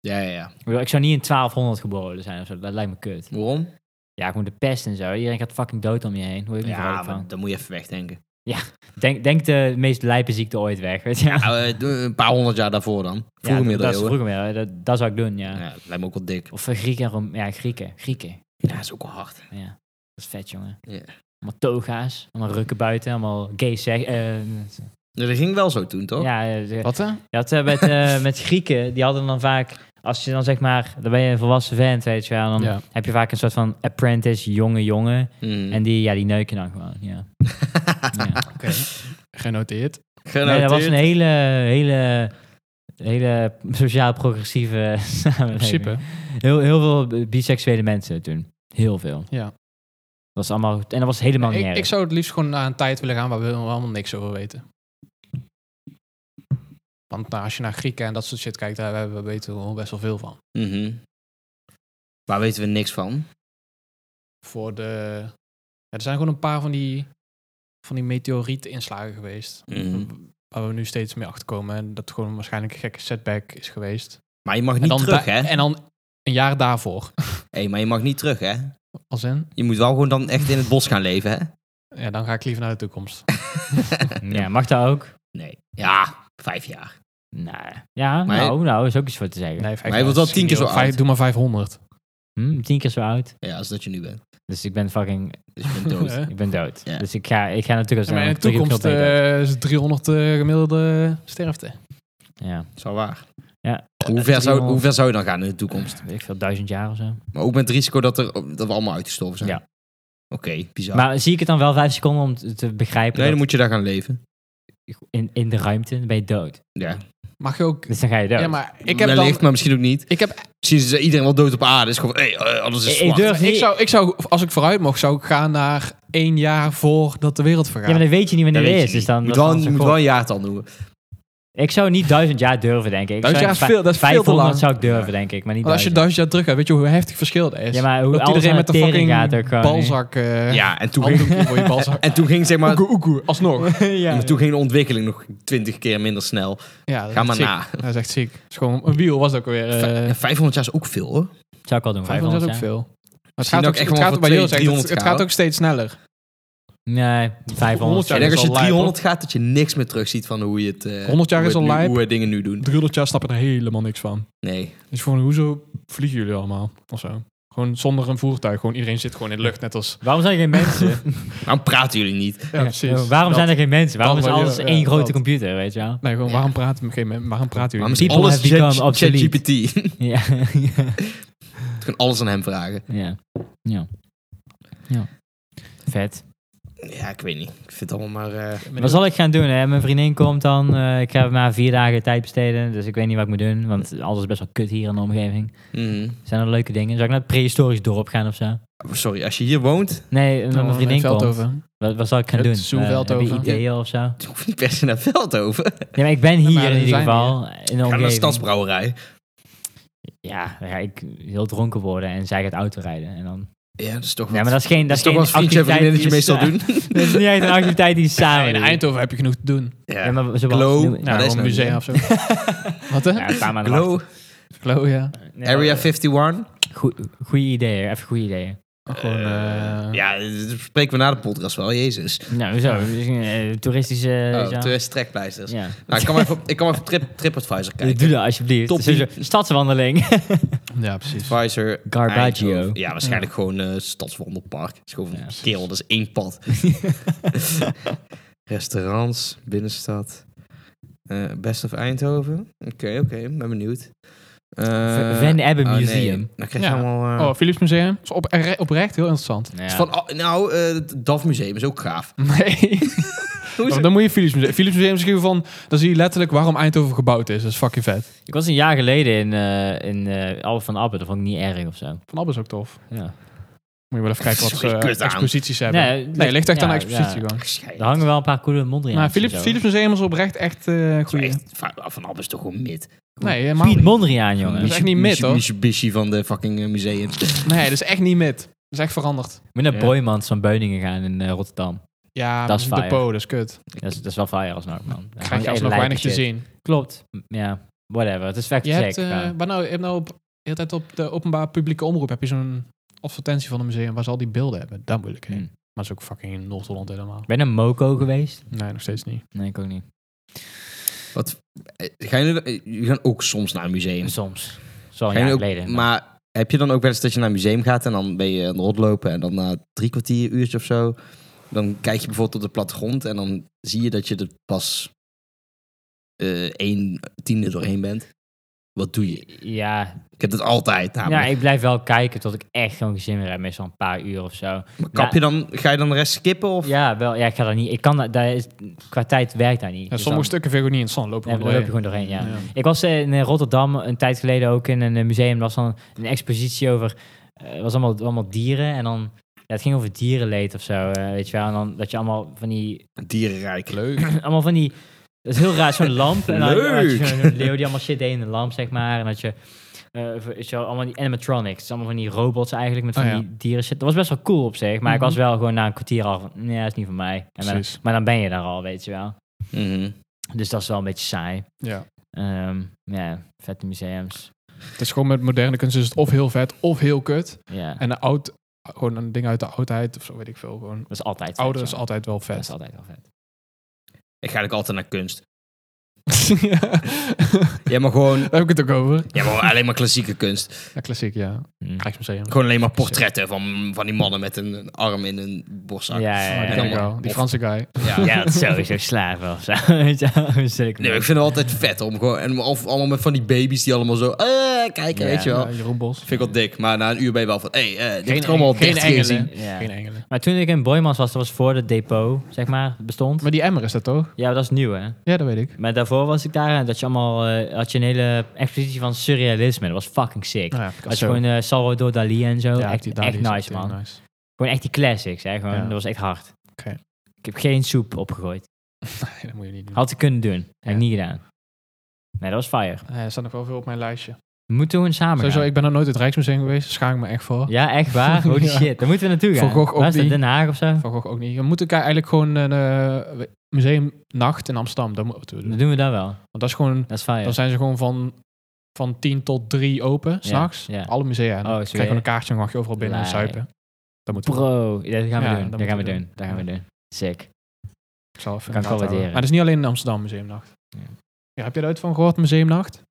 [SPEAKER 1] ja, ja, ja.
[SPEAKER 3] Ik, bedoel, ik zou niet in 1200 geboren zijn of zo. Dat lijkt me kut.
[SPEAKER 1] Waarom?
[SPEAKER 3] Ja, ik moet de pest en zo. Iedereen gaat fucking dood om je heen. Hoe heb je
[SPEAKER 1] Ja,
[SPEAKER 3] ja, van?
[SPEAKER 1] maar dan moet je even wegdenken.
[SPEAKER 3] Denk, denk de meest lijpe ziekte ooit weg. Weet je? Ja,
[SPEAKER 1] Nou, eh, doe een paar honderd jaar daarvoor dan.
[SPEAKER 3] dat-
[SPEAKER 1] Vroege
[SPEAKER 3] dat, is
[SPEAKER 1] middeleeuwen.
[SPEAKER 3] vroeger middeleeuwen. Dat, dat zou ik doen, ja.
[SPEAKER 1] Ja, dat lijkt me ook wel dik.
[SPEAKER 3] Of eh, Grieken. en Rom- Ja, Grieken. Grieken.
[SPEAKER 1] Ja, is ook wel hard.
[SPEAKER 3] Ja, dat is vet, jongen.
[SPEAKER 1] Ja.
[SPEAKER 3] Allemaal toga's, allemaal rukken buiten, allemaal gay seks. eh,
[SPEAKER 1] Ja, dat ging wel zo toen, toch?
[SPEAKER 3] ja, eh, je
[SPEAKER 2] Oh. Wat hè?
[SPEAKER 3] had eh, met, eh, met Grieken, die hadden dan vaak, als je dan zeg maar, dan ben je een volwassen vent, weet je wel. Dan
[SPEAKER 2] Ja. Mm.
[SPEAKER 3] heb je vaak een soort van apprentice, jonge jongen.
[SPEAKER 1] Mhm.
[SPEAKER 3] En die, ja, die neuken dan gewoon, ja. ja.
[SPEAKER 2] Genoteerd.
[SPEAKER 3] Nee, dat was
[SPEAKER 1] Genoteerd.
[SPEAKER 3] een hele, hele, hele sociaal progressieve
[SPEAKER 2] In
[SPEAKER 3] samenleving.
[SPEAKER 2] principe.
[SPEAKER 3] Heel, heel veel biseksuele mensen toen. Heel veel.
[SPEAKER 2] Ja.
[SPEAKER 3] Dat was allemaal, en dat was helemaal niet
[SPEAKER 2] Ik,
[SPEAKER 3] erg.
[SPEAKER 2] ik zou het liefst gewoon naar een tijd willen gaan waar we helemaal niks over weten. Want nou, als je naar Grieken en dat soort shit kijkt, daar hebben we weten we gewoon best wel veel van.
[SPEAKER 1] Mhm. Waar weten we niks van?
[SPEAKER 2] Voor de... ja, er zijn gewoon een paar van die, van die meteorietinslagen geweest.
[SPEAKER 1] Mhm.
[SPEAKER 2] Waar we nu steeds mee achterkomen. En dat gewoon waarschijnlijk een gekke setback is geweest.
[SPEAKER 1] Maar je mag
[SPEAKER 2] en
[SPEAKER 1] niet
[SPEAKER 2] dan
[SPEAKER 1] terug,
[SPEAKER 2] da-
[SPEAKER 1] hè?
[SPEAKER 2] En dan een jaar daarvoor.
[SPEAKER 1] Hé, maar je mag niet terug, hè?
[SPEAKER 2] Als in,
[SPEAKER 1] Je moet wel gewoon dan echt in het bos gaan leven, hè?
[SPEAKER 2] ja, dan ga ik liever naar de toekomst.
[SPEAKER 3] Ja, mag dat ook?
[SPEAKER 1] Nee. Ja, vijf jaar.
[SPEAKER 3] Nou, ja,
[SPEAKER 1] Maar-
[SPEAKER 3] nou, nou, is ook iets voor te zeggen.
[SPEAKER 2] Nee, vijf
[SPEAKER 1] hij
[SPEAKER 2] jaar
[SPEAKER 1] wordt wel
[SPEAKER 2] is
[SPEAKER 1] tien keer zo
[SPEAKER 2] vijf-
[SPEAKER 1] oud.
[SPEAKER 2] Doe maar 500.
[SPEAKER 3] Hm, tien keer zo oud.
[SPEAKER 1] Ja, als dat je nu bent.
[SPEAKER 3] Dus ik ben fucking,
[SPEAKER 1] Dus je bent dood.
[SPEAKER 2] Eh?
[SPEAKER 3] ik ben dood.
[SPEAKER 1] Ja.
[SPEAKER 3] Dus ik ga, ik ga natuurlijk
[SPEAKER 2] Ja,
[SPEAKER 3] als
[SPEAKER 2] maar in de toekomst eh, is het 300 eh, gemiddelde sterfte.
[SPEAKER 3] ja,
[SPEAKER 1] Dat is wel waar.
[SPEAKER 3] Ja.
[SPEAKER 1] Hoe ver, zou,
[SPEAKER 3] Driehonderd-
[SPEAKER 1] hoe ver zou je dan gaan in de toekomst?
[SPEAKER 3] weet ik veel, duizend jaar of zo.
[SPEAKER 1] Maar ook met het risico dat, er, dat we allemaal uitgestorven zijn.
[SPEAKER 3] Ja.
[SPEAKER 1] Oké, bizar.
[SPEAKER 3] Maar zie ik het dan wel vijf seconden om te- te begrijpen
[SPEAKER 1] nee, dan
[SPEAKER 3] dat
[SPEAKER 1] moet je daar gaan leven.
[SPEAKER 3] in, in de ruimte dan ben je dood.
[SPEAKER 1] Ja.
[SPEAKER 2] Mag je ook...
[SPEAKER 3] Dus dan ga je dood.
[SPEAKER 2] Ja, maar ik heb
[SPEAKER 1] Wellicht,
[SPEAKER 2] dan...
[SPEAKER 1] maar misschien ook niet.
[SPEAKER 2] Ik, heb,
[SPEAKER 1] Misschien is iedereen wel dood op aarde. Is gewoon, hé, eh, alles is
[SPEAKER 3] Ik-
[SPEAKER 1] zwart.
[SPEAKER 3] ik durf-
[SPEAKER 2] ik, zou, ik zou, als ik vooruit mocht, zou ik gaan naar één jaar voordat de wereld
[SPEAKER 3] Ja,
[SPEAKER 2] vergaat.
[SPEAKER 3] maar dan weet je niet
[SPEAKER 1] Dat
[SPEAKER 3] wanneer
[SPEAKER 1] weet
[SPEAKER 3] het
[SPEAKER 1] je
[SPEAKER 3] is.
[SPEAKER 1] niet.
[SPEAKER 3] Dus dan,
[SPEAKER 1] je moet,
[SPEAKER 3] dat
[SPEAKER 1] wel,
[SPEAKER 3] is
[SPEAKER 1] je
[SPEAKER 3] dan
[SPEAKER 1] moet
[SPEAKER 3] zo
[SPEAKER 1] wel
[SPEAKER 3] goed.
[SPEAKER 1] een jaartal noemen.
[SPEAKER 3] Ik zou niet duizend jaar durven, denk ik. ik.
[SPEAKER 2] Duizend
[SPEAKER 3] zou
[SPEAKER 2] jaar is
[SPEAKER 3] vij-
[SPEAKER 2] veel, dat is veel te
[SPEAKER 3] 500
[SPEAKER 2] lang.
[SPEAKER 3] zou ik durven, denk ik, maar niet
[SPEAKER 2] Want als je
[SPEAKER 3] duizend.
[SPEAKER 2] duizend jaar terug gaat, weet je hoe heftig verschil dat is.
[SPEAKER 3] Ja, maar hoe
[SPEAKER 2] dat
[SPEAKER 3] alles
[SPEAKER 2] iedereen
[SPEAKER 3] aan
[SPEAKER 2] met de
[SPEAKER 3] de tering
[SPEAKER 2] fucking
[SPEAKER 3] gaat ook gewoon
[SPEAKER 2] balzak... eh ja,
[SPEAKER 1] Ja, en toen, ging,
[SPEAKER 2] voor je balzak.
[SPEAKER 1] en toen ging zeg maar...
[SPEAKER 2] Oekoe, oekoe, alsnog.
[SPEAKER 3] ja.
[SPEAKER 1] Toen ging de ontwikkeling nog twintig keer minder snel.
[SPEAKER 2] Ja, dat
[SPEAKER 1] Ga
[SPEAKER 2] is
[SPEAKER 1] maar
[SPEAKER 2] ziek.
[SPEAKER 1] na.
[SPEAKER 2] Dat is echt ziek. Het is gewoon een wiel was dat ook weer. eh
[SPEAKER 1] Vij- 500 jaar is ook veel, hoor.
[SPEAKER 3] Zou ik wel doen,
[SPEAKER 2] 500 is
[SPEAKER 3] 500
[SPEAKER 2] ook veel. Maar het
[SPEAKER 1] Misschien
[SPEAKER 2] gaat
[SPEAKER 1] dat
[SPEAKER 2] ook,
[SPEAKER 1] ik echt
[SPEAKER 2] het
[SPEAKER 1] wel
[SPEAKER 2] gaat
[SPEAKER 1] voor
[SPEAKER 2] ook bij heel
[SPEAKER 1] 200
[SPEAKER 2] het, het gaat
[SPEAKER 1] gaan.
[SPEAKER 2] ook steeds sneller.
[SPEAKER 3] jaar. Nee, 500.
[SPEAKER 1] Ik
[SPEAKER 2] Ja,
[SPEAKER 1] denk
[SPEAKER 2] dat
[SPEAKER 1] als
[SPEAKER 2] is al
[SPEAKER 1] je
[SPEAKER 2] lijp,
[SPEAKER 1] 300 gaat, dat je niks meer terugziet van hoe je het... eh,
[SPEAKER 2] 100 jaar
[SPEAKER 1] hoe
[SPEAKER 2] is
[SPEAKER 1] het
[SPEAKER 2] al
[SPEAKER 1] nu-
[SPEAKER 2] lijp.
[SPEAKER 1] Hoe we dingen nu doen.
[SPEAKER 2] 300 jaar snap ik er helemaal niks van.
[SPEAKER 1] Nee.
[SPEAKER 2] Dus gewoon, hoezo vliegen jullie allemaal? Of zo. Gewoon zonder een voertuig. Gewoon iedereen zit gewoon in de lucht, net als...
[SPEAKER 3] Waarom zijn er geen mensen?
[SPEAKER 1] Waarom praten jullie niet?
[SPEAKER 2] Ja, precies.
[SPEAKER 3] Ja, Waarom
[SPEAKER 2] Dat-
[SPEAKER 3] zijn er geen mensen? Waarom
[SPEAKER 2] Dan
[SPEAKER 3] is
[SPEAKER 2] wel,
[SPEAKER 3] alles
[SPEAKER 2] ja,
[SPEAKER 3] één
[SPEAKER 2] ja,
[SPEAKER 3] grote
[SPEAKER 2] dat.
[SPEAKER 3] computer, weet je wel?
[SPEAKER 2] Nee, gewoon,
[SPEAKER 1] Ja.
[SPEAKER 2] waarom praten, op een gegeven moment- waarom praten
[SPEAKER 1] Maar
[SPEAKER 2] jullie?
[SPEAKER 1] misschien
[SPEAKER 2] niet?
[SPEAKER 3] People
[SPEAKER 1] alles
[SPEAKER 3] have become
[SPEAKER 1] chat- ChatGPT.
[SPEAKER 3] obsolete. Ja.
[SPEAKER 1] Je kunt alles aan hem vragen.
[SPEAKER 3] ja. Ja. Ja. Vet.
[SPEAKER 1] Ja, ik weet niet. Ik vind het allemaal maar... eh,
[SPEAKER 3] Wat zal ik gaan doen? Hè? Mijn vriendin komt dan. eh, ik ga maar vier dagen tijd besteden. Dus ik weet niet wat ik moet doen. Want alles is best wel kut hier in de omgeving.
[SPEAKER 1] mhm.
[SPEAKER 3] Zijn er leuke dingen? Zou ik naar het prehistorisch dorp gaan of zo?
[SPEAKER 1] oh, Sorry, als je hier woont,
[SPEAKER 3] Nee, eh, met
[SPEAKER 2] Oh,
[SPEAKER 3] mijn vriendin
[SPEAKER 2] in
[SPEAKER 3] komt.
[SPEAKER 2] Veldhoven.
[SPEAKER 3] Wat, wat zal ik gaan
[SPEAKER 2] Het
[SPEAKER 3] doen?
[SPEAKER 2] Zoo
[SPEAKER 3] Eh,
[SPEAKER 2] Veldhoven.
[SPEAKER 3] Heb je ideeën of zo?
[SPEAKER 1] dan hoef je niet per se naar Veldhoven.
[SPEAKER 3] Nee, maar ik ben hier
[SPEAKER 2] maar
[SPEAKER 3] in
[SPEAKER 2] er
[SPEAKER 3] ieder
[SPEAKER 2] zijn
[SPEAKER 3] geval. In de
[SPEAKER 1] Ga naar de
[SPEAKER 3] omgeving.
[SPEAKER 1] Stadsbrouwerij.
[SPEAKER 3] Ja, dan ga ik heel dronken worden en zij gaat auto rijden. En dan
[SPEAKER 1] Ja, dat is toch
[SPEAKER 3] Ja,
[SPEAKER 1] wat-
[SPEAKER 3] maar dat is geen, dat is
[SPEAKER 1] toch
[SPEAKER 3] geen eh,
[SPEAKER 1] wel een vriendje en
[SPEAKER 3] activiteit die
[SPEAKER 1] vriendinnetje
[SPEAKER 3] je
[SPEAKER 1] meestal
[SPEAKER 3] sa-
[SPEAKER 1] doen.
[SPEAKER 3] Dat is niet echt een activiteit die je
[SPEAKER 2] Ja,
[SPEAKER 3] samen
[SPEAKER 2] in
[SPEAKER 3] doet.
[SPEAKER 2] Eindhoven heb je genoeg te doen.
[SPEAKER 3] Ja, maar ze
[SPEAKER 1] Glow.
[SPEAKER 3] wel-
[SPEAKER 1] Ja,
[SPEAKER 2] Nou,
[SPEAKER 1] dat is
[SPEAKER 2] een
[SPEAKER 1] nou
[SPEAKER 2] museum
[SPEAKER 1] niet,
[SPEAKER 2] of zo. Wat hè?
[SPEAKER 3] Nou, Ja, een paar maanden
[SPEAKER 1] Glow,
[SPEAKER 3] wachten.
[SPEAKER 2] Glow, ja.
[SPEAKER 3] Ja,
[SPEAKER 1] Area 51.
[SPEAKER 3] goe- Goeie ideeën, even goede ideeën.
[SPEAKER 2] Gewoon, eh,
[SPEAKER 1] Ja, dat spreken we na de podcast wel, jezus.
[SPEAKER 3] Nou, zo. dus, eh, Toeristische... eh,
[SPEAKER 1] Oh,
[SPEAKER 3] zo.
[SPEAKER 1] toerist trekpleisters.
[SPEAKER 3] Ja.
[SPEAKER 1] Nou, ik kan maar even, op- ik kan maar even trip, TripAdvisor
[SPEAKER 3] Ja,
[SPEAKER 1] kijken.
[SPEAKER 3] Doe dat alsjeblieft.
[SPEAKER 1] Top
[SPEAKER 3] Het is sowieso- Stadswandeling.
[SPEAKER 2] ja, precies.
[SPEAKER 1] Advisor.
[SPEAKER 3] Garbaggio.
[SPEAKER 1] Eindhoven. Ja, waarschijnlijk gewoon eh, Stadswandelpark. Het is gewoon
[SPEAKER 3] Ja,
[SPEAKER 1] een
[SPEAKER 3] precies.
[SPEAKER 1] kerel, dat is één pad. Restaurants, binnenstad. Eh, Best of Eindhoven. Oké, oké, ben benieuwd. Eh,
[SPEAKER 3] Van Ebbe
[SPEAKER 1] oh, nee.
[SPEAKER 3] Museum.
[SPEAKER 1] Dan krijg je
[SPEAKER 2] Ja.
[SPEAKER 1] allemaal... eh,
[SPEAKER 2] Oh, Philips Museum. Is op, oprecht heel interessant.
[SPEAKER 3] Ja.
[SPEAKER 1] is van, oh, nou, eh, het DAF Museum is ook gaaf.
[SPEAKER 2] Nee.
[SPEAKER 1] Hoe
[SPEAKER 2] Maar
[SPEAKER 1] is het?
[SPEAKER 2] dan moet je Philips Museum. Philips Museum is gewoon van... Dan zie je letterlijk waarom Eindhoven gebouwd is. Dat is fucking vet.
[SPEAKER 3] Ik was een jaar geleden in, eh in eh Alphen van Abbe. Dat vond ik niet erg of zo.
[SPEAKER 2] Van Abbe is ook tof.
[SPEAKER 3] Ja.
[SPEAKER 2] Moet je wel even kijken wat
[SPEAKER 1] Sorry,
[SPEAKER 2] ze eh,
[SPEAKER 1] kut aan.
[SPEAKER 2] exposities hebben.
[SPEAKER 3] Nee,
[SPEAKER 2] Nee,
[SPEAKER 3] ligt-
[SPEAKER 2] ligt echt aan
[SPEAKER 3] ja,
[SPEAKER 2] de expositie
[SPEAKER 3] ja.
[SPEAKER 2] gewoon.
[SPEAKER 3] Er hangen wel een paar coole Mondriaans.
[SPEAKER 2] Nou,
[SPEAKER 3] en
[SPEAKER 2] Philips,
[SPEAKER 3] zo.
[SPEAKER 2] Philips Museum is oprecht echt eh
[SPEAKER 1] Dat is
[SPEAKER 2] goed.
[SPEAKER 1] echt- Van Abbe is toch gewoon mid.
[SPEAKER 2] Nee, helemaal
[SPEAKER 3] Piet
[SPEAKER 2] niet.
[SPEAKER 3] Mondriaan, jongen.
[SPEAKER 2] Dat is echt niet mid, hoor.
[SPEAKER 1] Mitsubishi van de fucking eh, museum.
[SPEAKER 2] Nee, dat is echt niet mid. Dat is echt veranderd.
[SPEAKER 3] Ik ben naar
[SPEAKER 1] Ja.
[SPEAKER 3] Boymans van Beuningen gaan in eh, Rotterdam.
[SPEAKER 2] Ja,
[SPEAKER 3] Dat is
[SPEAKER 2] de
[SPEAKER 3] fire.
[SPEAKER 2] po, dat is kut.
[SPEAKER 3] Dat is, dat is wel fire alsnog, man. Daar hangt
[SPEAKER 2] Krijg je
[SPEAKER 3] echt
[SPEAKER 2] alsnog
[SPEAKER 3] lijpe
[SPEAKER 2] weinig te
[SPEAKER 3] shit.
[SPEAKER 2] zien.
[SPEAKER 3] Klopt. M- Ja, whatever. Het is fact
[SPEAKER 2] Je hebt,
[SPEAKER 3] check.
[SPEAKER 2] eh, waar nou, je hebt nou op, de hele tijd op de openbaar publieke omroep heb je zo'n advertentie van een museum waar ze al die beelden hebben. Daar moet ik heen.
[SPEAKER 3] Hmm.
[SPEAKER 2] Maar dat is ook fucking in Noord-Holland helemaal.
[SPEAKER 3] ben je naar Moco geweest?
[SPEAKER 2] Nee, nog steeds niet.
[SPEAKER 3] Nee, ik ook niet.
[SPEAKER 1] Wat, eh, gaan jullie, eh, jullie gaan ook soms naar een museum.
[SPEAKER 3] Soms. Zo een
[SPEAKER 1] Gaan
[SPEAKER 3] jaar
[SPEAKER 1] jullie ook-
[SPEAKER 3] geleden.
[SPEAKER 1] maar heb je dan ook wel eens dat je naar een museum gaat en dan ben je aan het rondlopen en dan na drie kwartier, uurtje of zo, dan kijk je bijvoorbeeld op de plattegrond en dan zie je dat je er pas eh één tiende doorheen bent. Wat doe je?
[SPEAKER 3] Ja,
[SPEAKER 1] Ik heb dat altijd.
[SPEAKER 3] ja,
[SPEAKER 1] namelijk.
[SPEAKER 3] ik blijf wel kijken tot ik echt gewoon gezin meer heb. Meestal een paar uur of zo.
[SPEAKER 1] Maar kap je dan, ga je dan de rest skippen? Of?
[SPEAKER 3] Ja, wel. Ja, ik ga dat niet. Ik kan dat, dat is, qua tijd werkt dat niet.
[SPEAKER 2] Ja,
[SPEAKER 3] Dus
[SPEAKER 2] sommige
[SPEAKER 3] dan-
[SPEAKER 2] stukken vind ik ook niet interessant. Lopen
[SPEAKER 3] Nee,
[SPEAKER 2] we
[SPEAKER 3] daar
[SPEAKER 2] wel
[SPEAKER 3] loop je
[SPEAKER 2] doorheen.
[SPEAKER 3] gewoon doorheen, ja.
[SPEAKER 2] Ja.
[SPEAKER 3] Ik was eh, in eh, Rotterdam een tijd geleden ook in een eh, museum. Er was dan een expositie over... eh, Het was allemaal, allemaal dieren en dan... Ja, het ging over dierenleed of zo, eh, weet je wel. En dan dat je allemaal van die...
[SPEAKER 1] Dierenrijk.
[SPEAKER 2] Leuk.
[SPEAKER 3] Allemaal van die... Dat is heel raar, zo'n lamp. En dan had je- had je
[SPEAKER 1] Leuk.
[SPEAKER 3] zo'n zo'n leeuw die allemaal shit deed in de lamp, zeg maar. En dat je... eh, weet je wel, allemaal die animatronics. Allemaal van die robots eigenlijk met van
[SPEAKER 2] Oh, ja.
[SPEAKER 3] die dieren shit. Dat was best wel cool op zich. Maar ik
[SPEAKER 2] Mhm.
[SPEAKER 3] was wel gewoon na een kwartier al van... Nee, dat is niet voor mij. En dan,
[SPEAKER 2] Precies.
[SPEAKER 3] maar dan ben je daar al, weet je wel.
[SPEAKER 1] Mhm.
[SPEAKER 3] Dus dat is wel een beetje saai.
[SPEAKER 2] Ja.
[SPEAKER 3] Ehm, ja, vette museums.
[SPEAKER 2] Het is gewoon met moderne kunst is het of heel vet of heel kut.
[SPEAKER 3] Ja,
[SPEAKER 2] En een oud, gewoon een ding uit de oudheid of zo weet ik veel. Gewoon
[SPEAKER 3] dat is altijd vet,
[SPEAKER 2] ouder is
[SPEAKER 3] ja.
[SPEAKER 2] altijd wel
[SPEAKER 3] Dat is
[SPEAKER 2] vet.
[SPEAKER 3] altijd al vet.
[SPEAKER 1] Ik ga ook altijd naar kunst.
[SPEAKER 2] ja.
[SPEAKER 1] Ja, maar gewoon,
[SPEAKER 2] Daar heb ik het ook over.
[SPEAKER 1] ja, maar alleen maar klassieke kunst.
[SPEAKER 2] Ja, klassiek, ja.
[SPEAKER 3] Hm.
[SPEAKER 2] Rijksmuseum.
[SPEAKER 1] Gewoon alleen maar portretten van, van die mannen met een, een arm in een borstzak.
[SPEAKER 3] Ja, ja,
[SPEAKER 2] Oh, die
[SPEAKER 3] ja.
[SPEAKER 2] ken ik
[SPEAKER 1] ja.
[SPEAKER 2] wel. Die Franse guy.
[SPEAKER 1] Ja.
[SPEAKER 3] Ja, dat is sowieso slaven of zo. Weet je wel, hoe zit
[SPEAKER 1] Nee,
[SPEAKER 3] ik
[SPEAKER 1] maar
[SPEAKER 3] nou?
[SPEAKER 1] ik vind het altijd vet om gewoon... En of allemaal met van die baby's die allemaal zo... eh kijken,
[SPEAKER 3] Ja.
[SPEAKER 1] weet je wel.
[SPEAKER 2] Ja, Jeroen Bos.
[SPEAKER 1] Vind ik wel dik. Maar na een uur ben je wel van... Hé, hey, eh dit
[SPEAKER 2] Geen
[SPEAKER 1] heb ik allemaal
[SPEAKER 2] eng- geen
[SPEAKER 1] 30 keer
[SPEAKER 2] engelen.
[SPEAKER 1] gezien.
[SPEAKER 3] Ja.
[SPEAKER 2] Geen engelen.
[SPEAKER 3] Maar toen ik in Boymans was, dat was voor het depot, zeg maar, bestond.
[SPEAKER 2] Maar die emmer is dat toch?
[SPEAKER 3] Ja, dat is nieuw, hè?
[SPEAKER 2] Ja, dat weet ik. Nou
[SPEAKER 3] Maar daarvoor was ik daar en dat je allemaal, eh, had je een hele expositie van surrealisme. Dat was fucking sick.
[SPEAKER 2] Nou ja,
[SPEAKER 3] Had je
[SPEAKER 2] Picasso.
[SPEAKER 3] gewoon eh, Salvador Dali en zo.
[SPEAKER 2] Ja,
[SPEAKER 3] echt
[SPEAKER 2] die
[SPEAKER 3] echt
[SPEAKER 2] Dali is
[SPEAKER 3] nice, man.
[SPEAKER 2] heel nice.
[SPEAKER 3] Gewoon echt die classics, hè? Gewoon,
[SPEAKER 2] Ja.
[SPEAKER 3] Dat was echt hard.
[SPEAKER 2] Oké.
[SPEAKER 3] Ik heb geen soep opgegooid.
[SPEAKER 2] Nee, dat moet je niet doen.
[SPEAKER 3] Had ik kunnen doen. Heb
[SPEAKER 2] Ja.
[SPEAKER 3] ik niet gedaan. Nee, dat was fire.
[SPEAKER 2] Nee, er staat nog wel veel op mijn lijstje.
[SPEAKER 3] Moeten we gewoon samen
[SPEAKER 2] Sowieso,
[SPEAKER 3] gaan?
[SPEAKER 2] ik ben nog nooit het Rijksmuseum geweest. daar Schaam ik me echt voor.
[SPEAKER 3] Ja, echt waar? Holy
[SPEAKER 2] Ja.
[SPEAKER 3] shit, daar moeten we naartoe
[SPEAKER 2] Van
[SPEAKER 3] gaan.
[SPEAKER 2] Gogh ook
[SPEAKER 3] Waar is dat,
[SPEAKER 2] die-
[SPEAKER 3] Den Haag of zo?
[SPEAKER 2] Van Gogh ook niet. Dan moet ik eigenlijk gewoon een eh, museumnacht in Amsterdam. Dat moeten we doen.
[SPEAKER 3] Dan
[SPEAKER 2] Want
[SPEAKER 3] doen we dat wel.
[SPEAKER 2] dat is gewoon...
[SPEAKER 3] Dat is fire.
[SPEAKER 2] Dan zijn ze gewoon van, van 10 tot 3 open, s'nachts.
[SPEAKER 3] ja.
[SPEAKER 2] Alle musea. En
[SPEAKER 3] Oh,
[SPEAKER 2] Dan
[SPEAKER 3] zo
[SPEAKER 2] krijg je gewoon een
[SPEAKER 3] weer.
[SPEAKER 2] kaartje en mag je overal binnen en
[SPEAKER 3] Nee.
[SPEAKER 2] zuipen. Dat moet ik
[SPEAKER 3] Bro, ja, dat gaan we
[SPEAKER 2] Ja,
[SPEAKER 3] doen.
[SPEAKER 2] dat
[SPEAKER 3] Dat gaan we
[SPEAKER 2] moeten we
[SPEAKER 3] doen. Dat gaan we doen. Sick.
[SPEAKER 2] zal even in de gaten
[SPEAKER 3] Kan ik wel
[SPEAKER 2] houden.
[SPEAKER 3] waarderen.
[SPEAKER 2] eh, Maar dat is niet alleen in Amsterdam museumnacht.
[SPEAKER 3] Ja.
[SPEAKER 2] Ja. heb je eruit van gehoord, museumnacht?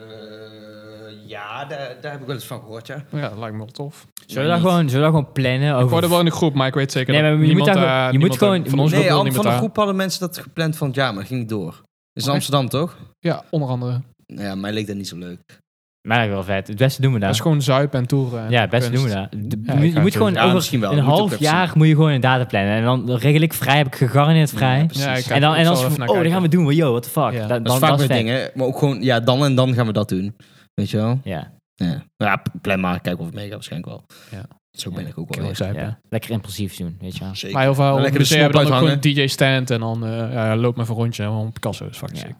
[SPEAKER 1] Eh, ja, daar, daar heb ik wel eens van gehoord, ja.
[SPEAKER 2] Ja, dat lijkt me wel tof.
[SPEAKER 3] Zullen we dat gewoon, zullen we dat gewoon plannen?
[SPEAKER 2] Ik hoor
[SPEAKER 3] Over...
[SPEAKER 2] er wel in de groep, maar ik weet zeker
[SPEAKER 3] Nee,
[SPEAKER 2] dat
[SPEAKER 3] maar je
[SPEAKER 2] niemand,
[SPEAKER 3] moet daar
[SPEAKER 2] eh,
[SPEAKER 3] gewoon- je
[SPEAKER 2] niemand
[SPEAKER 3] moet gewoon-
[SPEAKER 2] van ons
[SPEAKER 1] Nee,
[SPEAKER 2] wil
[SPEAKER 1] al-
[SPEAKER 2] niet
[SPEAKER 1] van
[SPEAKER 2] met
[SPEAKER 1] de
[SPEAKER 2] daar.
[SPEAKER 1] groep hadden mensen dat gepland van... Ja, maar dat ging niet door. Dat is in
[SPEAKER 2] Oké.
[SPEAKER 1] Amsterdam, toch?
[SPEAKER 2] Ja, onder andere.
[SPEAKER 1] Nou Ja, mij leek dat niet zo leuk.
[SPEAKER 3] Maar dat is wel vet. Het beste doen we
[SPEAKER 2] Dat
[SPEAKER 3] dat.
[SPEAKER 2] is gewoon zuipen en toeren. en
[SPEAKER 3] Ja, het beste
[SPEAKER 2] kunst.
[SPEAKER 3] doen we dat. De-
[SPEAKER 2] Ja,
[SPEAKER 3] je-
[SPEAKER 2] ik
[SPEAKER 3] je
[SPEAKER 2] ga
[SPEAKER 3] moet
[SPEAKER 2] het
[SPEAKER 3] gewoon
[SPEAKER 2] doen.
[SPEAKER 1] Ja,
[SPEAKER 3] over
[SPEAKER 1] misschien wel.
[SPEAKER 3] een
[SPEAKER 1] Dat moet ik ook
[SPEAKER 3] half
[SPEAKER 1] even
[SPEAKER 3] jaar moet je gewoon een data plannen. En dan regel ik vrij, heb ik gegarandeerd vrij.
[SPEAKER 1] Ja, precies.
[SPEAKER 2] Ja, ik
[SPEAKER 3] en dan, en
[SPEAKER 2] ik
[SPEAKER 3] dan,
[SPEAKER 2] zal even naar
[SPEAKER 3] oh, dat
[SPEAKER 2] kijken.
[SPEAKER 3] gaan we doen. Yo, what the fuck.
[SPEAKER 2] Ja.
[SPEAKER 3] Dat,
[SPEAKER 1] Dat is
[SPEAKER 3] dan-
[SPEAKER 1] vaak
[SPEAKER 3] dat is
[SPEAKER 1] met
[SPEAKER 3] vet.
[SPEAKER 1] dingen. Maar ook gewoon... Ja, dan en dan gaan we dat doen. Weet je wel?
[SPEAKER 3] Ja,
[SPEAKER 1] Ja, Nou ja plan maar. Kijken of het meegaat waarschijnlijk wel.
[SPEAKER 2] Ja.
[SPEAKER 1] Zo
[SPEAKER 3] Ja.
[SPEAKER 1] ben ik ook
[SPEAKER 2] Ik
[SPEAKER 1] wel
[SPEAKER 2] wil
[SPEAKER 1] weer.
[SPEAKER 2] ook zuipen.
[SPEAKER 3] ja. Lekker impulsief doen, weet je wel.
[SPEAKER 1] Zeker.
[SPEAKER 2] Maar heel veel
[SPEAKER 1] Lekker de
[SPEAKER 2] musea hebben
[SPEAKER 1] snop
[SPEAKER 2] dan ook gewoon
[SPEAKER 1] uithangen.
[SPEAKER 2] een DJ-stand en dan eh, ja, loop maar even een rondje. En dan Picasso is fucking
[SPEAKER 3] Ja.
[SPEAKER 2] sick.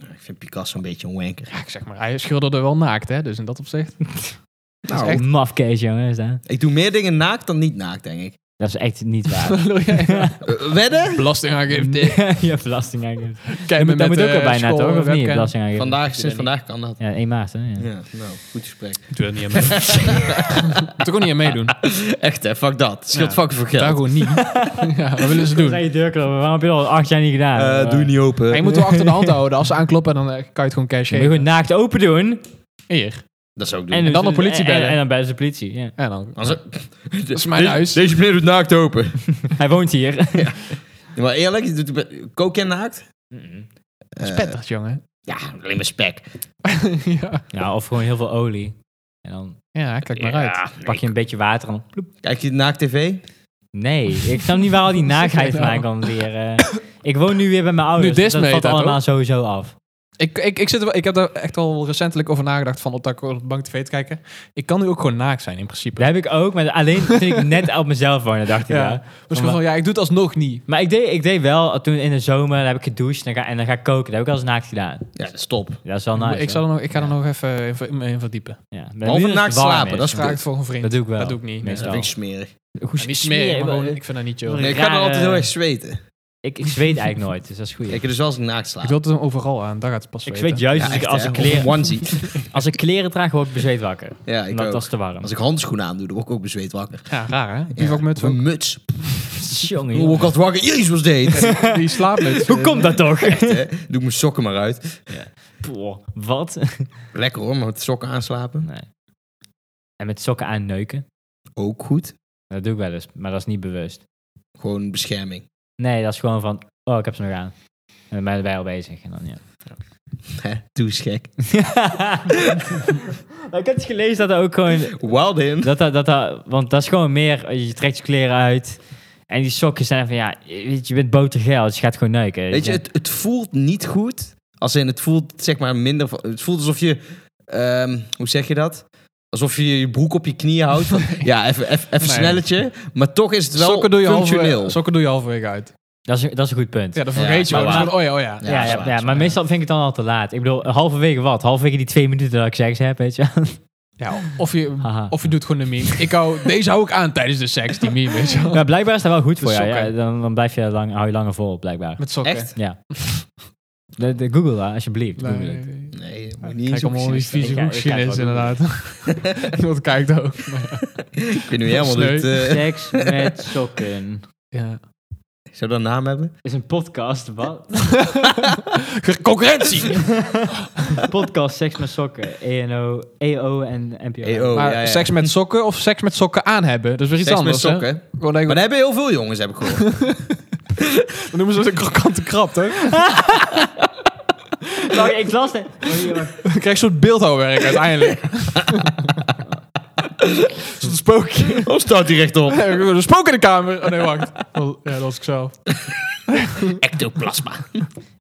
[SPEAKER 1] Ik vind Picasso een beetje een wanker.
[SPEAKER 2] Ja, ik zeg maar, hij schilderde wel naakt, hè? Dus in dat opzicht.
[SPEAKER 1] Nou,
[SPEAKER 2] echt-
[SPEAKER 3] Een maf case, Oh, jongens. Hè?
[SPEAKER 1] ik doe meer dingen naakt dan niet naakt, denk ik.
[SPEAKER 3] Dat is echt niet waar.
[SPEAKER 2] Lul jij nou?
[SPEAKER 1] Eh, wedden?
[SPEAKER 2] Belastingaangifte.
[SPEAKER 3] ja, belastingaangifte.
[SPEAKER 2] Kijk,
[SPEAKER 3] Dat
[SPEAKER 2] me
[SPEAKER 3] moet,
[SPEAKER 2] met,
[SPEAKER 3] dat moet ook
[SPEAKER 2] eh,
[SPEAKER 3] al bijna,
[SPEAKER 2] school,
[SPEAKER 3] toch? Of niet?
[SPEAKER 2] webcam.
[SPEAKER 3] Belastingaangifte.
[SPEAKER 1] Vandaag,
[SPEAKER 2] dat
[SPEAKER 1] sinds
[SPEAKER 2] niet.
[SPEAKER 1] vandaag kan dat.
[SPEAKER 3] Ja, 1 maart, hè? Ja.
[SPEAKER 1] Ja, nou, goed gesprek.
[SPEAKER 2] Ik doe dat niet aan mee. Ik toch ook niet aan meedoen.
[SPEAKER 1] Echt hè, fuck dat. Scheelt
[SPEAKER 2] Ja.
[SPEAKER 1] fucking veel
[SPEAKER 2] Daar
[SPEAKER 1] geld.
[SPEAKER 2] gewoon niet. Ja, wat willen ze
[SPEAKER 3] Toen
[SPEAKER 2] doen?
[SPEAKER 3] zei je deurkloppen, waarom heb je dat al acht jaar niet gedaan?
[SPEAKER 1] Eh, doe je niet open.
[SPEAKER 2] Maar je moet wel achter de hand houden. Als ze aankloppen, dan eh, kan je het gewoon cash
[SPEAKER 3] Je moet
[SPEAKER 2] geven.
[SPEAKER 3] gewoon naakt open doen.
[SPEAKER 2] Hier.
[SPEAKER 1] Dat zou ik doen.
[SPEAKER 3] En,
[SPEAKER 2] dan de politie
[SPEAKER 3] en- en-
[SPEAKER 2] bellen.
[SPEAKER 3] En, dan bellen ze de politie. ja.
[SPEAKER 2] En dan.
[SPEAKER 1] Als het-
[SPEAKER 2] Dat is mijn
[SPEAKER 1] Deze-
[SPEAKER 2] huis.
[SPEAKER 1] Deze meneer doet naakt open.
[SPEAKER 3] Hij woont hier.
[SPEAKER 1] Ja, maar eerlijk, je doet- kook jij naakt?
[SPEAKER 2] Dat is
[SPEAKER 1] Eh,
[SPEAKER 2] prettig, jongen.
[SPEAKER 1] ja, alleen maar spek.
[SPEAKER 2] ja.
[SPEAKER 3] ja, of gewoon heel veel olie. En dan
[SPEAKER 2] ja, kijk maar uit.
[SPEAKER 1] Ja,
[SPEAKER 3] pak je een beetje water en dan ploep.
[SPEAKER 1] Kijk je naakt tv?
[SPEAKER 3] Nee, ik snap niet waar al die naakheid
[SPEAKER 2] Wat zeg
[SPEAKER 3] vandaan
[SPEAKER 2] je
[SPEAKER 3] komt weer. eh. ik woon nu weer bij mijn ouders. dus
[SPEAKER 2] Nudisme
[SPEAKER 3] dat
[SPEAKER 2] heet
[SPEAKER 3] valt
[SPEAKER 2] dat,
[SPEAKER 3] allemaal sowieso af.
[SPEAKER 2] Ik, ik, ik, zit er, wel- ik heb daar echt al recentelijk over nagedacht van op dat ik op de bank tv te kijken. Ik kan nu ook gewoon naakt zijn in principe.
[SPEAKER 3] Dat heb ik ook, maar alleen toen ik net op mezelf woonde, dacht ik
[SPEAKER 2] Ja.
[SPEAKER 3] ja.
[SPEAKER 2] Dus gewoon van, ja, ik doe het alsnog niet.
[SPEAKER 3] Maar ik deed, ik deed wel, toen in de zomer dan heb ik gedoucht en dan ga, en dan ga ik koken. Dat heb ik al eens naakt gedaan.
[SPEAKER 1] Ja, stop.
[SPEAKER 3] Dat is wel nice.
[SPEAKER 2] ik, zal er nog, ik ga er
[SPEAKER 1] Ja.
[SPEAKER 2] nog even in ver- in verdiepen.
[SPEAKER 3] ja. Maar
[SPEAKER 1] Behalve
[SPEAKER 3] nu als het
[SPEAKER 1] naakt
[SPEAKER 3] warm
[SPEAKER 1] slapen,
[SPEAKER 3] is.
[SPEAKER 1] dat is
[SPEAKER 2] Vraag het voor een vriend.
[SPEAKER 3] Dat doe ik wel.
[SPEAKER 2] Dat doe ik niet.
[SPEAKER 3] Meestal.
[SPEAKER 1] Dat vind ik smerig.
[SPEAKER 3] Hoe
[SPEAKER 2] Ja, niet smeren, maar gewoon, ik vind dat niet chill.
[SPEAKER 3] Nee.
[SPEAKER 1] Nee, ik ga er
[SPEAKER 3] Rare-
[SPEAKER 1] altijd heel erg zweten.
[SPEAKER 3] Ik, ik zweet eigenlijk nooit, dus dat is goed.
[SPEAKER 1] Ik dus wel als ik naakt slaap.
[SPEAKER 2] Ik wil het dan overal aan, daar gaat het pas
[SPEAKER 3] Ik
[SPEAKER 2] weten.
[SPEAKER 3] zweet juist
[SPEAKER 1] Ja,
[SPEAKER 3] als,
[SPEAKER 1] echt,
[SPEAKER 3] ik, als,
[SPEAKER 1] hè,
[SPEAKER 3] ik
[SPEAKER 1] of een
[SPEAKER 3] kleren,
[SPEAKER 1] onesie.
[SPEAKER 3] als ik kleren draag, word ik bezweet wakker.
[SPEAKER 1] Ja, ik
[SPEAKER 3] Omdat dat
[SPEAKER 1] ook.
[SPEAKER 3] is te warm.
[SPEAKER 1] Als ik handschoenen aandoe, dan word ik ook bezweet wakker.
[SPEAKER 2] Ja, raar hè?
[SPEAKER 1] Ja.
[SPEAKER 2] Bivakmuts
[SPEAKER 1] Of een muts.
[SPEAKER 3] Jongen,
[SPEAKER 1] Dan word ik
[SPEAKER 3] jongen.
[SPEAKER 1] altijd wakker. Jezus, was dit?
[SPEAKER 2] ook. Die slaapmuts.
[SPEAKER 3] Hoe komt dat toch?
[SPEAKER 1] Hè? Doe ik mijn sokken maar uit.
[SPEAKER 3] Poh, wat?
[SPEAKER 1] Lekker hoor, maar met sokken aanslapen.
[SPEAKER 3] Nee. En met sokken aan neuken.
[SPEAKER 1] Ook goed.
[SPEAKER 3] Dat doe ik wel eens, maar dat is niet bewust.
[SPEAKER 1] Gewoon bescherming.
[SPEAKER 3] Nee, dat is gewoon van, oh, ik heb ze nog aan. En dan ben je erbij al bezig. En dan, ja.
[SPEAKER 1] Hè, Doe eens gek.
[SPEAKER 3] Maar ik had eens gelezen dat er ook gewoon
[SPEAKER 1] Wild in.
[SPEAKER 3] Dat, dat, dat, dat- want dat is gewoon meer, je trekt je kleren uit. En die sokken zijn van, ja, weet je, je bent botergeil, dus je gaat gewoon neuken.
[SPEAKER 1] Weet je, het, het voelt niet goed. Als in, het voelt zeg maar minder... van- Het voelt alsof je... ehm, hoe zeg je dat? Alsof je je broek op je knieën houdt. Van, ja, even, even, even
[SPEAKER 2] Nee.
[SPEAKER 1] snelletje. Maar toch is het wel
[SPEAKER 2] sokken, doe je halverwege,
[SPEAKER 1] functioneel.
[SPEAKER 2] sokken doe je halverwege uit.
[SPEAKER 3] dat, is, een- dat is een goed punt. Ja,
[SPEAKER 2] Ja, dan vergeet
[SPEAKER 1] maar
[SPEAKER 2] je wel.
[SPEAKER 1] waar?
[SPEAKER 2] Dus gewoon, Oh ja, oh ja.
[SPEAKER 3] ja,
[SPEAKER 1] Ja,
[SPEAKER 3] ja,
[SPEAKER 1] zwaar, zwaar.
[SPEAKER 3] maar meestal vind ik het dan al te laat. Ik bedoel, halverwege wat? Halverwege die twee minuten dat ik seks heb, weet je wel.
[SPEAKER 2] Ja, of, je,
[SPEAKER 3] Haha.
[SPEAKER 2] of je doet gewoon een meme. Ik hou, deze hou ik aan tijdens de seks, die meme, weet je wel.
[SPEAKER 3] Maar blijkbaar is dat wel goed voor
[SPEAKER 2] De
[SPEAKER 3] jou. Ja,
[SPEAKER 2] sokken.
[SPEAKER 3] dan, dan blijf je lang, hou je langer vol, blijkbaar.
[SPEAKER 2] Met sokken.
[SPEAKER 1] Echt?
[SPEAKER 3] Ja. De, de Google, hè, alsjeblieft. Google
[SPEAKER 2] Nee.
[SPEAKER 3] het.
[SPEAKER 1] Nee, moet
[SPEAKER 2] Ah, Kijk
[SPEAKER 1] niet eens op
[SPEAKER 2] allemaal die
[SPEAKER 1] je
[SPEAKER 3] Ik-
[SPEAKER 2] vieze
[SPEAKER 3] ik- ik kijk
[SPEAKER 2] hoekchinees
[SPEAKER 3] wel
[SPEAKER 2] inderdaad. Iemand kijkt ook. maar
[SPEAKER 1] Ik weet nu helemaal niet. eh,
[SPEAKER 3] Seks met sokken.
[SPEAKER 2] ja.
[SPEAKER 1] zou dat een naam hebben?
[SPEAKER 3] Is een podcast, wat?
[SPEAKER 2] Ja. Concurrentie!
[SPEAKER 3] podcast Seks met Sokken. E ENO, EO en NPO.
[SPEAKER 1] EO. Oh,
[SPEAKER 2] maar
[SPEAKER 1] ja, ja.
[SPEAKER 2] seks met sokken of seks met sokken aan hebben? Dat is weer iets
[SPEAKER 1] Seks met
[SPEAKER 2] anders, hè?
[SPEAKER 1] sokken.
[SPEAKER 2] Gewoon denk
[SPEAKER 1] Maar
[SPEAKER 2] ik,
[SPEAKER 1] daar hebben heel veel jongens, heb ik gehoord.
[SPEAKER 2] we noemen ze dat een krokante krap, hè?
[SPEAKER 3] Sorry, ik las het. Oh, hier, wacht.
[SPEAKER 2] Dan krijg je een soort beeldhouwwerk uiteindelijk. Zo'n spookje.
[SPEAKER 1] of staat hij rechtop?
[SPEAKER 2] Ja, Een spook in de kamer. Oh nee, wacht. Ja, dat was ik zelf.
[SPEAKER 1] Ectoplasma.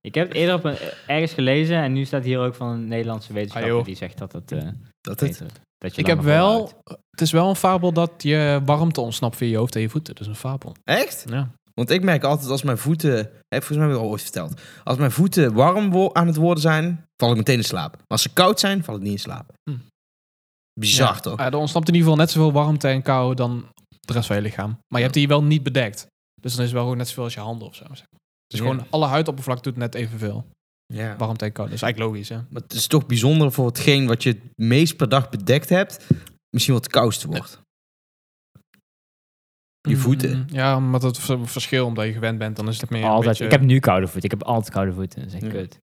[SPEAKER 3] Ik heb het eerder op een, ergens gelezen en nu staat hier ook van een Nederlandse
[SPEAKER 2] Ah,
[SPEAKER 3] wetenschapper
[SPEAKER 2] joh.
[SPEAKER 3] die zegt dat het... eh
[SPEAKER 1] Dat het.
[SPEAKER 3] beter is. dat je
[SPEAKER 2] Ik heb
[SPEAKER 3] langer
[SPEAKER 2] wel...
[SPEAKER 3] volhoudt.
[SPEAKER 2] Het is wel een fabel dat je warmte ontsnapt via je hoofd en je voeten. Dat is een fabel.
[SPEAKER 1] Echt?
[SPEAKER 2] Ja.
[SPEAKER 1] Want ik merk altijd als mijn voeten... Heb ik volgens mij heb ik al ooit verteld. Als mijn voeten warm wo- aan het worden zijn, val ik meteen in slaap. Maar als ze koud zijn, val ik niet in slaap.
[SPEAKER 2] Hm.
[SPEAKER 1] Bizar,
[SPEAKER 2] Ja.
[SPEAKER 1] toch?
[SPEAKER 2] Eh, er ontsnapt in ieder geval net zoveel warmte en kou dan de rest van je lichaam. Maar je hebt die wel niet bedekt. Dus dan is het wel ook net zoveel als je handen of zo. zeg maar. Dus
[SPEAKER 1] Ja.
[SPEAKER 2] gewoon alle huidoppervlak doet net evenveel.
[SPEAKER 1] Ja.
[SPEAKER 2] Warmte en kou. Dat is eigenlijk logisch, hè?
[SPEAKER 1] Maar het is toch bijzonder voor hetgeen wat je het meest per dag bedekt hebt, misschien wat koudst wordt. Je voeten.
[SPEAKER 2] Mm, ja, maar dat is een verschil omdat je gewend bent. Dan is het meer een
[SPEAKER 3] altijd,
[SPEAKER 2] beetje...
[SPEAKER 3] ik heb nu koude voeten. Ik heb altijd koude voeten. Dat is echt
[SPEAKER 1] Ja.
[SPEAKER 3] kut.
[SPEAKER 2] Moet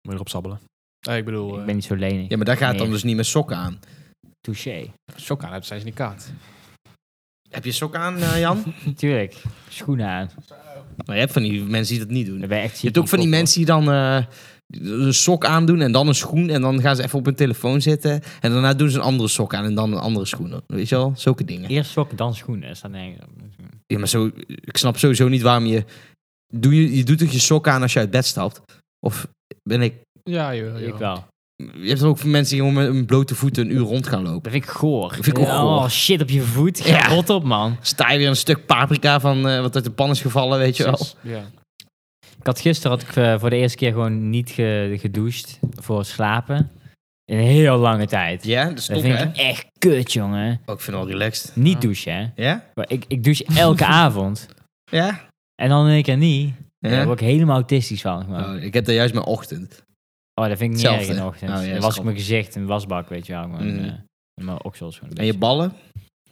[SPEAKER 2] je erop sabbelen. Nee, ik bedoel... eh,
[SPEAKER 3] Ik ben niet zo lenig.
[SPEAKER 1] Ja, maar daar gaat het dus- dan
[SPEAKER 3] Nee.
[SPEAKER 1] dus niet met sokken aan.
[SPEAKER 3] Touché.
[SPEAKER 2] shock aan hebt, zijn ze niet kaart.
[SPEAKER 1] Heb je sokken aan, eh, Jan?
[SPEAKER 3] Tuurlijk. Schoenen aan.
[SPEAKER 1] maar Nou, je hebt van die mensen die dat niet doen.
[SPEAKER 3] Dan ben je echt ziek
[SPEAKER 1] Je hebt ook van die
[SPEAKER 3] kop,
[SPEAKER 1] mensen die dan eh, een sok aandoen en dan een schoen. En dan gaan ze even op hun telefoon zitten. En daarna doen ze een andere sok aan en dan een andere schoen. Weet je wel? Zulke
[SPEAKER 3] hoor.
[SPEAKER 1] dingen.
[SPEAKER 3] Eerst sokken, dan schoenen. Dat staat nergens op.
[SPEAKER 1] Ja, maar zo, ik snap sowieso niet waarom je... Doe je, je doet toch je sok aan als je uit bed stapt? Of ben ik...
[SPEAKER 2] Ja, joh,
[SPEAKER 3] Ik
[SPEAKER 2] joh.
[SPEAKER 3] wel.
[SPEAKER 1] Je hebt ook mensen die gewoon met hun blote voeten een uur rond gaan lopen.
[SPEAKER 3] Dat vind ik goor.
[SPEAKER 1] Dat vind ik ook
[SPEAKER 3] Oh,
[SPEAKER 1] goor.
[SPEAKER 3] shit op je voet. Ga
[SPEAKER 1] Ja.
[SPEAKER 3] rot op, man.
[SPEAKER 1] Sta je weer een stuk paprika van eh, wat uit de pan is gevallen, weet je wel?
[SPEAKER 2] Precies. Ja.
[SPEAKER 3] Ik had gisteren had ik, eh, voor de eerste keer gewoon niet ge- gedoucht voor slapen. In een heel lange tijd.
[SPEAKER 1] Ja, dat is
[SPEAKER 3] dat
[SPEAKER 1] stom,
[SPEAKER 3] vind
[SPEAKER 1] hè?
[SPEAKER 3] ik echt kut, jongen.
[SPEAKER 1] Oh, ik vind het wel relaxed.
[SPEAKER 3] Niet douchen, hè.
[SPEAKER 1] Ja?
[SPEAKER 3] Maar ik, ik douche elke avond.
[SPEAKER 1] Ja?
[SPEAKER 3] En dan in één keer niet. Daar
[SPEAKER 1] Ja?
[SPEAKER 3] word ik helemaal autistisch van. gewoon.
[SPEAKER 1] Oh, ik heb dat juist mijn ochtend.
[SPEAKER 3] Oh, dat vind ik niet
[SPEAKER 1] Hetzelfde.
[SPEAKER 3] erg in de ochtend.
[SPEAKER 1] Oh, ja,
[SPEAKER 3] dan
[SPEAKER 1] dat
[SPEAKER 3] was
[SPEAKER 1] is
[SPEAKER 3] ik mijn gezicht in de wasbak, weet je wel. Gewoon,
[SPEAKER 1] Mhm.
[SPEAKER 3] eh, en mijn oksels. Gewoon een
[SPEAKER 1] En je
[SPEAKER 3] beetje.
[SPEAKER 1] ballen,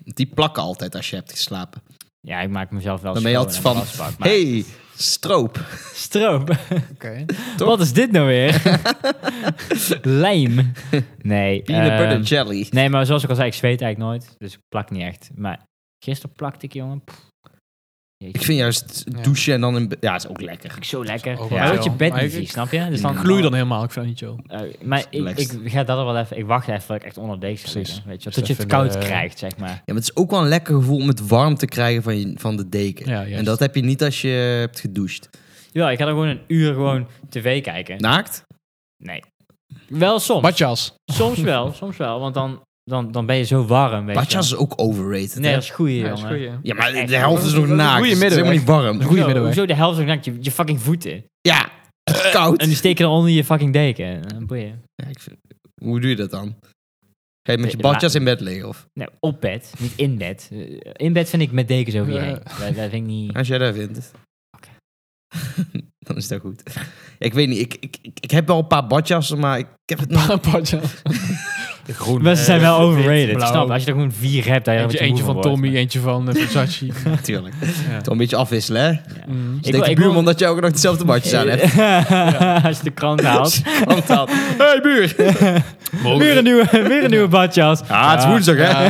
[SPEAKER 1] die plakken altijd als je hebt geslapen.
[SPEAKER 3] Ja, ik maak mezelf wel
[SPEAKER 1] Dan ben je
[SPEAKER 3] schoon
[SPEAKER 1] altijd
[SPEAKER 3] in de
[SPEAKER 1] van,
[SPEAKER 3] wasbak, maar-
[SPEAKER 1] hey, stroop.
[SPEAKER 3] Stroop.
[SPEAKER 2] Oké.
[SPEAKER 1] Toch?
[SPEAKER 3] Wat is dit nou weer? Lijm. Nee.
[SPEAKER 1] Peanut
[SPEAKER 3] ehm,
[SPEAKER 1] butter jelly.
[SPEAKER 3] nee, maar zoals ik al zei, ik zweet eigenlijk nooit. Dus ik plak niet echt. Maar gisteren plakte ik, jongen. Pff. Jeetje.
[SPEAKER 1] Ik vind juist douchen en dan in bed... Ja, is ook lekker.
[SPEAKER 3] vind ik zo lekker.
[SPEAKER 2] Ook
[SPEAKER 3] Ja.
[SPEAKER 2] wel
[SPEAKER 3] Maar wordt je
[SPEAKER 2] chill.
[SPEAKER 3] bed
[SPEAKER 2] Maar
[SPEAKER 3] niet
[SPEAKER 2] ik-
[SPEAKER 3] vies, snap je? Dus
[SPEAKER 1] Ik
[SPEAKER 3] dan
[SPEAKER 2] Gloei dan helemaal, ik vind dat niet chill.
[SPEAKER 3] Eh, maar ik,
[SPEAKER 1] Relaxed.
[SPEAKER 3] ik ga dat er wel even... Ik wacht even dat ik echt onder de deken
[SPEAKER 2] Precies.
[SPEAKER 3] zit. Weet je, wel,
[SPEAKER 2] Dus
[SPEAKER 3] tot je het
[SPEAKER 2] even,
[SPEAKER 3] koud
[SPEAKER 2] eh,
[SPEAKER 3] krijgt, zeg maar.
[SPEAKER 1] Ja, maar het is ook wel een lekker gevoel om het warm te krijgen van, je, van de deken.
[SPEAKER 2] Ja, juist.
[SPEAKER 1] en dat heb je niet als je hebt gedoucht.
[SPEAKER 3] Ja, ik ga dan gewoon een uur gewoon tv kijken.
[SPEAKER 1] Naakt?
[SPEAKER 3] Nee. Wel soms.
[SPEAKER 2] Badjas.
[SPEAKER 3] Soms wel, soms wel. Want dan, dan, dan ben je zo warm, weet je
[SPEAKER 1] Badjas is ook overrated.
[SPEAKER 3] wel. Nee,
[SPEAKER 1] hè?
[SPEAKER 3] dat is goeie,
[SPEAKER 2] Ja,
[SPEAKER 3] jongen.
[SPEAKER 2] dat is goed, ja.
[SPEAKER 1] Ja, maar
[SPEAKER 3] Echt.
[SPEAKER 1] de helft is nog
[SPEAKER 2] Dat is een
[SPEAKER 1] naakt.
[SPEAKER 2] goede
[SPEAKER 1] dus het is helemaal niet warm.
[SPEAKER 2] Goeie
[SPEAKER 3] Zo,
[SPEAKER 2] middenweg.
[SPEAKER 3] Hoezo de helft is naakt? Je, je fucking voeten.
[SPEAKER 1] Ja, koud.
[SPEAKER 3] En die steken dan onder je fucking deken. Dan boeien.
[SPEAKER 1] Ja, ik vind- Hoe doe je dat dan? Ga je met je
[SPEAKER 3] Ja,
[SPEAKER 1] badjas in bed liggen? Of?
[SPEAKER 3] Nee, op bed, niet in bed. Eh, In bed vind ik met dekens over je
[SPEAKER 2] Ja.
[SPEAKER 3] heen. Dat, dat vind ik niet...
[SPEAKER 1] Als jij dat vindt.
[SPEAKER 3] Oké.
[SPEAKER 1] dan is dat goed. ik weet niet, ik, ik, ik, ik heb wel een paar badjassen, maar ik, ik heb het nog...
[SPEAKER 2] Badjas.
[SPEAKER 3] Maar ze zijn wel overrated, ik
[SPEAKER 2] blauw.
[SPEAKER 3] snap. je? Als je er gewoon vier hebt, dan
[SPEAKER 2] Eentje, eentje van Tommy, eentje van eh, Versace.
[SPEAKER 1] Natuurlijk.
[SPEAKER 2] Ja.
[SPEAKER 1] Toch een beetje afwisselen, hè?
[SPEAKER 2] Mm.
[SPEAKER 1] Ik denk de buurman dat je ook nog hetzelfde badjes aan hebt.
[SPEAKER 3] Als je de krant haalt.
[SPEAKER 1] Want dat. hey, buur!
[SPEAKER 3] weer, een nieuwe, weer een nieuwe badjas.
[SPEAKER 1] Ah, het is woensdag, hè?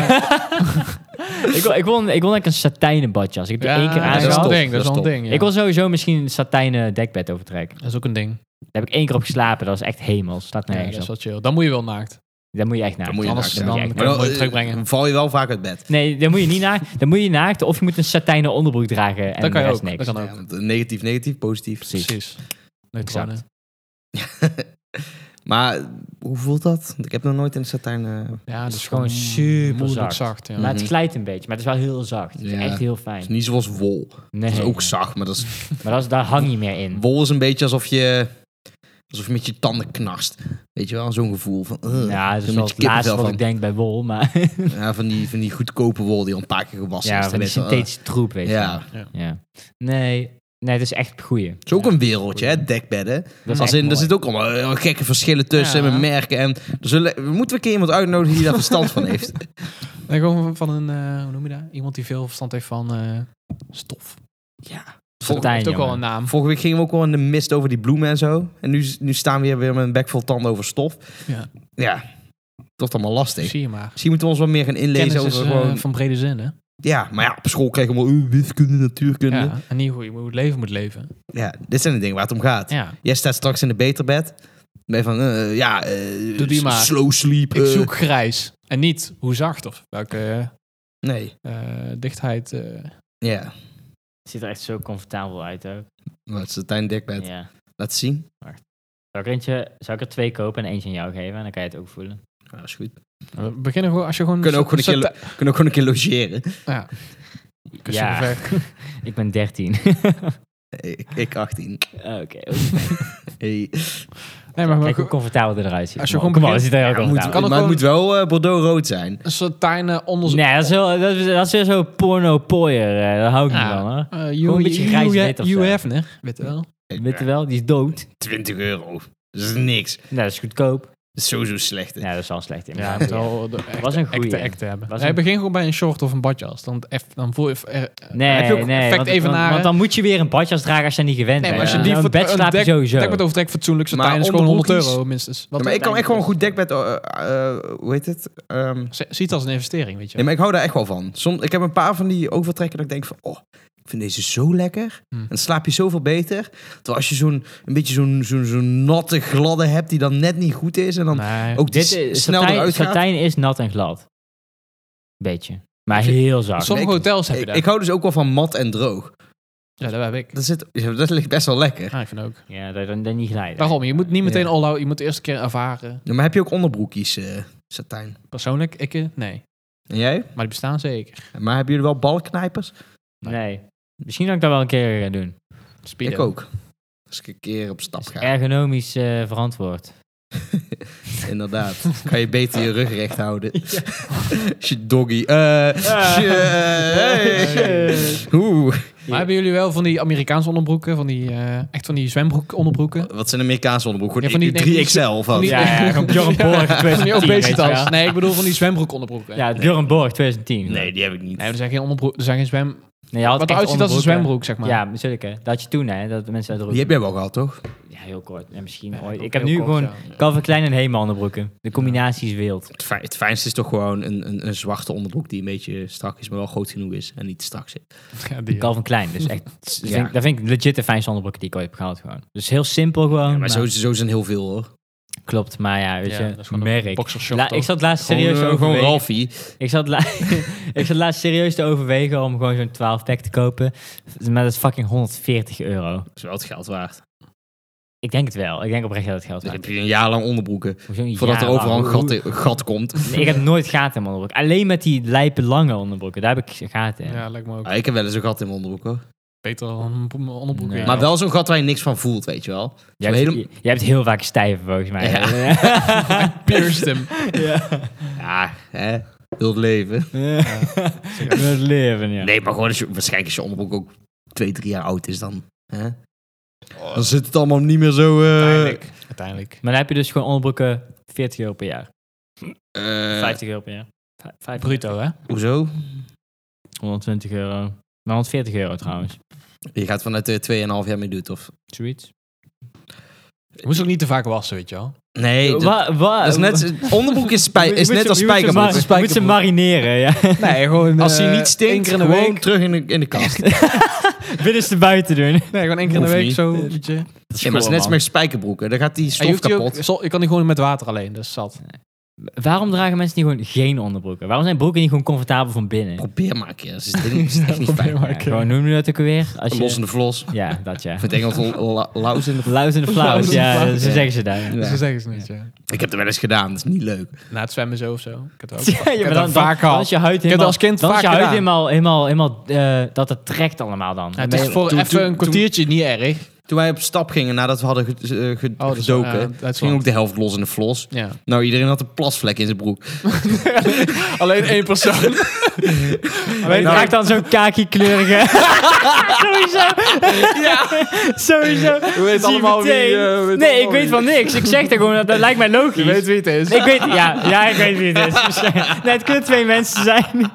[SPEAKER 3] Ik wil, ik wil, een- ik wil eigenlijk een satijnen badjas. Ik heb die één keer
[SPEAKER 2] dat is wel
[SPEAKER 1] top.
[SPEAKER 2] een
[SPEAKER 3] aangehad.
[SPEAKER 2] ding. Dat is wel een
[SPEAKER 1] Dat is
[SPEAKER 2] ding, ja.
[SPEAKER 3] Ik wil sowieso misschien een satijnen dekbed overtrekken.
[SPEAKER 2] Dat is ook een ding.
[SPEAKER 3] Daar heb ik één keer op geslapen. Dat is echt hemels. Staat
[SPEAKER 2] Ja,
[SPEAKER 3] nergens
[SPEAKER 2] dat is
[SPEAKER 3] op.
[SPEAKER 2] wel chill. Dan moet je wel naakt.
[SPEAKER 3] Daar moet je echt naar.
[SPEAKER 1] Dan moet je
[SPEAKER 2] Anders
[SPEAKER 1] naakt
[SPEAKER 2] dan
[SPEAKER 1] zijn.
[SPEAKER 3] Ja,
[SPEAKER 2] kan je het mooi
[SPEAKER 1] eh,
[SPEAKER 2] terugbrengen.
[SPEAKER 1] val je wel vaak uit bed.
[SPEAKER 3] Nee, daar moet je niet naar. Dan moet je naakt of je moet een satijnen onderbroek dragen. En
[SPEAKER 2] Dat kan
[SPEAKER 3] de
[SPEAKER 2] je
[SPEAKER 3] rest
[SPEAKER 2] ook. Dat
[SPEAKER 3] niks.
[SPEAKER 2] kan
[SPEAKER 1] Ja,
[SPEAKER 2] ook.
[SPEAKER 1] want eh, negatief, negatief, positief.
[SPEAKER 2] Precies. eh, Neutrale.
[SPEAKER 3] Exact.
[SPEAKER 1] Maar hoe voelt dat? Want Ik heb nog nooit in de satijn... eh,
[SPEAKER 2] Ja, dat
[SPEAKER 3] is
[SPEAKER 2] is
[SPEAKER 3] gewoon
[SPEAKER 2] gewoon
[SPEAKER 3] super
[SPEAKER 2] moeilijk
[SPEAKER 3] zacht.
[SPEAKER 2] zacht. ja.
[SPEAKER 3] Maar het
[SPEAKER 1] Mhm.
[SPEAKER 3] glijdt een beetje. Maar het is wel heel zacht. Het is
[SPEAKER 1] Ja.
[SPEAKER 3] echt heel
[SPEAKER 1] het is
[SPEAKER 3] fijn.
[SPEAKER 1] niet zoals wol.
[SPEAKER 3] Nee.
[SPEAKER 1] Dat is ook zacht, maar dat is
[SPEAKER 3] Maar dat is, daar hang je meer in.
[SPEAKER 1] Wol is een beetje alsof je, alsof je met je tanden knarst. Weet je wel, zo'n gevoel van... eh,
[SPEAKER 3] Ja, dat
[SPEAKER 1] een beetje
[SPEAKER 3] is wel het laatste
[SPEAKER 1] kippenvel
[SPEAKER 3] wat
[SPEAKER 1] van.
[SPEAKER 3] ik denk bij wol. Maar
[SPEAKER 1] Ja, van, die, van die goedkope wol die al een paar keer gewassen
[SPEAKER 3] ja,
[SPEAKER 1] is. Dan
[SPEAKER 3] van die
[SPEAKER 1] weet je wel,
[SPEAKER 3] synthetische troep, weet
[SPEAKER 1] eh,
[SPEAKER 3] je
[SPEAKER 1] ja,
[SPEAKER 3] wel. Ja. Nee, nee, het is echt goeie.
[SPEAKER 1] het is ook een wereldje, hè, dekbedden.
[SPEAKER 3] Dat is
[SPEAKER 1] Als
[SPEAKER 3] echt
[SPEAKER 1] in, er
[SPEAKER 3] mooi.
[SPEAKER 1] zitten ook allemaal eh, gekke verschillen tussen
[SPEAKER 2] Ja.
[SPEAKER 1] en met merken. En er zullen, we moeten we een keer iemand uitnodigen die daar verstand van heeft.
[SPEAKER 2] Nee, gewoon van een, eh, hoe noem je dat? Iemand die veel verstand heeft van eh, stof.
[SPEAKER 1] Ja.
[SPEAKER 2] Dat
[SPEAKER 3] Satijn,
[SPEAKER 2] heeft ook wel
[SPEAKER 3] jongen.
[SPEAKER 2] een naam.
[SPEAKER 1] Vorige week gingen we ook wel in de mist over die bloemen en zo. En nu, nu staan we hier weer met een bek vol tanden over stof.
[SPEAKER 2] Ja.
[SPEAKER 1] Ja, toch allemaal lastig.
[SPEAKER 2] Zie je maar.
[SPEAKER 1] Misschien moeten we ons wat meer gaan inlezen
[SPEAKER 2] Kennis
[SPEAKER 1] over
[SPEAKER 2] is, eh,
[SPEAKER 1] gewoon...
[SPEAKER 2] van brede zin, hè?
[SPEAKER 1] Ja, maar ja, op school krijg je allemaal eh, wiskunde, natuurkunde. Ja.
[SPEAKER 2] Ja. En niet hoe je hoe het leven moet leven.
[SPEAKER 1] dit zijn de dingen waar het om gaat.
[SPEAKER 2] Ja.
[SPEAKER 1] Jij staat straks in de beterbed. Ben je van, eh, ja, eh,
[SPEAKER 2] Doe die
[SPEAKER 1] s-
[SPEAKER 2] maar.
[SPEAKER 1] slow sleep.
[SPEAKER 2] Ik
[SPEAKER 1] eh,
[SPEAKER 2] zoek grijs. En niet hoe zacht of welke
[SPEAKER 1] Nee,
[SPEAKER 2] eh, dichtheid. eh.
[SPEAKER 1] ja.
[SPEAKER 3] Het ziet er echt zo comfortabel uit ook.
[SPEAKER 1] Dat is het einde dekbed.
[SPEAKER 3] Ja.
[SPEAKER 1] Laat zien.
[SPEAKER 3] Zou ik, er eentje, zou ik er twee kopen en eentje aan jou geven? En dan kan je het ook voelen.
[SPEAKER 1] Ja, dat is goed.
[SPEAKER 2] We beginnen gewoon als je gewoon...
[SPEAKER 1] We kunnen ook gewoon een keer,
[SPEAKER 2] Satijn-
[SPEAKER 1] lo- kunnen ook gewoon een keer logeren.
[SPEAKER 2] Ja. Kussen
[SPEAKER 3] Ja.
[SPEAKER 2] gevecht.
[SPEAKER 3] Ik ben 13.
[SPEAKER 1] Ik, ik 18.
[SPEAKER 3] Oké.
[SPEAKER 1] Hey.
[SPEAKER 2] Nee, maar, maar
[SPEAKER 3] Kijk hoe
[SPEAKER 2] gewoon
[SPEAKER 3] comfortabel het eruit ziet.
[SPEAKER 2] Als je
[SPEAKER 3] Kom
[SPEAKER 2] gewoon
[SPEAKER 3] op, kom op, het ziet er heel
[SPEAKER 1] Ja, moet,
[SPEAKER 3] comfortabel
[SPEAKER 2] Kan
[SPEAKER 1] maar
[SPEAKER 2] ook
[SPEAKER 1] het
[SPEAKER 2] gewoon-
[SPEAKER 1] moet wel eh, bordeaux-rood zijn.
[SPEAKER 2] een soort tijne onderzoek.
[SPEAKER 3] Nee, dat is, heel, dat, is, dat is weer zo porno pooier. eh, Daar hou ik
[SPEAKER 2] Ja.
[SPEAKER 3] niet van, hoor.
[SPEAKER 2] Eh,
[SPEAKER 3] Gewoon
[SPEAKER 2] Hugh
[SPEAKER 3] een beetje grijs
[SPEAKER 2] Hugh-
[SPEAKER 3] wit of
[SPEAKER 2] Hugh
[SPEAKER 3] zo.
[SPEAKER 2] Hefner, E weet je wel.
[SPEAKER 3] Weet je wel, die is dood.
[SPEAKER 1] 20 euro. Dat is niks. Dat
[SPEAKER 3] Nou, dat is goedkoop.
[SPEAKER 1] is sowieso slecht. hè.
[SPEAKER 3] Ja, dat is wel slecht.
[SPEAKER 2] Ja,
[SPEAKER 3] Ja,
[SPEAKER 2] het wel de echte,
[SPEAKER 3] Was een
[SPEAKER 2] echte
[SPEAKER 3] goeie.
[SPEAKER 2] act te hebben.
[SPEAKER 3] Was
[SPEAKER 2] Hij
[SPEAKER 3] een-
[SPEAKER 2] begint gewoon bij een short of een badjas. Dan, eff- dan voel je... eh,
[SPEAKER 3] Nee,
[SPEAKER 2] heb je ook
[SPEAKER 3] nee,
[SPEAKER 2] effect
[SPEAKER 3] want,
[SPEAKER 2] even
[SPEAKER 3] want,
[SPEAKER 2] naar,
[SPEAKER 3] want
[SPEAKER 2] hè?
[SPEAKER 3] dan moet je weer een badjas dragen als je dat niet gewend
[SPEAKER 2] Nee, maar
[SPEAKER 3] eh, bent.
[SPEAKER 2] als je
[SPEAKER 1] Ja.
[SPEAKER 2] die
[SPEAKER 3] Nou, een
[SPEAKER 2] voor-
[SPEAKER 3] bed
[SPEAKER 2] een
[SPEAKER 3] slaap je
[SPEAKER 2] dek-
[SPEAKER 3] sowieso.
[SPEAKER 2] Dek met overtrek fatsoenlijk
[SPEAKER 1] Maar
[SPEAKER 2] satijn is gewoon 100
[SPEAKER 1] onderbroekjes?
[SPEAKER 2] euro minstens. Wat
[SPEAKER 1] Ja, maar ik kan echt gewoon een
[SPEAKER 3] is-
[SPEAKER 1] goed dekbed... eh, eh, eh, hoe heet het? Ehm,
[SPEAKER 2] Z- Ziet als een investering, weet je wel.
[SPEAKER 1] Nee, maar ik hou daar echt wel van. Soms, ik heb een paar van die overtrekken dat ik denk van... Oh, ik vind deze zo lekker.
[SPEAKER 3] Hm.
[SPEAKER 2] Hmm.
[SPEAKER 1] En dan slaap je zoveel beter. Terwijl als je zo'n een beetje zo'n zo'n zo'n natte gladde hebt die dan net niet goed is. En dan
[SPEAKER 2] Nee.
[SPEAKER 1] ook
[SPEAKER 3] Dit
[SPEAKER 1] s-
[SPEAKER 3] is,
[SPEAKER 1] snel
[SPEAKER 3] satijn,
[SPEAKER 1] eruit gaat.
[SPEAKER 3] satijn is nat en glad. Beetje. Maar
[SPEAKER 1] Ik vind-
[SPEAKER 3] heel zacht.
[SPEAKER 2] Sommige
[SPEAKER 1] ik-
[SPEAKER 2] hotels heb je
[SPEAKER 1] Ik,
[SPEAKER 2] dat.
[SPEAKER 1] ik hou dus ook wel van mat en droog.
[SPEAKER 2] ja, dat heb ik.
[SPEAKER 1] Dat, zit, ja, dat ligt best wel lekker.
[SPEAKER 2] Ja, ik vind ook.
[SPEAKER 3] Ja, dat, dat, dat niet glijden.
[SPEAKER 2] Daarom, je moet niet meteen
[SPEAKER 1] Ja.
[SPEAKER 2] all out. Je moet eerst een keer ervaren.
[SPEAKER 1] Ja, maar heb je ook onderbroekjes, eh, satijn?
[SPEAKER 2] Persoonlijk, ik eh, nee.
[SPEAKER 1] En jij?
[SPEAKER 2] Maar die bestaan zeker.
[SPEAKER 1] Maar hebben jullie wel balknijpers?
[SPEAKER 3] Nee. Misschien dat ik dat wel een keer ga doen.
[SPEAKER 2] Speedo.
[SPEAKER 1] Ik ook. Als ik een keer op stap
[SPEAKER 3] Dat is
[SPEAKER 1] ga.
[SPEAKER 3] ergonomisch eh, verantwoord.
[SPEAKER 1] Inderdaad. kan je beter je rug recht houden. Shit doggy. Eh, shit. Hey. Oeh.
[SPEAKER 2] Maar hebben jullie wel van die Amerikaanse onderbroeken, van die, eh, echt van die zwembroek onderbroeken?
[SPEAKER 1] Wat zijn Amerikaanse onderbroek?
[SPEAKER 2] Ja, van die-
[SPEAKER 1] Gewoon 3XL of wat?
[SPEAKER 2] van die-
[SPEAKER 3] Ja, ja, gewoon Bjorn
[SPEAKER 2] Van die
[SPEAKER 3] Borg 2010. weet je wel.
[SPEAKER 2] obesitas. Nee, ik bedoel van die zwembroek onderbroeken.
[SPEAKER 3] Ja, Bjorn Borg 2010.
[SPEAKER 1] Nee, die heb ik niet.
[SPEAKER 2] Nee, er zijn geen onderbroeken, er zijn geen zwem...
[SPEAKER 3] Nee, je had
[SPEAKER 2] Wat
[SPEAKER 3] echt
[SPEAKER 2] eruit ziet als een
[SPEAKER 3] onderbroeken.
[SPEAKER 2] zwembroek, zeg maar.
[SPEAKER 3] Ja, natuurlijk hè. Dat had je toen hè, dat mensen uit de
[SPEAKER 1] Die heb jij wel gehad, toch?
[SPEAKER 3] Ja, heel kort. Ja, misschien
[SPEAKER 2] Ja,
[SPEAKER 3] ooit.
[SPEAKER 2] ook
[SPEAKER 3] Ik heb
[SPEAKER 2] heel
[SPEAKER 3] nu
[SPEAKER 2] kort,
[SPEAKER 3] gewoon
[SPEAKER 2] ja.
[SPEAKER 3] Calvin Klein en Hema onderbroeken. De combinatie is wild.
[SPEAKER 1] Het, fijn- het fijnste is toch gewoon een, een, een zwarte onderbroek die een beetje strak is, maar wel groot genoeg is en niet te strak zit.
[SPEAKER 2] Ja, die,
[SPEAKER 3] Calvin Klein, dus echt. dat
[SPEAKER 1] eh, Ja.
[SPEAKER 3] Vind, ik- dat vind ik legit de fijnste onderbroeken die ik ooit heb gehad gewoon. Dus heel simpel gewoon.
[SPEAKER 1] Ja, maar
[SPEAKER 3] maar-
[SPEAKER 1] zo, zo zijn heel veel hoor.
[SPEAKER 3] Klopt, maar ja, weet
[SPEAKER 2] Ja, dat is
[SPEAKER 3] je,
[SPEAKER 2] gewoon een
[SPEAKER 3] merk.
[SPEAKER 2] boxershort,
[SPEAKER 3] La-
[SPEAKER 2] toch?
[SPEAKER 3] ik zat laatst serieus
[SPEAKER 1] gewoon, eh, gewoon
[SPEAKER 3] overwegen.
[SPEAKER 1] Ralphie.
[SPEAKER 3] Ik zat, la- ik zat laatst serieus te overwegen om gewoon zo'n 12 pack te kopen. Maar dat is fucking 140 euro.
[SPEAKER 1] Dat is wel het geld waard.
[SPEAKER 3] Ik denk het wel. Ik denk oprecht dat het geld
[SPEAKER 1] Dus
[SPEAKER 3] waard
[SPEAKER 1] heb je een jaar lang onderbroeken.
[SPEAKER 3] is. Hoezo een
[SPEAKER 1] Voordat
[SPEAKER 3] jaar
[SPEAKER 1] er overal een
[SPEAKER 3] lang?
[SPEAKER 1] gat, een gat komt.
[SPEAKER 3] Nee, ik heb nooit gaten in mijn onderbroek. Alleen met die lijpe lange onderbroeken. Daar heb ik gaten in.
[SPEAKER 2] ja, lijkt me ook
[SPEAKER 1] Ah, ik heb wel eens een gat in mijn onderbroek hoor.
[SPEAKER 2] beter dan een bo- onderbroek.
[SPEAKER 3] Nee.
[SPEAKER 2] ja.
[SPEAKER 1] Maar wel zo'n gat waar je niks van voelt, weet je wel.
[SPEAKER 3] Jij,
[SPEAKER 1] Zo'n
[SPEAKER 3] hebt,
[SPEAKER 1] hele-
[SPEAKER 3] jij hebt heel vaak stijven volgens mij.
[SPEAKER 1] Ja.
[SPEAKER 2] Pierced hem.
[SPEAKER 1] Ja, hè? Heel het leven.
[SPEAKER 3] Het leven, ja.
[SPEAKER 1] Nee, maar gewoon als je, waarschijnlijk als je onderbroek ook twee, drie jaar oud is dan. Hè?
[SPEAKER 2] Oh.
[SPEAKER 1] Dan zit het allemaal niet meer zo... eh
[SPEAKER 2] Uiteindelijk. Uiteindelijk.
[SPEAKER 3] Maar dan heb je dus gewoon onderbroeken 40 euro per jaar.
[SPEAKER 1] eh,
[SPEAKER 3] 50 euro per jaar. Vij- 50.
[SPEAKER 2] Bruto, hè?
[SPEAKER 1] Hoezo?
[SPEAKER 3] 120 euro. Maar 140 euro trouwens.
[SPEAKER 1] Je gaat vanuit de 2,5 jaar mee doet, of?
[SPEAKER 3] Zoiets.
[SPEAKER 2] Je moest ook niet te vaak wassen, weet je wel.
[SPEAKER 1] Nee, dat,
[SPEAKER 3] Wa- wa-
[SPEAKER 1] dat is net... Onderbroek is, spij, is
[SPEAKER 3] Je moet
[SPEAKER 1] net
[SPEAKER 3] ze-
[SPEAKER 1] als
[SPEAKER 3] je moet ze
[SPEAKER 1] spijkerbroek.
[SPEAKER 3] mar- Je moet ze marineren, ja.
[SPEAKER 2] Nee, gewoon... eh,
[SPEAKER 1] Als hij niet
[SPEAKER 2] één
[SPEAKER 1] stinkt,
[SPEAKER 2] keer in de
[SPEAKER 1] gewoon
[SPEAKER 2] week.
[SPEAKER 1] terug in de, in de kast.
[SPEAKER 3] Binnenste buiten doen.
[SPEAKER 2] Nee, gewoon één keer in de
[SPEAKER 1] Hoeft
[SPEAKER 2] week
[SPEAKER 1] niet.
[SPEAKER 2] zo. Weet je.
[SPEAKER 1] Ja, maar het is net als met spijkerbroeken. Dan gaat die
[SPEAKER 2] En je
[SPEAKER 1] stof
[SPEAKER 2] hoeft die ook-
[SPEAKER 1] kapot.
[SPEAKER 2] zo- ik kan die gewoon met water alleen, dus zat.
[SPEAKER 3] Waarom dragen mensen niet gewoon geen onderbroeken? Waarom zijn broeken niet gewoon comfortabel van binnen?
[SPEAKER 1] Probeer maar een keer. Dat is dit niet- is echt niet fijn.
[SPEAKER 3] Ja, gewoon noem je dat ook weer? Als
[SPEAKER 1] Los in
[SPEAKER 3] je,
[SPEAKER 1] de vlos. Of
[SPEAKER 3] ja, dat ja.
[SPEAKER 1] in het Engels l- la- laus in de vlos.
[SPEAKER 3] Luis in de
[SPEAKER 2] Luis
[SPEAKER 3] flauws,
[SPEAKER 2] in de
[SPEAKER 3] ja,
[SPEAKER 2] flauws,
[SPEAKER 3] zo
[SPEAKER 1] ja.
[SPEAKER 3] zeggen ze daar. Ja,
[SPEAKER 1] Ja.
[SPEAKER 2] Dus ze zeggen ze niet, ja.
[SPEAKER 1] Ik heb het wel eens gedaan. Dat is niet leuk.
[SPEAKER 2] Na het zwemmen zo of zo. Ik heb het ook.
[SPEAKER 3] Ja, maar
[SPEAKER 2] heb dat
[SPEAKER 3] dan, dan,
[SPEAKER 2] vaak
[SPEAKER 3] dan
[SPEAKER 2] gehad.
[SPEAKER 3] is je huid helemaal...
[SPEAKER 2] dat als kind
[SPEAKER 3] dan is
[SPEAKER 2] vaak
[SPEAKER 3] je huid
[SPEAKER 2] gedaan.
[SPEAKER 3] helemaal, helemaal, helemaal eh, dat het trekt allemaal dan.
[SPEAKER 2] Nou, het is voor
[SPEAKER 1] Toen-
[SPEAKER 2] even
[SPEAKER 1] toen-
[SPEAKER 2] een kwartiertje niet erg.
[SPEAKER 1] Toen wij op stap gingen, nadat we hadden ge- eh, ge-
[SPEAKER 2] dat is wel, ja,
[SPEAKER 1] gedoken,
[SPEAKER 2] dat is wel.
[SPEAKER 1] ging ook de helft los in de vlos.
[SPEAKER 2] Ja.
[SPEAKER 1] Nou, iedereen had een plasvlek in zijn broek.
[SPEAKER 2] Alleen één persoon.
[SPEAKER 3] Weet je,
[SPEAKER 1] Nou-
[SPEAKER 3] maakt dan zo'n kaki-kleurige... sowieso. Ja. sowieso.
[SPEAKER 2] We weten
[SPEAKER 3] Zie je
[SPEAKER 2] allemaal wie...
[SPEAKER 3] meteen.
[SPEAKER 2] eh, we weten
[SPEAKER 3] nee, ik
[SPEAKER 2] allemaal
[SPEAKER 3] weet
[SPEAKER 2] wie.
[SPEAKER 3] van niks. Ik zeg dat gewoon, dat, dat lijkt mij logisch.
[SPEAKER 2] Je weet wie het is.
[SPEAKER 3] Ik weet, ja, ja, ik weet wie het is. Dus, eh, Nee, het kunnen twee mensen zijn.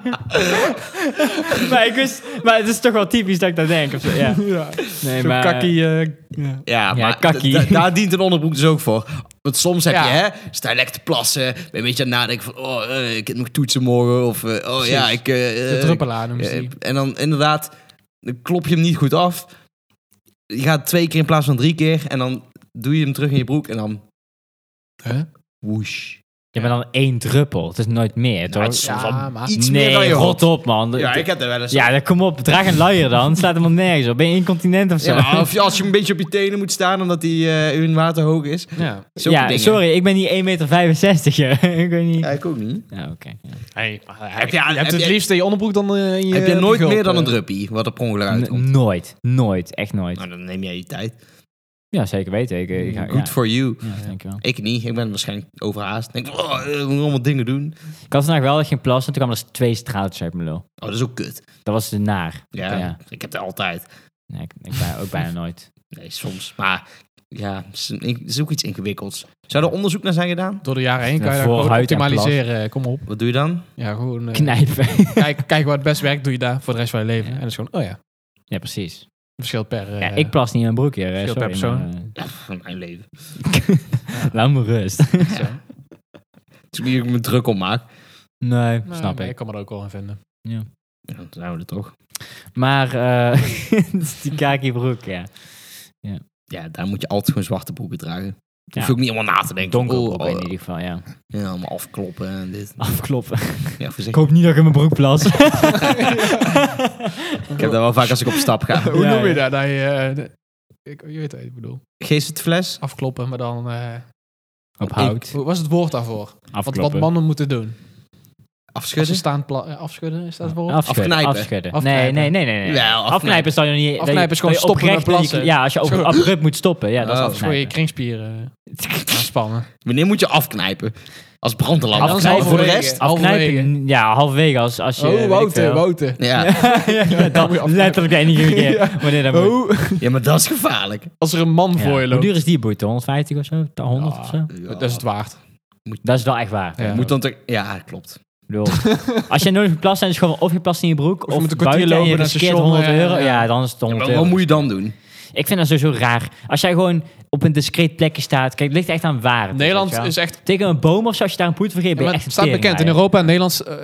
[SPEAKER 3] maar, ik wist, maar het is toch wel typisch dat ik dat denk. Of zo. Ja.
[SPEAKER 2] Ja.
[SPEAKER 3] Nee,
[SPEAKER 2] Zo'n
[SPEAKER 3] maar,
[SPEAKER 2] kakkie... eh, ja.
[SPEAKER 1] Ja, maar
[SPEAKER 3] kakkie.
[SPEAKER 1] da- da- daar dient een onderbroek dus ook voor. Want soms heb
[SPEAKER 2] Ja.
[SPEAKER 1] je, hè, sta je lekker te plassen, ben je een beetje aan het nadenken van, oh, eh, ik heb nog toetsen morgen, of, eh, oh ja, ik... eh,
[SPEAKER 2] De
[SPEAKER 1] eh,
[SPEAKER 2] druppelaar noemen ze
[SPEAKER 1] eh,
[SPEAKER 2] die.
[SPEAKER 1] en dan inderdaad, dan klop je hem niet goed af. Je gaat twee keer in plaats van drie keer, en dan doe je hem terug in je broek, en dan
[SPEAKER 2] Huh?
[SPEAKER 1] woesh.
[SPEAKER 3] Je bent dan él druppel. Het is nooit meer, toch?
[SPEAKER 1] het is soms
[SPEAKER 2] Ja,
[SPEAKER 1] al
[SPEAKER 2] maar-
[SPEAKER 1] iets
[SPEAKER 3] Ah, nee,
[SPEAKER 1] meer dan je
[SPEAKER 3] rot
[SPEAKER 1] hot.
[SPEAKER 3] op, man.
[SPEAKER 1] Ja, ik heb er wel eens
[SPEAKER 3] Ja, dan kom op. Draag een luier dan. Het slaat helemaal nergens op. Ben je incontinent of zo?
[SPEAKER 1] Ja, maar of je- als je een beetje op je tenen moet staan omdat die eh hun water hoog is.
[SPEAKER 2] Ja.
[SPEAKER 1] Zulke
[SPEAKER 3] Ja,
[SPEAKER 1] dingen.
[SPEAKER 3] sorry. Ik ben niet 1,65 meter. ik weet niet.
[SPEAKER 1] Ja, ik ook niet.
[SPEAKER 3] Ja, oké. ja.
[SPEAKER 2] Hey, heb
[SPEAKER 1] je-
[SPEAKER 2] je,
[SPEAKER 1] heb
[SPEAKER 2] hebt het
[SPEAKER 1] je-
[SPEAKER 2] liefst in je onderbroek dan eh, in je...
[SPEAKER 1] Heb je nooit
[SPEAKER 2] gulp,
[SPEAKER 1] meer dan
[SPEAKER 2] eh.
[SPEAKER 1] een druppie wat er per ongeluk
[SPEAKER 3] N-
[SPEAKER 1] uitkomt?
[SPEAKER 3] Nooit. Nooit. Echt nooit.
[SPEAKER 1] Nou, dan neem jij je tijd.
[SPEAKER 3] Ja, zeker weten. Ik, eh, ik, ga-
[SPEAKER 1] Good
[SPEAKER 3] ja.
[SPEAKER 1] for you.
[SPEAKER 3] Ja, dankjewel.
[SPEAKER 1] Ik niet. Ik ben waarschijnlijk overhaast. Ik denk, oh, eh, we moeten allemaal dingen doen.
[SPEAKER 3] Ik had vandaag wel echt geen plas en toen kwamen er dus twee straaltjes uit mijn lul.
[SPEAKER 1] Oh, dat is ook kut.
[SPEAKER 3] Dat was de naar.
[SPEAKER 1] Ja,
[SPEAKER 3] Ja.
[SPEAKER 1] ik heb dat altijd.
[SPEAKER 3] Nee, ik, ik ben ook bijna nooit.
[SPEAKER 1] Nee, soms. Maar ja, het is, een- het is ook iets ingewikkelds. Zou er onderzoek naar zijn gedaan?
[SPEAKER 2] Door de jaren heen
[SPEAKER 3] Ja,
[SPEAKER 2] kan je dat
[SPEAKER 3] voor
[SPEAKER 2] gewoon
[SPEAKER 3] huid en
[SPEAKER 2] optimaliseren. Kom op.
[SPEAKER 1] Wat doe je dan?
[SPEAKER 2] Ja, gewoon... eh,
[SPEAKER 3] Knijpen.
[SPEAKER 2] kijk, kijk wat het best werkt, doe je daar voor de rest van je leven.
[SPEAKER 3] Ja.
[SPEAKER 2] En dat is gewoon, oh ja,
[SPEAKER 3] Ja, precies.
[SPEAKER 2] verschilt per... eh,
[SPEAKER 3] Ja, ik plas niet in mijn broek hier. eh,
[SPEAKER 2] Scheelt per
[SPEAKER 3] Sorry,
[SPEAKER 2] persoon.
[SPEAKER 3] maar,
[SPEAKER 1] Ja, van mijn leven.
[SPEAKER 3] eh, Laat me rust.
[SPEAKER 2] zo.
[SPEAKER 1] Het is hier me druk om maak.
[SPEAKER 3] Nee,
[SPEAKER 2] Nou,
[SPEAKER 3] snap
[SPEAKER 2] maar
[SPEAKER 3] ik.
[SPEAKER 2] Ik kan me er ook wel in vinden.
[SPEAKER 1] Ja, dan zijn we er toch.
[SPEAKER 3] Maar eh, het is die kaki broek, ja.
[SPEAKER 1] Ja, daar moet je altijd gewoon zwarte broeken dragen. Je
[SPEAKER 3] Ja.
[SPEAKER 1] hoeft ook niet helemaal na te denken.
[SPEAKER 3] Donkerbroek
[SPEAKER 1] Oh, oh,
[SPEAKER 3] in ieder geval, ja.
[SPEAKER 1] Ja, allemaal afkloppen en dit.
[SPEAKER 3] Afkloppen.
[SPEAKER 1] Ja,
[SPEAKER 3] Ik
[SPEAKER 1] voorzichtig.
[SPEAKER 3] hoop niet dat ik in mijn broek plas.
[SPEAKER 1] Ik heb dat wel vaak als ik op stap ga.
[SPEAKER 2] Hoe
[SPEAKER 3] Ja,
[SPEAKER 2] noem je
[SPEAKER 3] ja.
[SPEAKER 2] dat? Dat je, eh, de- ik, je weet wat ik bedoel.
[SPEAKER 1] Geef het fles.
[SPEAKER 2] Afkloppen, maar dan... eh,
[SPEAKER 3] Op hout.
[SPEAKER 2] hoe was het woord daarvoor? Wat, wat
[SPEAKER 3] Afkloppen.
[SPEAKER 2] mannen moeten doen. Als ze
[SPEAKER 1] Afschudden.
[SPEAKER 2] staan pla- eh, afschudden, is dat het woord?
[SPEAKER 3] Afschudden.
[SPEAKER 1] Afknijpen.
[SPEAKER 3] Afschudden. Nee,
[SPEAKER 2] Afknijpen.
[SPEAKER 3] nee, nee, nee. nee.
[SPEAKER 1] Wel,
[SPEAKER 3] afknijpen.
[SPEAKER 1] afknijpen.
[SPEAKER 3] is dan je niet... dat je-
[SPEAKER 2] Afknijpen is gewoon
[SPEAKER 3] dat je
[SPEAKER 2] stoppen met
[SPEAKER 3] oprecht dat je-
[SPEAKER 2] plassen.
[SPEAKER 3] Ja, als je op-
[SPEAKER 2] Zo.
[SPEAKER 3] abrupt moet stoppen. Ja, dat is
[SPEAKER 1] Oh.
[SPEAKER 2] voor je
[SPEAKER 3] afknijpen.
[SPEAKER 2] kringspieren. eh, Aanspannen.
[SPEAKER 1] Wanneer moet je afknijpen? Als brandalarm.
[SPEAKER 3] Afknijpen
[SPEAKER 1] Afknijpen voor de
[SPEAKER 2] halverwege.
[SPEAKER 1] rest?
[SPEAKER 3] Afknijpen, ja, halverwege als, als je... weet
[SPEAKER 2] oh,
[SPEAKER 3] ik
[SPEAKER 2] Wouter,
[SPEAKER 3] veel.
[SPEAKER 2] Wouter.
[SPEAKER 1] Ja.
[SPEAKER 3] ja, ja, dat letterlijk de enige keer
[SPEAKER 2] Ja.
[SPEAKER 3] wanneer dat moet.
[SPEAKER 2] Oh,
[SPEAKER 1] ja, maar dat is gevaarlijk.
[SPEAKER 2] als er een man
[SPEAKER 3] Ja.
[SPEAKER 2] voor je
[SPEAKER 3] Hoe
[SPEAKER 2] loopt.
[SPEAKER 3] duur is die boete? 150 of zo? 100
[SPEAKER 2] Ja.
[SPEAKER 3] of zo?
[SPEAKER 1] Ja.
[SPEAKER 2] Dat is het waard.
[SPEAKER 3] Dat is wel echt waar.
[SPEAKER 2] Ja.
[SPEAKER 1] Moet dan toch... Ja, klopt.
[SPEAKER 3] Ik bedoel, als jij nooit geplast bent, is gewoon of je plast in je broek,
[SPEAKER 2] je
[SPEAKER 3] of,
[SPEAKER 2] moet een kwartier
[SPEAKER 3] buiten en je
[SPEAKER 2] lopen naar het
[SPEAKER 3] riskeert
[SPEAKER 2] station,
[SPEAKER 3] 100
[SPEAKER 2] ja,
[SPEAKER 3] euro.
[SPEAKER 2] ja.
[SPEAKER 3] Ja, dan is het 100
[SPEAKER 1] Maar
[SPEAKER 3] euro.
[SPEAKER 1] wat moet je dan doen?
[SPEAKER 3] Ik vind dat sowieso raar. Als jij gewoon op een discreet plekje staat, kijk, het ligt echt aan waar. het weet
[SPEAKER 2] Nederland
[SPEAKER 3] je wel.
[SPEAKER 2] is echt...
[SPEAKER 3] Tegen een boom of zo, als je daar een poet vergeet, ben
[SPEAKER 2] maar
[SPEAKER 3] je
[SPEAKER 2] het
[SPEAKER 3] echt een
[SPEAKER 2] staat bekend. In
[SPEAKER 3] teringleier.
[SPEAKER 2] Europa en Nederland eh,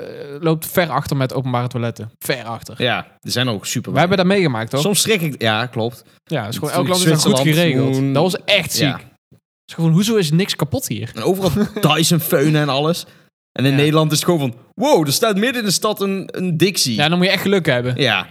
[SPEAKER 2] loopt ver achter met openbare toiletten. Ver achter.
[SPEAKER 1] Ja, er zijn ook super...
[SPEAKER 2] Wij hebben dat meegemaakt, toch?
[SPEAKER 1] Soms schrik ik... Ja, klopt.
[SPEAKER 2] Ja, is gewoon, elk land is dat goed
[SPEAKER 1] Zwitserland,
[SPEAKER 2] geregeld.
[SPEAKER 1] Groen-
[SPEAKER 2] Dat was echt ziek.
[SPEAKER 1] Ja.
[SPEAKER 2] Het is gewoon, hoezo is niks kapot hier?
[SPEAKER 1] En overal Dyson feunen en alles. En in
[SPEAKER 2] Ja.
[SPEAKER 1] Nederland is het gewoon van... Wow, er staat midden in de stad een, een Dixie.
[SPEAKER 2] Ja,
[SPEAKER 1] Ja.
[SPEAKER 2] dan moet je echt geluk hebben.
[SPEAKER 3] ja,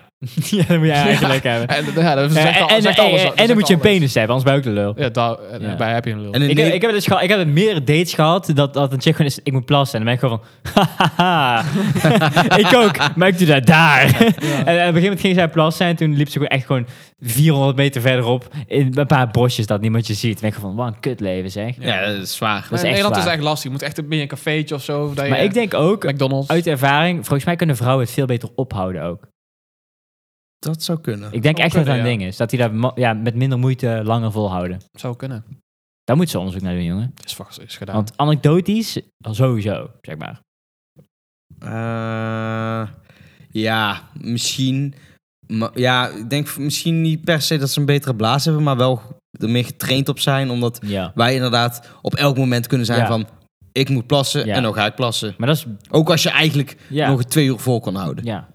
[SPEAKER 3] dan moet je eigenlijk hebben.
[SPEAKER 2] En, ja, dat
[SPEAKER 3] En,
[SPEAKER 2] zegt al-
[SPEAKER 3] en,
[SPEAKER 2] zegt
[SPEAKER 3] en-
[SPEAKER 2] alles,
[SPEAKER 3] en
[SPEAKER 2] dat zegt
[SPEAKER 3] dan moet je een
[SPEAKER 2] alles.
[SPEAKER 3] penis hebben, anders ben je ook de lul.
[SPEAKER 2] Ja, eh, daar, en
[SPEAKER 3] Ja.
[SPEAKER 2] bij heb je een lul.
[SPEAKER 1] En in
[SPEAKER 3] Ik,
[SPEAKER 1] Ne-
[SPEAKER 3] heb- ik heb dus gehad, ik heb meerdere dates gehad dat, dat een chick gewoon is, ik moet plassen. En dan ben ik gewoon van, hahaha, ik ook, maar ik doe dat daar. en, op een gegeven moment ging zij plassen en toen liep ze gewoon echt gewoon 400 meter verderop in een paar bosjes dat niemand je ziet. En ik gewoon, wat een kutleven zeg.
[SPEAKER 1] ja, dat is zwaar.
[SPEAKER 3] is
[SPEAKER 2] in
[SPEAKER 3] echt
[SPEAKER 2] Nederland is
[SPEAKER 3] waar.
[SPEAKER 2] echt lastig. Je moet echt bij een cafeetje of zo. of dat
[SPEAKER 3] Maar
[SPEAKER 2] je-
[SPEAKER 3] ik denk ook,
[SPEAKER 2] McDonald's.
[SPEAKER 3] uit ervaring, volgens mij kunnen vrouwen het veel beter ophouden ook.
[SPEAKER 1] Dat zou kunnen.
[SPEAKER 3] Ik denk
[SPEAKER 2] Zou
[SPEAKER 3] echt dat dat een
[SPEAKER 2] kunnen,
[SPEAKER 3] ding is. Dat die dat mo- ja, met minder moeite langer volhouden.
[SPEAKER 2] Zou kunnen.
[SPEAKER 3] Daar moet ze onderzoek naar doen, jongen.
[SPEAKER 2] Is, vast- is gedaan.
[SPEAKER 3] Want anekdotisch, sowieso, zeg maar.
[SPEAKER 1] Eh, ja, misschien... maar- ja, ik denk misschien niet per se dat ze een betere blaas hebben... maar wel er meer getraind op zijn, omdat...
[SPEAKER 3] Ja.
[SPEAKER 1] wij inderdaad op elk moment kunnen zijn
[SPEAKER 3] Ja.
[SPEAKER 1] van... Ik moet plassen
[SPEAKER 3] Ja.
[SPEAKER 1] en dan ga ik plassen.
[SPEAKER 3] Maar dat is...
[SPEAKER 1] Ook als je eigenlijk
[SPEAKER 3] Ja.
[SPEAKER 1] nog twee uur vol kan houden.
[SPEAKER 3] ja.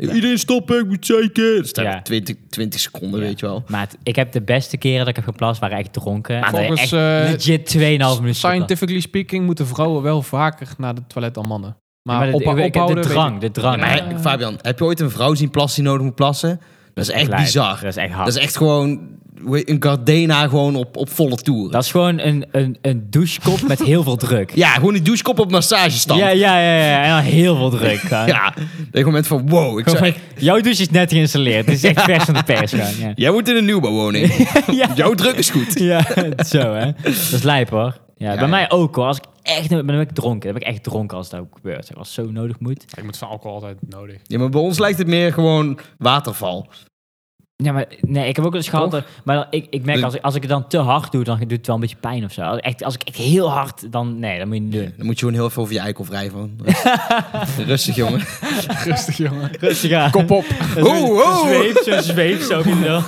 [SPEAKER 1] Iedereen stoppen, ik moet zeker. Dus dan
[SPEAKER 3] Ja.
[SPEAKER 1] heb je 20, 20 seconden,
[SPEAKER 3] Ja.
[SPEAKER 1] weet je wel.
[SPEAKER 3] Maar het- ik heb de beste keren dat ik heb geplast, waren echt dronken. Maar
[SPEAKER 2] Volgens,
[SPEAKER 3] echt
[SPEAKER 2] eh,
[SPEAKER 3] legit 2,5 minuten. geplast.
[SPEAKER 2] Scientifically speaking moeten vrouwen wel vaker naar de toilet dan mannen. Maar,
[SPEAKER 3] Ja, maar
[SPEAKER 2] op,
[SPEAKER 3] de, ik- ik-
[SPEAKER 2] ophouden...
[SPEAKER 3] de
[SPEAKER 2] weet
[SPEAKER 3] drang, de drang.
[SPEAKER 1] Maar
[SPEAKER 3] Ja,
[SPEAKER 1] hij- Fabian, heb je ooit een vrouw zien plassen die nodig moet plassen? Dat is echt
[SPEAKER 3] lijp.
[SPEAKER 1] bizar.
[SPEAKER 3] Dat is echt hard.
[SPEAKER 1] Dat is echt gewoon hoe heet- een Gardena gewoon op, op volle toer.
[SPEAKER 3] gewoon een, een, een douchekop met heel veel druk.
[SPEAKER 1] Ja, gewoon die douchekop op massagestand.
[SPEAKER 3] Ja,
[SPEAKER 1] Ja,
[SPEAKER 3] ja, ja, ja. En dan heel veel druk. gewoon.
[SPEAKER 1] Dat je moment van wow. Ik
[SPEAKER 3] Gewoon
[SPEAKER 1] zou,
[SPEAKER 3] van, jouw douche is net geïnstalleerd. Het is echt vers van de pers. gewoon,
[SPEAKER 1] jij moet in een nieuwbouwwoning.
[SPEAKER 3] Ja. ja.
[SPEAKER 1] Jouw druk is goed.
[SPEAKER 3] Ja, zo hè. Dat is lijp hoor. Ja, bij
[SPEAKER 1] ja.
[SPEAKER 3] mij ook hoor. Als ik echt, nooit- maar dan ben ik dronken. Dan ben ik echt dronken als dat ook gebeurt. Zeg, als het zo nodig moet.
[SPEAKER 2] Ik moet van alcohol altijd nodig.
[SPEAKER 1] Ja, maar bij ons lijkt het meer gewoon waterval.
[SPEAKER 3] Ja, maar nee, ik heb ook wel eens gehad.
[SPEAKER 1] Toch?
[SPEAKER 3] dat- Maar dan- ik, ik merk
[SPEAKER 1] Dus-
[SPEAKER 3] als ik, als ik het dan te hard doe, dan doet het wel een beetje pijn of zo. Als, echt, als ik echt heel hard, dan nee, dat moet je niet doen.
[SPEAKER 1] Dan moet je gewoon heel veel over je eikel wrijven. man. Rustig, Rustig, jongen.
[SPEAKER 2] Rustig, jongen.
[SPEAKER 3] Rustig aan.
[SPEAKER 1] Kop op. Ho, ho.
[SPEAKER 3] Zweep, zo zweep, zo in de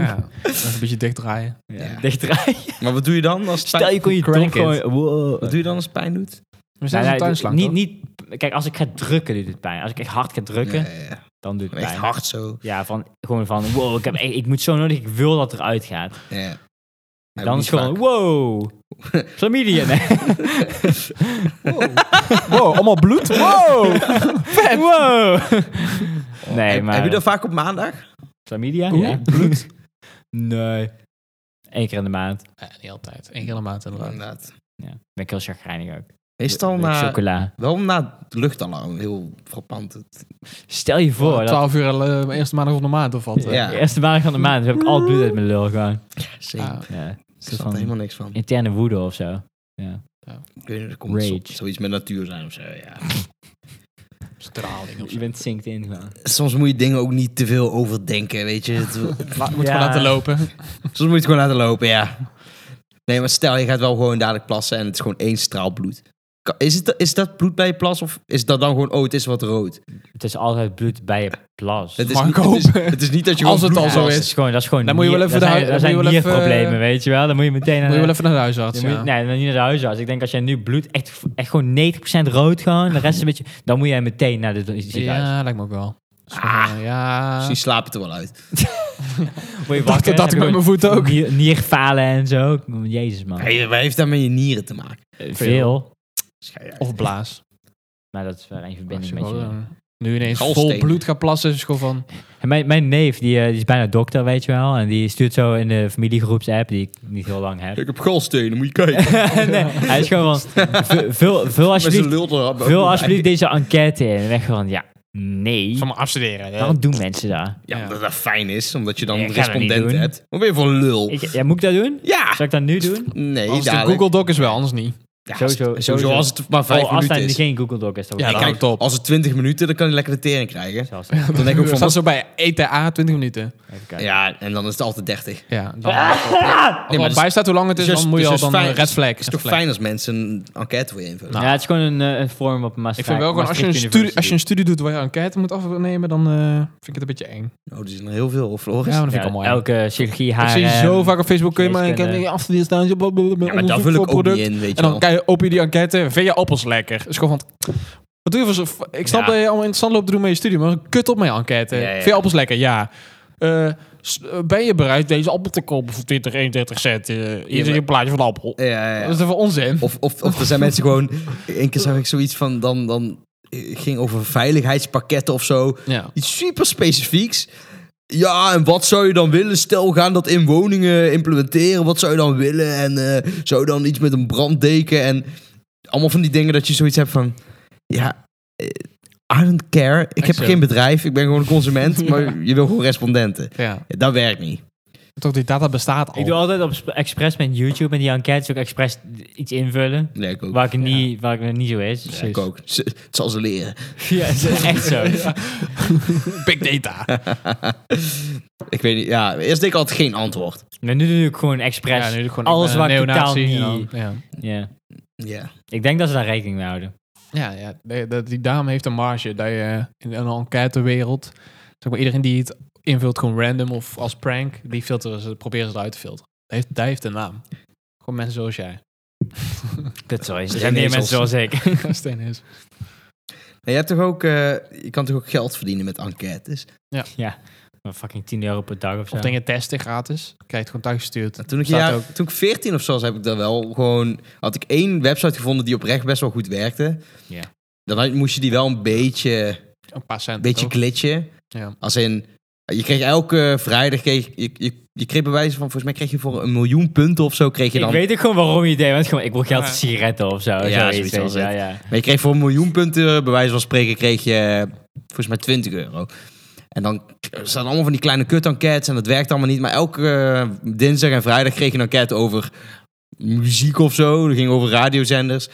[SPEAKER 2] Ja, even een beetje dicht draaien.
[SPEAKER 1] Ja.
[SPEAKER 3] Dicht draaien.
[SPEAKER 1] Maar wat doe je dan als het
[SPEAKER 3] Stel
[SPEAKER 1] pijn,
[SPEAKER 3] je kon je
[SPEAKER 2] Crank
[SPEAKER 3] tong
[SPEAKER 2] it.
[SPEAKER 3] gewoon... Wow.
[SPEAKER 1] wat doe je dan als het pijn doet?
[SPEAKER 2] We zijn
[SPEAKER 3] Nee,
[SPEAKER 2] een
[SPEAKER 3] nee,
[SPEAKER 2] tuinslang,
[SPEAKER 3] Nou niet,
[SPEAKER 2] toch?
[SPEAKER 3] niet, kijk, als ik ga drukken, doet het pijn. Als ik echt hard ga drukken,
[SPEAKER 1] Nee, ja.
[SPEAKER 3] dan doet het
[SPEAKER 1] Echt
[SPEAKER 3] pijn.
[SPEAKER 1] hard zo.
[SPEAKER 3] Ja, van, gewoon van, wow, ik, heb, echt- ik moet zo nodig, ik wil dat eruit gaat.
[SPEAKER 1] Ja.
[SPEAKER 3] dan is het gewoon, wow, chlamydia. Nee.
[SPEAKER 2] Wow, Oh, allemaal bloed? Wow!
[SPEAKER 3] Wow. Nee,
[SPEAKER 1] Heb-
[SPEAKER 3] maar...
[SPEAKER 1] Heb je dat vaak op maandag?
[SPEAKER 3] Chlamydia?
[SPEAKER 2] Oeh,
[SPEAKER 3] Ja.
[SPEAKER 2] bloed.
[SPEAKER 3] Nee. Eén keer in de maand.
[SPEAKER 2] Ja, Eh, niet altijd. Eén keer in de maand
[SPEAKER 3] Mm.
[SPEAKER 2] inderdaad.
[SPEAKER 1] Inderdaad.
[SPEAKER 3] Ja. Ben ik heel chagrijnig ook.
[SPEAKER 1] Meestal
[SPEAKER 3] Wil ik
[SPEAKER 1] na,
[SPEAKER 3] Chocola.
[SPEAKER 1] wel na het luchtalarm. Heel frappant. Het-
[SPEAKER 3] Stel je voor, Oh, dat
[SPEAKER 2] 12 uur eh, eerste maandag van de maand of wat. eh.
[SPEAKER 1] Ja.
[SPEAKER 3] de eerste maandag van de maand heb ik al bloed uit mijn lul gewoon.
[SPEAKER 1] Zeker.
[SPEAKER 2] Ja.
[SPEAKER 3] Ja.
[SPEAKER 1] ik
[SPEAKER 3] soort
[SPEAKER 1] snap
[SPEAKER 3] van-
[SPEAKER 1] er helemaal niks van.
[SPEAKER 3] Interne woede of zo.
[SPEAKER 1] Ik weet niet, er komt zo-
[SPEAKER 3] Rage.
[SPEAKER 1] zoiets met natuur zijn of zo. Ja.
[SPEAKER 2] Straling of
[SPEAKER 3] Je
[SPEAKER 2] zo.
[SPEAKER 3] bent zinkt in gewoon.
[SPEAKER 1] Soms moet je dingen ook niet te veel overdenken. Weet je. Het-
[SPEAKER 2] La- moet
[SPEAKER 3] Ja.
[SPEAKER 2] gewoon laten lopen.
[SPEAKER 1] Soms moet je het gewoon laten lopen, ja. Nee, maar stel, je gaat wel gewoon dadelijk plassen en het is gewoon één straal bloed. Ka- Is, het, is dat bloed bij je plas of is dat dan gewoon, oh, het is wat rood?
[SPEAKER 3] Het is altijd bloed bij je plas.
[SPEAKER 1] Het is,
[SPEAKER 2] Mag
[SPEAKER 1] niet,
[SPEAKER 2] ik
[SPEAKER 1] het is,
[SPEAKER 2] hopen.
[SPEAKER 1] het is niet dat je
[SPEAKER 2] Als
[SPEAKER 1] gewoon
[SPEAKER 2] het al
[SPEAKER 1] bloed
[SPEAKER 2] zo
[SPEAKER 1] plast.
[SPEAKER 3] Dat is gewoon, dat is gewoon
[SPEAKER 2] Dan moet je wel
[SPEAKER 3] nier-
[SPEAKER 2] even
[SPEAKER 3] daar
[SPEAKER 2] de
[SPEAKER 3] zijn,
[SPEAKER 2] hui-
[SPEAKER 3] daar
[SPEAKER 2] dan moet je
[SPEAKER 3] zijn
[SPEAKER 2] wel even,
[SPEAKER 3] nierproblemen, weet je wel. Dan moet je meteen naar
[SPEAKER 2] Moet je wel
[SPEAKER 3] de,
[SPEAKER 2] even naar de huisarts.
[SPEAKER 3] dan moet
[SPEAKER 2] ja.
[SPEAKER 3] je- nee, dan niet naar de huisarts. Ik denk als jij nu bloed echt, echt gewoon 90% rood gewoon, de rest een beetje, dan moet jij meteen naar de ziekenhuis.
[SPEAKER 2] Ja, lijkt me ook wel. Dus van,
[SPEAKER 1] Ah.
[SPEAKER 2] eh, ja.
[SPEAKER 1] Misschien slaap het er wel uit.
[SPEAKER 3] Word je
[SPEAKER 2] Dacht
[SPEAKER 3] wakker,
[SPEAKER 2] dat dat
[SPEAKER 3] heb
[SPEAKER 2] ik
[SPEAKER 3] je
[SPEAKER 2] met mijn
[SPEAKER 3] gewoon
[SPEAKER 2] voet ook.
[SPEAKER 3] nier- Nierfalen en zo. Jezus man.
[SPEAKER 1] Hey, Wat heeft dat met je nieren te maken?
[SPEAKER 3] Eh,
[SPEAKER 2] veel.
[SPEAKER 3] veel.
[SPEAKER 2] Of blaas.
[SPEAKER 3] Maar dat is wel een
[SPEAKER 2] Als
[SPEAKER 3] verbinding
[SPEAKER 2] je
[SPEAKER 3] met
[SPEAKER 2] wel,
[SPEAKER 3] je.
[SPEAKER 2] eh, Nu ineens vol
[SPEAKER 1] Galsteen.
[SPEAKER 2] bloed gaat plassen, is het gewoon van...
[SPEAKER 3] En Mijn, mijn neef, die, eh, die is bijna dokter, weet je wel. En die stuurt zo in de familiegroepsapp, die ik niet heel lang heb.
[SPEAKER 1] Ik heb galstenen, moet je kijken.
[SPEAKER 3] nee, hij is gewoon van, "Vul- vul, vul
[SPEAKER 1] Met zijn
[SPEAKER 3] alsjeblieft,
[SPEAKER 1] lul erop.
[SPEAKER 3] vul alsjeblieft deze enquête in. En ik gewoon, ja, Nee.
[SPEAKER 2] Van me afstuderen. hè?
[SPEAKER 3] Waarom doen mensen dat?
[SPEAKER 1] Ja,
[SPEAKER 2] Ja.
[SPEAKER 1] omdat dat fijn is, omdat je dan
[SPEAKER 3] Nee, ik ga dat niet
[SPEAKER 1] respondenten
[SPEAKER 3] doen.
[SPEAKER 1] hebt. Wat ben je voor een lul?
[SPEAKER 3] Ik, ja, moet ik dat doen?
[SPEAKER 1] ja!
[SPEAKER 3] Zal ik dat nu doen?
[SPEAKER 1] Nee,
[SPEAKER 2] Als het een
[SPEAKER 1] dadelijk.
[SPEAKER 2] Google Doc is wel, anders niet.
[SPEAKER 1] Ja, als-
[SPEAKER 3] Sowieso-
[SPEAKER 1] sowieso
[SPEAKER 3] sowieso.
[SPEAKER 1] als het maar vijf
[SPEAKER 3] oh, als
[SPEAKER 1] minuten
[SPEAKER 3] dat
[SPEAKER 1] is.
[SPEAKER 3] geen Google Doc is, dan
[SPEAKER 2] Ja,
[SPEAKER 1] En
[SPEAKER 3] wordt
[SPEAKER 2] dan-
[SPEAKER 3] het
[SPEAKER 2] houdt
[SPEAKER 1] kijk,
[SPEAKER 2] het op.
[SPEAKER 1] als het 20 minuten, dan kan je lekker de tering krijgen.
[SPEAKER 3] zelfs. Even
[SPEAKER 1] Dan denk ik
[SPEAKER 2] Dat
[SPEAKER 1] ook van...
[SPEAKER 2] staat zo bij E ETA 20 minuten.
[SPEAKER 3] kijken.
[SPEAKER 1] Ja, en dan is het altijd 30. Het
[SPEAKER 2] Ja. Dan, Als er al
[SPEAKER 1] dat is-
[SPEAKER 2] bij staat hoe lang het is,
[SPEAKER 1] dus-
[SPEAKER 2] dan moet je
[SPEAKER 1] dus
[SPEAKER 2] al
[SPEAKER 1] is
[SPEAKER 2] dan
[SPEAKER 1] fijn-
[SPEAKER 2] een red flag.
[SPEAKER 1] is toch fijn als mensen een enquête voor je invullen?
[SPEAKER 2] Nou.
[SPEAKER 3] Ja, het is gewoon een, eh, een vorm op een
[SPEAKER 2] Ik vind wel gewoon, als je, een studie, als je een studie doet waar je enquête moet afnemen, dan eh, vind ik het een beetje eng.
[SPEAKER 1] Oh, er zijn er heel veel, Floris.
[SPEAKER 2] Ja, maar dat vind ik allemaal
[SPEAKER 3] ja,
[SPEAKER 2] eng.
[SPEAKER 3] elke chirurgie haar.
[SPEAKER 2] ik zie zo
[SPEAKER 3] ehm,
[SPEAKER 2] vaak op Facebook, kun je maar
[SPEAKER 3] geneeskunde.
[SPEAKER 2] enquête afstudeer staan. Ja,
[SPEAKER 1] Ja, maar daar vul ik ook niet in, weet je
[SPEAKER 2] En dan
[SPEAKER 1] wel.
[SPEAKER 2] kijk je open je die enquête, vind je appels lekker? Dus gewoon van, wat doe je voor zo... Ik snap
[SPEAKER 1] Ja.
[SPEAKER 2] dat je allemaal interessant loopt te doen met je studie, maar kut op met je enquête.
[SPEAKER 1] Ja, ja.
[SPEAKER 2] Vind je appels lekker? Ja. Eh, s- eh, ben je bereid deze appel te kopen voor 20, 31 cent? Eh, hier
[SPEAKER 1] Ja,
[SPEAKER 2] zit
[SPEAKER 1] maar-
[SPEAKER 2] je plaatje van de appel.
[SPEAKER 1] Ja, ja, ja.
[SPEAKER 2] Dat is toch voor onzin?
[SPEAKER 1] Of, of, of er zijn mensen gewoon... Eén keer zag ik zoiets van... Dan, dan eh, ging over veiligheidspakketten of zo.
[SPEAKER 2] Ja.
[SPEAKER 1] Iets super specifieks. Ja, en wat zou je dan willen? Stel, we gaan dat in woningen implementeren. Wat zou je dan willen? En eh, zou je dan iets met een branddeken? En allemaal van die dingen dat je zoiets hebt van... Ja, eh, I don't care. Ik heb
[SPEAKER 2] Exact.
[SPEAKER 1] geen bedrijf. Ik ben gewoon een consument. Maar je wil gewoon respondenten.
[SPEAKER 2] ja.
[SPEAKER 1] Ja, dat werkt niet.
[SPEAKER 2] Toch, die data bestaat al.
[SPEAKER 3] Ik doe altijd op sp- expres met YouTube en die enquêtes ook expres iets invullen.
[SPEAKER 1] Nee, ik ook.
[SPEAKER 3] Waar ik, niet, waar ik nog niet zo is. Dus
[SPEAKER 1] Ja, ik ook. Z- Het zal ze leren.
[SPEAKER 3] Ja, is echt zo.
[SPEAKER 2] Big data.
[SPEAKER 1] Ik weet niet. Ja, eerst deed ik altijd geen antwoord.
[SPEAKER 3] Maar nu doe ik gewoon expres.
[SPEAKER 2] doe ik gewoon,
[SPEAKER 3] Alles
[SPEAKER 2] ben
[SPEAKER 3] waar
[SPEAKER 2] een
[SPEAKER 3] ik totaal
[SPEAKER 2] neonazi
[SPEAKER 3] niet-
[SPEAKER 2] en dan- ja.
[SPEAKER 3] Ja.
[SPEAKER 1] Ja.
[SPEAKER 3] Ik denk dat ze daar rekening mee houden.
[SPEAKER 2] Ja, ja. Nee, dat- die dame heeft een marge. Dat je in een enquêtewereld, zeg maar, iedereen die het invult gewoon random of als prank, die filteren ze, proberen ze eruit te filteren. Dat heeft, dat heeft een naam. Gewoon mensen zoals jij.
[SPEAKER 3] Kut, sorry. Er
[SPEAKER 1] Geen
[SPEAKER 3] zijn meer mensen
[SPEAKER 1] ezels.
[SPEAKER 3] zoals ik.
[SPEAKER 2] Steen is.
[SPEAKER 1] En je, hebt toch ook, eh, je kan toch ook geld verdienen met enquêtes?
[SPEAKER 3] Maar fucking 10 euro per dag of zo.
[SPEAKER 2] Of dingen testen gratis. Krijg je het gewoon thuis gestuurd.
[SPEAKER 1] Nou, toen, ik
[SPEAKER 2] Staat
[SPEAKER 1] jaar,
[SPEAKER 2] ook.
[SPEAKER 1] toen ik 14 of zo was, heb ik daar wel gewoon... Had ik één website gevonden die oprecht best wel goed werkte.
[SPEAKER 3] Ja.
[SPEAKER 1] Dan had- moest je die wel een beetje,
[SPEAKER 2] Een paar cent.
[SPEAKER 1] een beetje
[SPEAKER 2] ook.
[SPEAKER 1] glitchen.
[SPEAKER 2] Ja.
[SPEAKER 1] Als in... Je kreeg elke vrijdag... Kreeg, je, je, je kreeg bij wijze van... Volgens mij kreeg je voor een miljoen punten of zo... Kreeg je
[SPEAKER 3] Ik
[SPEAKER 1] dan
[SPEAKER 3] weet ook gewoon waarom je het deed. Want gewoon, ik wil geld
[SPEAKER 2] Ja.
[SPEAKER 3] voor sigaretten of zo. zoiets,
[SPEAKER 1] zoiets
[SPEAKER 3] weet
[SPEAKER 1] was
[SPEAKER 3] je,
[SPEAKER 1] het.
[SPEAKER 3] ja, ja.
[SPEAKER 1] Maar je kreeg voor een miljoen punten, bij wijze van spreken, kreeg je eh, volgens mij 20 euro. En dan staan allemaal van die kleine kut-enquêtes en dat werkt allemaal niet. Maar elke eh, dinsdag en vrijdag kreeg je een enquête over muziek of zo. Dat ging over radiozenders.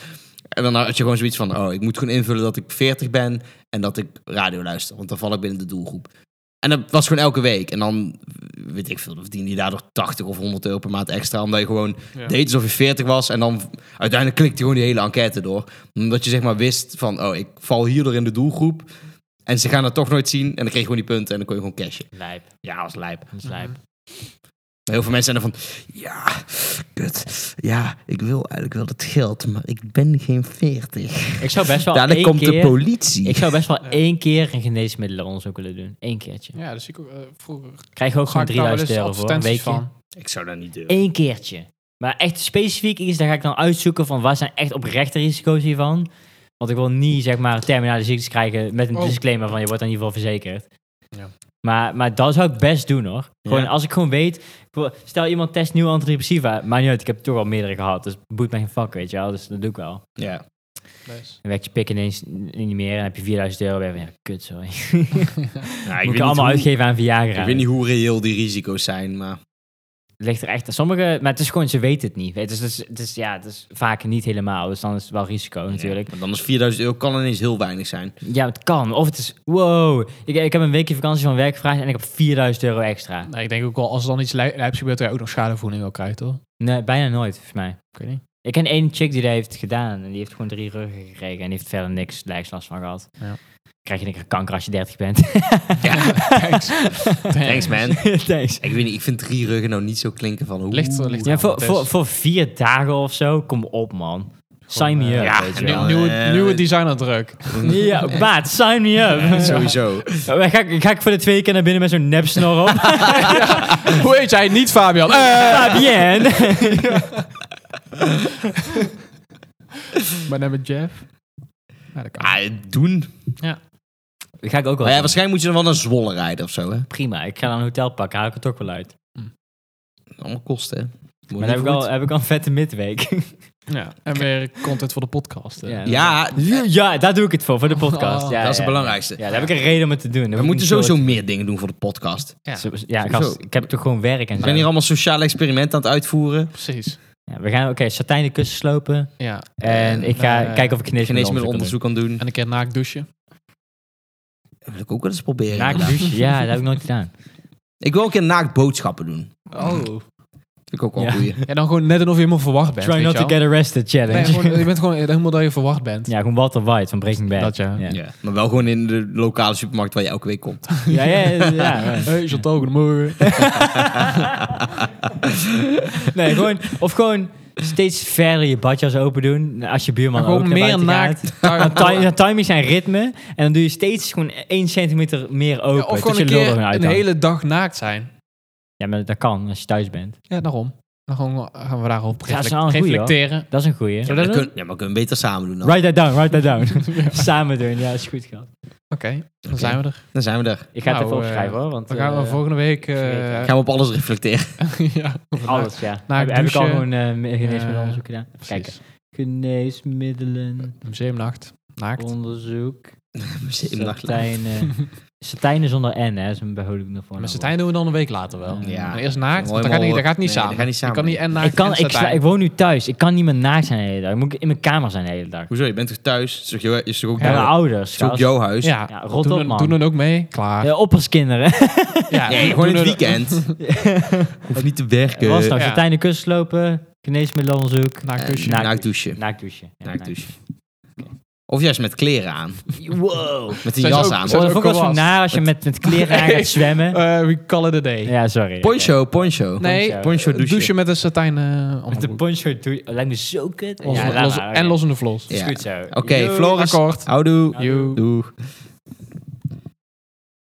[SPEAKER 1] En dan had je gewoon zoiets van, oh, ik moet gewoon invullen dat ik 40 ben en dat ik radio luister. Want dan val ik binnen de doelgroep. En dat was gewoon elke week. En dan, weet ik veel, dan verdiende je daardoor 80 of 100 euro per maand extra. Omdat je gewoon
[SPEAKER 2] Ja.
[SPEAKER 1] deed alsof je 40 was. En dan uiteindelijk klikte je gewoon die hele enquête door. Omdat je zeg maar wist van, oh, ik val hierdoor in de doelgroep. En ze gaan dat toch nooit zien. En dan kreeg je gewoon die punten en dan kon je gewoon cashen.
[SPEAKER 3] Lijp.
[SPEAKER 1] Ja, dat was lijp.
[SPEAKER 3] Dat is lijp. Mhm.
[SPEAKER 1] Maar heel veel mensen zijn er van, ja, kut. Ja, ik wil eigenlijk wel dat geld, maar ik ben geen 40.
[SPEAKER 3] Ik zou best wel
[SPEAKER 1] Dadelijk
[SPEAKER 3] één
[SPEAKER 1] komt de
[SPEAKER 3] keer-
[SPEAKER 1] politie.
[SPEAKER 3] Ik zou best wel
[SPEAKER 2] Ja.
[SPEAKER 3] één keer een geneesmiddelenonderzoek willen doen. Eén keertje.
[SPEAKER 2] Ja, dat zie ik ook eh, vroeger.
[SPEAKER 3] Krijg je ook
[SPEAKER 2] Ga
[SPEAKER 3] gewoon
[SPEAKER 2] ik daar wel eens
[SPEAKER 3] 3000 euro voor. Een
[SPEAKER 2] advertenties
[SPEAKER 3] weekje.
[SPEAKER 2] van.
[SPEAKER 1] Ik zou dat niet doen.
[SPEAKER 3] Eén keertje. Maar echt specifiek iets, daar ga ik dan uitzoeken van waar zijn echt oprechte risico's hiervan. Want ik wil niet, zeg maar, terminale ziektes krijgen met een
[SPEAKER 2] Oh.
[SPEAKER 3] disclaimer van je wordt in ieder geval verzekerd.
[SPEAKER 2] Ja.
[SPEAKER 3] Maar, maar dat zou ik best doen hoor. Gewoon
[SPEAKER 1] Ja.
[SPEAKER 3] als ik gewoon weet, ik wil- stel iemand test nieuwe antidepressiva. Maar niet uit, ik heb toch al meerdere gehad. Dus het boeit mij geen fuck, weet je wel. Dus dat doe ik wel.
[SPEAKER 1] Ja.
[SPEAKER 2] Dus.
[SPEAKER 3] Dan werkt je pik ineens niet meer en dan heb je 4000 euro weer van, ja, kut sorry.
[SPEAKER 1] Nou,
[SPEAKER 3] Moet ik allemaal uitgeven aan Viagra.
[SPEAKER 1] Ik weet niet hoe reëel die risico's zijn, maar...
[SPEAKER 3] Het ligt er echt. Sommige, maar het is gewoon, ze weten het niet. Het is, het is, het is- ja, het is vaak niet helemaal. Dus dan is het wel risico natuurlijk.
[SPEAKER 1] Ja, maar dan is 4000 euro kan ineens heel weinig zijn.
[SPEAKER 3] Ja, het kan. Of het is, wow, ik, ik heb een weekje vakantie van werk gevraagd en ik heb 4000 euro extra.
[SPEAKER 2] Nou, ik denk ook wel, als er dan iets lij- lijps gebeurt, dat je ook nog schadevoeding wel krijgt, hoor.
[SPEAKER 3] Nee, bijna nooit, volgens mij.
[SPEAKER 2] Ik weet niet.
[SPEAKER 3] Ik ken één chick die dat heeft gedaan. En die heeft gewoon drie ruggen gekregen. En die heeft verder niks lijkslast van gehad.
[SPEAKER 2] Ja.
[SPEAKER 3] Krijg je een keer kanker als je 30 bent.
[SPEAKER 1] Ja,
[SPEAKER 2] Thanks.
[SPEAKER 1] thanks man.
[SPEAKER 3] Thanks.
[SPEAKER 1] Ik weet niet, ik vind drie ruggen nou niet zo klinken van... oeh.
[SPEAKER 2] Ligt er- ligt er-
[SPEAKER 3] Ja, voor,
[SPEAKER 2] dat is-
[SPEAKER 3] voor, voor vier dagen of zo, kom op man. Sign me
[SPEAKER 2] eh,
[SPEAKER 3] up.
[SPEAKER 1] ja,
[SPEAKER 3] weet je
[SPEAKER 1] nu-
[SPEAKER 3] wel.
[SPEAKER 1] nu-
[SPEAKER 2] Nieuwe, nieuwe designerdruk.
[SPEAKER 3] Ja, maat, sign me up.
[SPEAKER 1] Sowieso.
[SPEAKER 3] Dan Ga ik, ga ik voor de twee keer naar binnen met zo'n nepsnor op?
[SPEAKER 2] Hoe heet jij niet, Fabian? Eh,
[SPEAKER 3] Fabienne!
[SPEAKER 2] Mijn naam is Jeff. Ja, dat kan.
[SPEAKER 1] Ah, doen.
[SPEAKER 3] ga ik
[SPEAKER 1] Maar
[SPEAKER 3] ook wel
[SPEAKER 1] ja,
[SPEAKER 3] doen.
[SPEAKER 1] waarschijnlijk moet je dan wel naar Zwolle rijden of zo, hè?
[SPEAKER 3] Prima, ik ga dan een hotel pakken, haal ik het ook wel uit.
[SPEAKER 1] Allemaal kosten, hè? Wordt
[SPEAKER 3] Maar dan heb
[SPEAKER 1] niet
[SPEAKER 3] ik, eh, al,
[SPEAKER 1] goed.
[SPEAKER 3] heb ik al een vette midweek.
[SPEAKER 2] Ja. En weer content voor de podcast. hè.
[SPEAKER 1] Ja,
[SPEAKER 3] Ja, ja, daar doe ik het voor, voor de podcast.
[SPEAKER 2] Oh,
[SPEAKER 3] ja,
[SPEAKER 1] dat is het
[SPEAKER 3] ja,
[SPEAKER 1] belangrijkste.
[SPEAKER 3] Ja, daar heb ik een reden om het te doen.
[SPEAKER 1] We moeten sowieso meer dingen doen voor de podcast.
[SPEAKER 2] Ja,
[SPEAKER 3] Ja,
[SPEAKER 1] Sowieso.
[SPEAKER 3] gast, ik heb toch gewoon werk en
[SPEAKER 1] We
[SPEAKER 3] zo.
[SPEAKER 1] zijn hier allemaal sociale experimenten aan het uitvoeren.
[SPEAKER 2] precies.
[SPEAKER 3] Ja, we gaan, oké, satijnen kussen slopen.
[SPEAKER 2] Ja.
[SPEAKER 3] En ik ga
[SPEAKER 2] eh,
[SPEAKER 3] kijken of ik
[SPEAKER 1] Ik eens meer
[SPEAKER 3] geneesmiddelonderzoek
[SPEAKER 1] onderzoek aan doen.
[SPEAKER 2] En een keer naakt douchen.
[SPEAKER 1] Dat wil ik ook wel eens proberen.
[SPEAKER 3] kan doen. Naakt
[SPEAKER 1] inderdaad.
[SPEAKER 3] douchen, ja, dat heb ik nooit gedaan.
[SPEAKER 1] Ik wil ook een keer naakt boodschappen doen.
[SPEAKER 2] Oh.
[SPEAKER 1] Vind ik ook wel
[SPEAKER 3] Ja.
[SPEAKER 1] een goeie.
[SPEAKER 2] Ja, dan gewoon net alsof je helemaal verwacht bent.
[SPEAKER 3] Try
[SPEAKER 2] weet
[SPEAKER 3] not
[SPEAKER 2] je
[SPEAKER 3] to
[SPEAKER 2] wel.
[SPEAKER 3] get arrested challenge.
[SPEAKER 2] Nee, gewoon, je bent gewoon helemaal dat je verwacht bent.
[SPEAKER 3] Ja, gewoon Walter White van Breaking Bad.
[SPEAKER 2] Dat ja.
[SPEAKER 3] Ja, ja,
[SPEAKER 1] Ja. Maar wel gewoon in de lokale supermarkt waar je elke week komt.
[SPEAKER 3] ja. ja, ja.
[SPEAKER 2] Hey, Chantal, goedemorgen.
[SPEAKER 3] nee, gewoon, of gewoon steeds verder je badjas open doen. Als je buurman
[SPEAKER 2] Maar gewoon
[SPEAKER 3] ook naar
[SPEAKER 2] meer
[SPEAKER 3] buiten
[SPEAKER 2] naakt.
[SPEAKER 3] gaat.
[SPEAKER 2] Daar-
[SPEAKER 3] Dan, ti- dan time je zijn ritme. En dan doe je steeds gewoon 1 centimeter meer open.
[SPEAKER 2] Ja, of
[SPEAKER 3] tot
[SPEAKER 2] gewoon
[SPEAKER 3] je
[SPEAKER 2] een
[SPEAKER 3] lul er
[SPEAKER 2] keer
[SPEAKER 3] gewoon uit
[SPEAKER 2] een
[SPEAKER 3] hangt.
[SPEAKER 2] hele dag naakt zijn.
[SPEAKER 3] Ja, maar dat kan als je thuis bent.
[SPEAKER 2] Ja, daarom. Dan gewoon, gaan we daarop
[SPEAKER 3] Ja, dat is
[SPEAKER 2] reflect-
[SPEAKER 3] wel een goeie, hoor.
[SPEAKER 2] reflecteren.
[SPEAKER 3] Dat is een goeie.
[SPEAKER 1] Ja, maar dat kun- ja, maar kunnen we beter samen doen dan.
[SPEAKER 3] Write that down, write that down. Samen doen, ja, is goed gehad.
[SPEAKER 2] Oké, dan
[SPEAKER 1] Oké.
[SPEAKER 2] zijn we er.
[SPEAKER 1] Dan zijn we er.
[SPEAKER 3] Ik ga het
[SPEAKER 2] Nou,
[SPEAKER 3] even opschrijven
[SPEAKER 2] eh,
[SPEAKER 3] hoor, want
[SPEAKER 2] Dan gaan we
[SPEAKER 3] eh,
[SPEAKER 2] volgende week... eh,
[SPEAKER 3] vergeten.
[SPEAKER 1] Gaan we op alles reflecteren.
[SPEAKER 2] ja,
[SPEAKER 3] alles, ja.
[SPEAKER 2] na
[SPEAKER 3] heb,
[SPEAKER 2] het
[SPEAKER 3] heb ik al
[SPEAKER 2] douchen.
[SPEAKER 3] gewoon eh geneesmiddelen
[SPEAKER 2] Ja,
[SPEAKER 3] onderzoek gedaan? Kijk,
[SPEAKER 2] Precies.
[SPEAKER 3] geneesmiddelen
[SPEAKER 2] Museumnacht. Naakt.
[SPEAKER 3] onderzoek.
[SPEAKER 1] Misschien in de nacht.
[SPEAKER 3] Satijnen. Satijnen zonder N, hè, is een behouding ervoor.
[SPEAKER 2] Met Satijn doen we dan een week later wel.
[SPEAKER 1] Ja.
[SPEAKER 2] Maar Eerst naakt,
[SPEAKER 1] Mooi
[SPEAKER 2] want dat gaat niet, dat
[SPEAKER 1] mogelijk.
[SPEAKER 2] gaat niet
[SPEAKER 1] Nee,
[SPEAKER 2] samen.
[SPEAKER 1] dat gaat niet samen.
[SPEAKER 2] Ik kan niet en naakt
[SPEAKER 3] Ik, kan,
[SPEAKER 2] en
[SPEAKER 3] ik, sla-
[SPEAKER 2] satijn.
[SPEAKER 3] ik woon nu thuis. Ik kan niet meer naakt zijn de hele dag. Ik moet in mijn kamer zijn de hele dag.
[SPEAKER 1] Hoezo? Je bent toch thuis? Het is toch jouw- het is toch ook,
[SPEAKER 2] Ja,
[SPEAKER 3] Bij mijn
[SPEAKER 1] jouw,
[SPEAKER 3] ouders.
[SPEAKER 1] het is ook
[SPEAKER 3] gast.
[SPEAKER 1] jouw huis?
[SPEAKER 2] Ja,
[SPEAKER 3] Ja, rot
[SPEAKER 2] doen,
[SPEAKER 3] op,
[SPEAKER 2] dan-
[SPEAKER 3] man.
[SPEAKER 2] doen dan ook mee. Klaar.
[SPEAKER 3] Eh, opperskinderen.
[SPEAKER 2] Ja,
[SPEAKER 1] Nee,
[SPEAKER 2] doen
[SPEAKER 1] gewoon in het
[SPEAKER 2] dan-
[SPEAKER 1] weekend. Hoef niet te werken.
[SPEAKER 3] Was nou
[SPEAKER 2] Ja.
[SPEAKER 3] satijnen kussen lopen, geneesmiddelenonderzoek,
[SPEAKER 2] Naakt
[SPEAKER 1] Eh,
[SPEAKER 2] kusje.
[SPEAKER 3] naakt-
[SPEAKER 1] Naakt douchen.
[SPEAKER 3] naakt douchen. Ja,
[SPEAKER 1] Naakt douchen. Of juist met kleren aan.
[SPEAKER 3] Wow.
[SPEAKER 1] Met een
[SPEAKER 2] Zijn ze
[SPEAKER 1] jas
[SPEAKER 2] ook-
[SPEAKER 1] aan.
[SPEAKER 2] Zijn
[SPEAKER 3] Oh, dat
[SPEAKER 2] ze
[SPEAKER 3] vond ik wel
[SPEAKER 2] ook
[SPEAKER 3] zo naar als je met, met kleren aan gaat zwemmen.
[SPEAKER 2] Eh, we call it a day.
[SPEAKER 3] Ja, sorry.
[SPEAKER 1] Poncho, poncho.
[SPEAKER 2] Nee,
[SPEAKER 3] poncho.
[SPEAKER 1] Poncho douchen.
[SPEAKER 2] douchen met een satijn eh,
[SPEAKER 3] Met de
[SPEAKER 2] onderbroek.
[SPEAKER 3] poncho doe je... Lijkt me zo kut.
[SPEAKER 2] Los-
[SPEAKER 3] Ja, laat
[SPEAKER 2] los-
[SPEAKER 3] maar, oké.
[SPEAKER 2] En los in de vlos.
[SPEAKER 3] Is
[SPEAKER 1] Ja.
[SPEAKER 3] goed zo.
[SPEAKER 1] Oké,
[SPEAKER 3] Yo.
[SPEAKER 1] Floris.
[SPEAKER 2] Akkoord.
[SPEAKER 1] Houdoe.
[SPEAKER 2] Yo.
[SPEAKER 1] Doeg.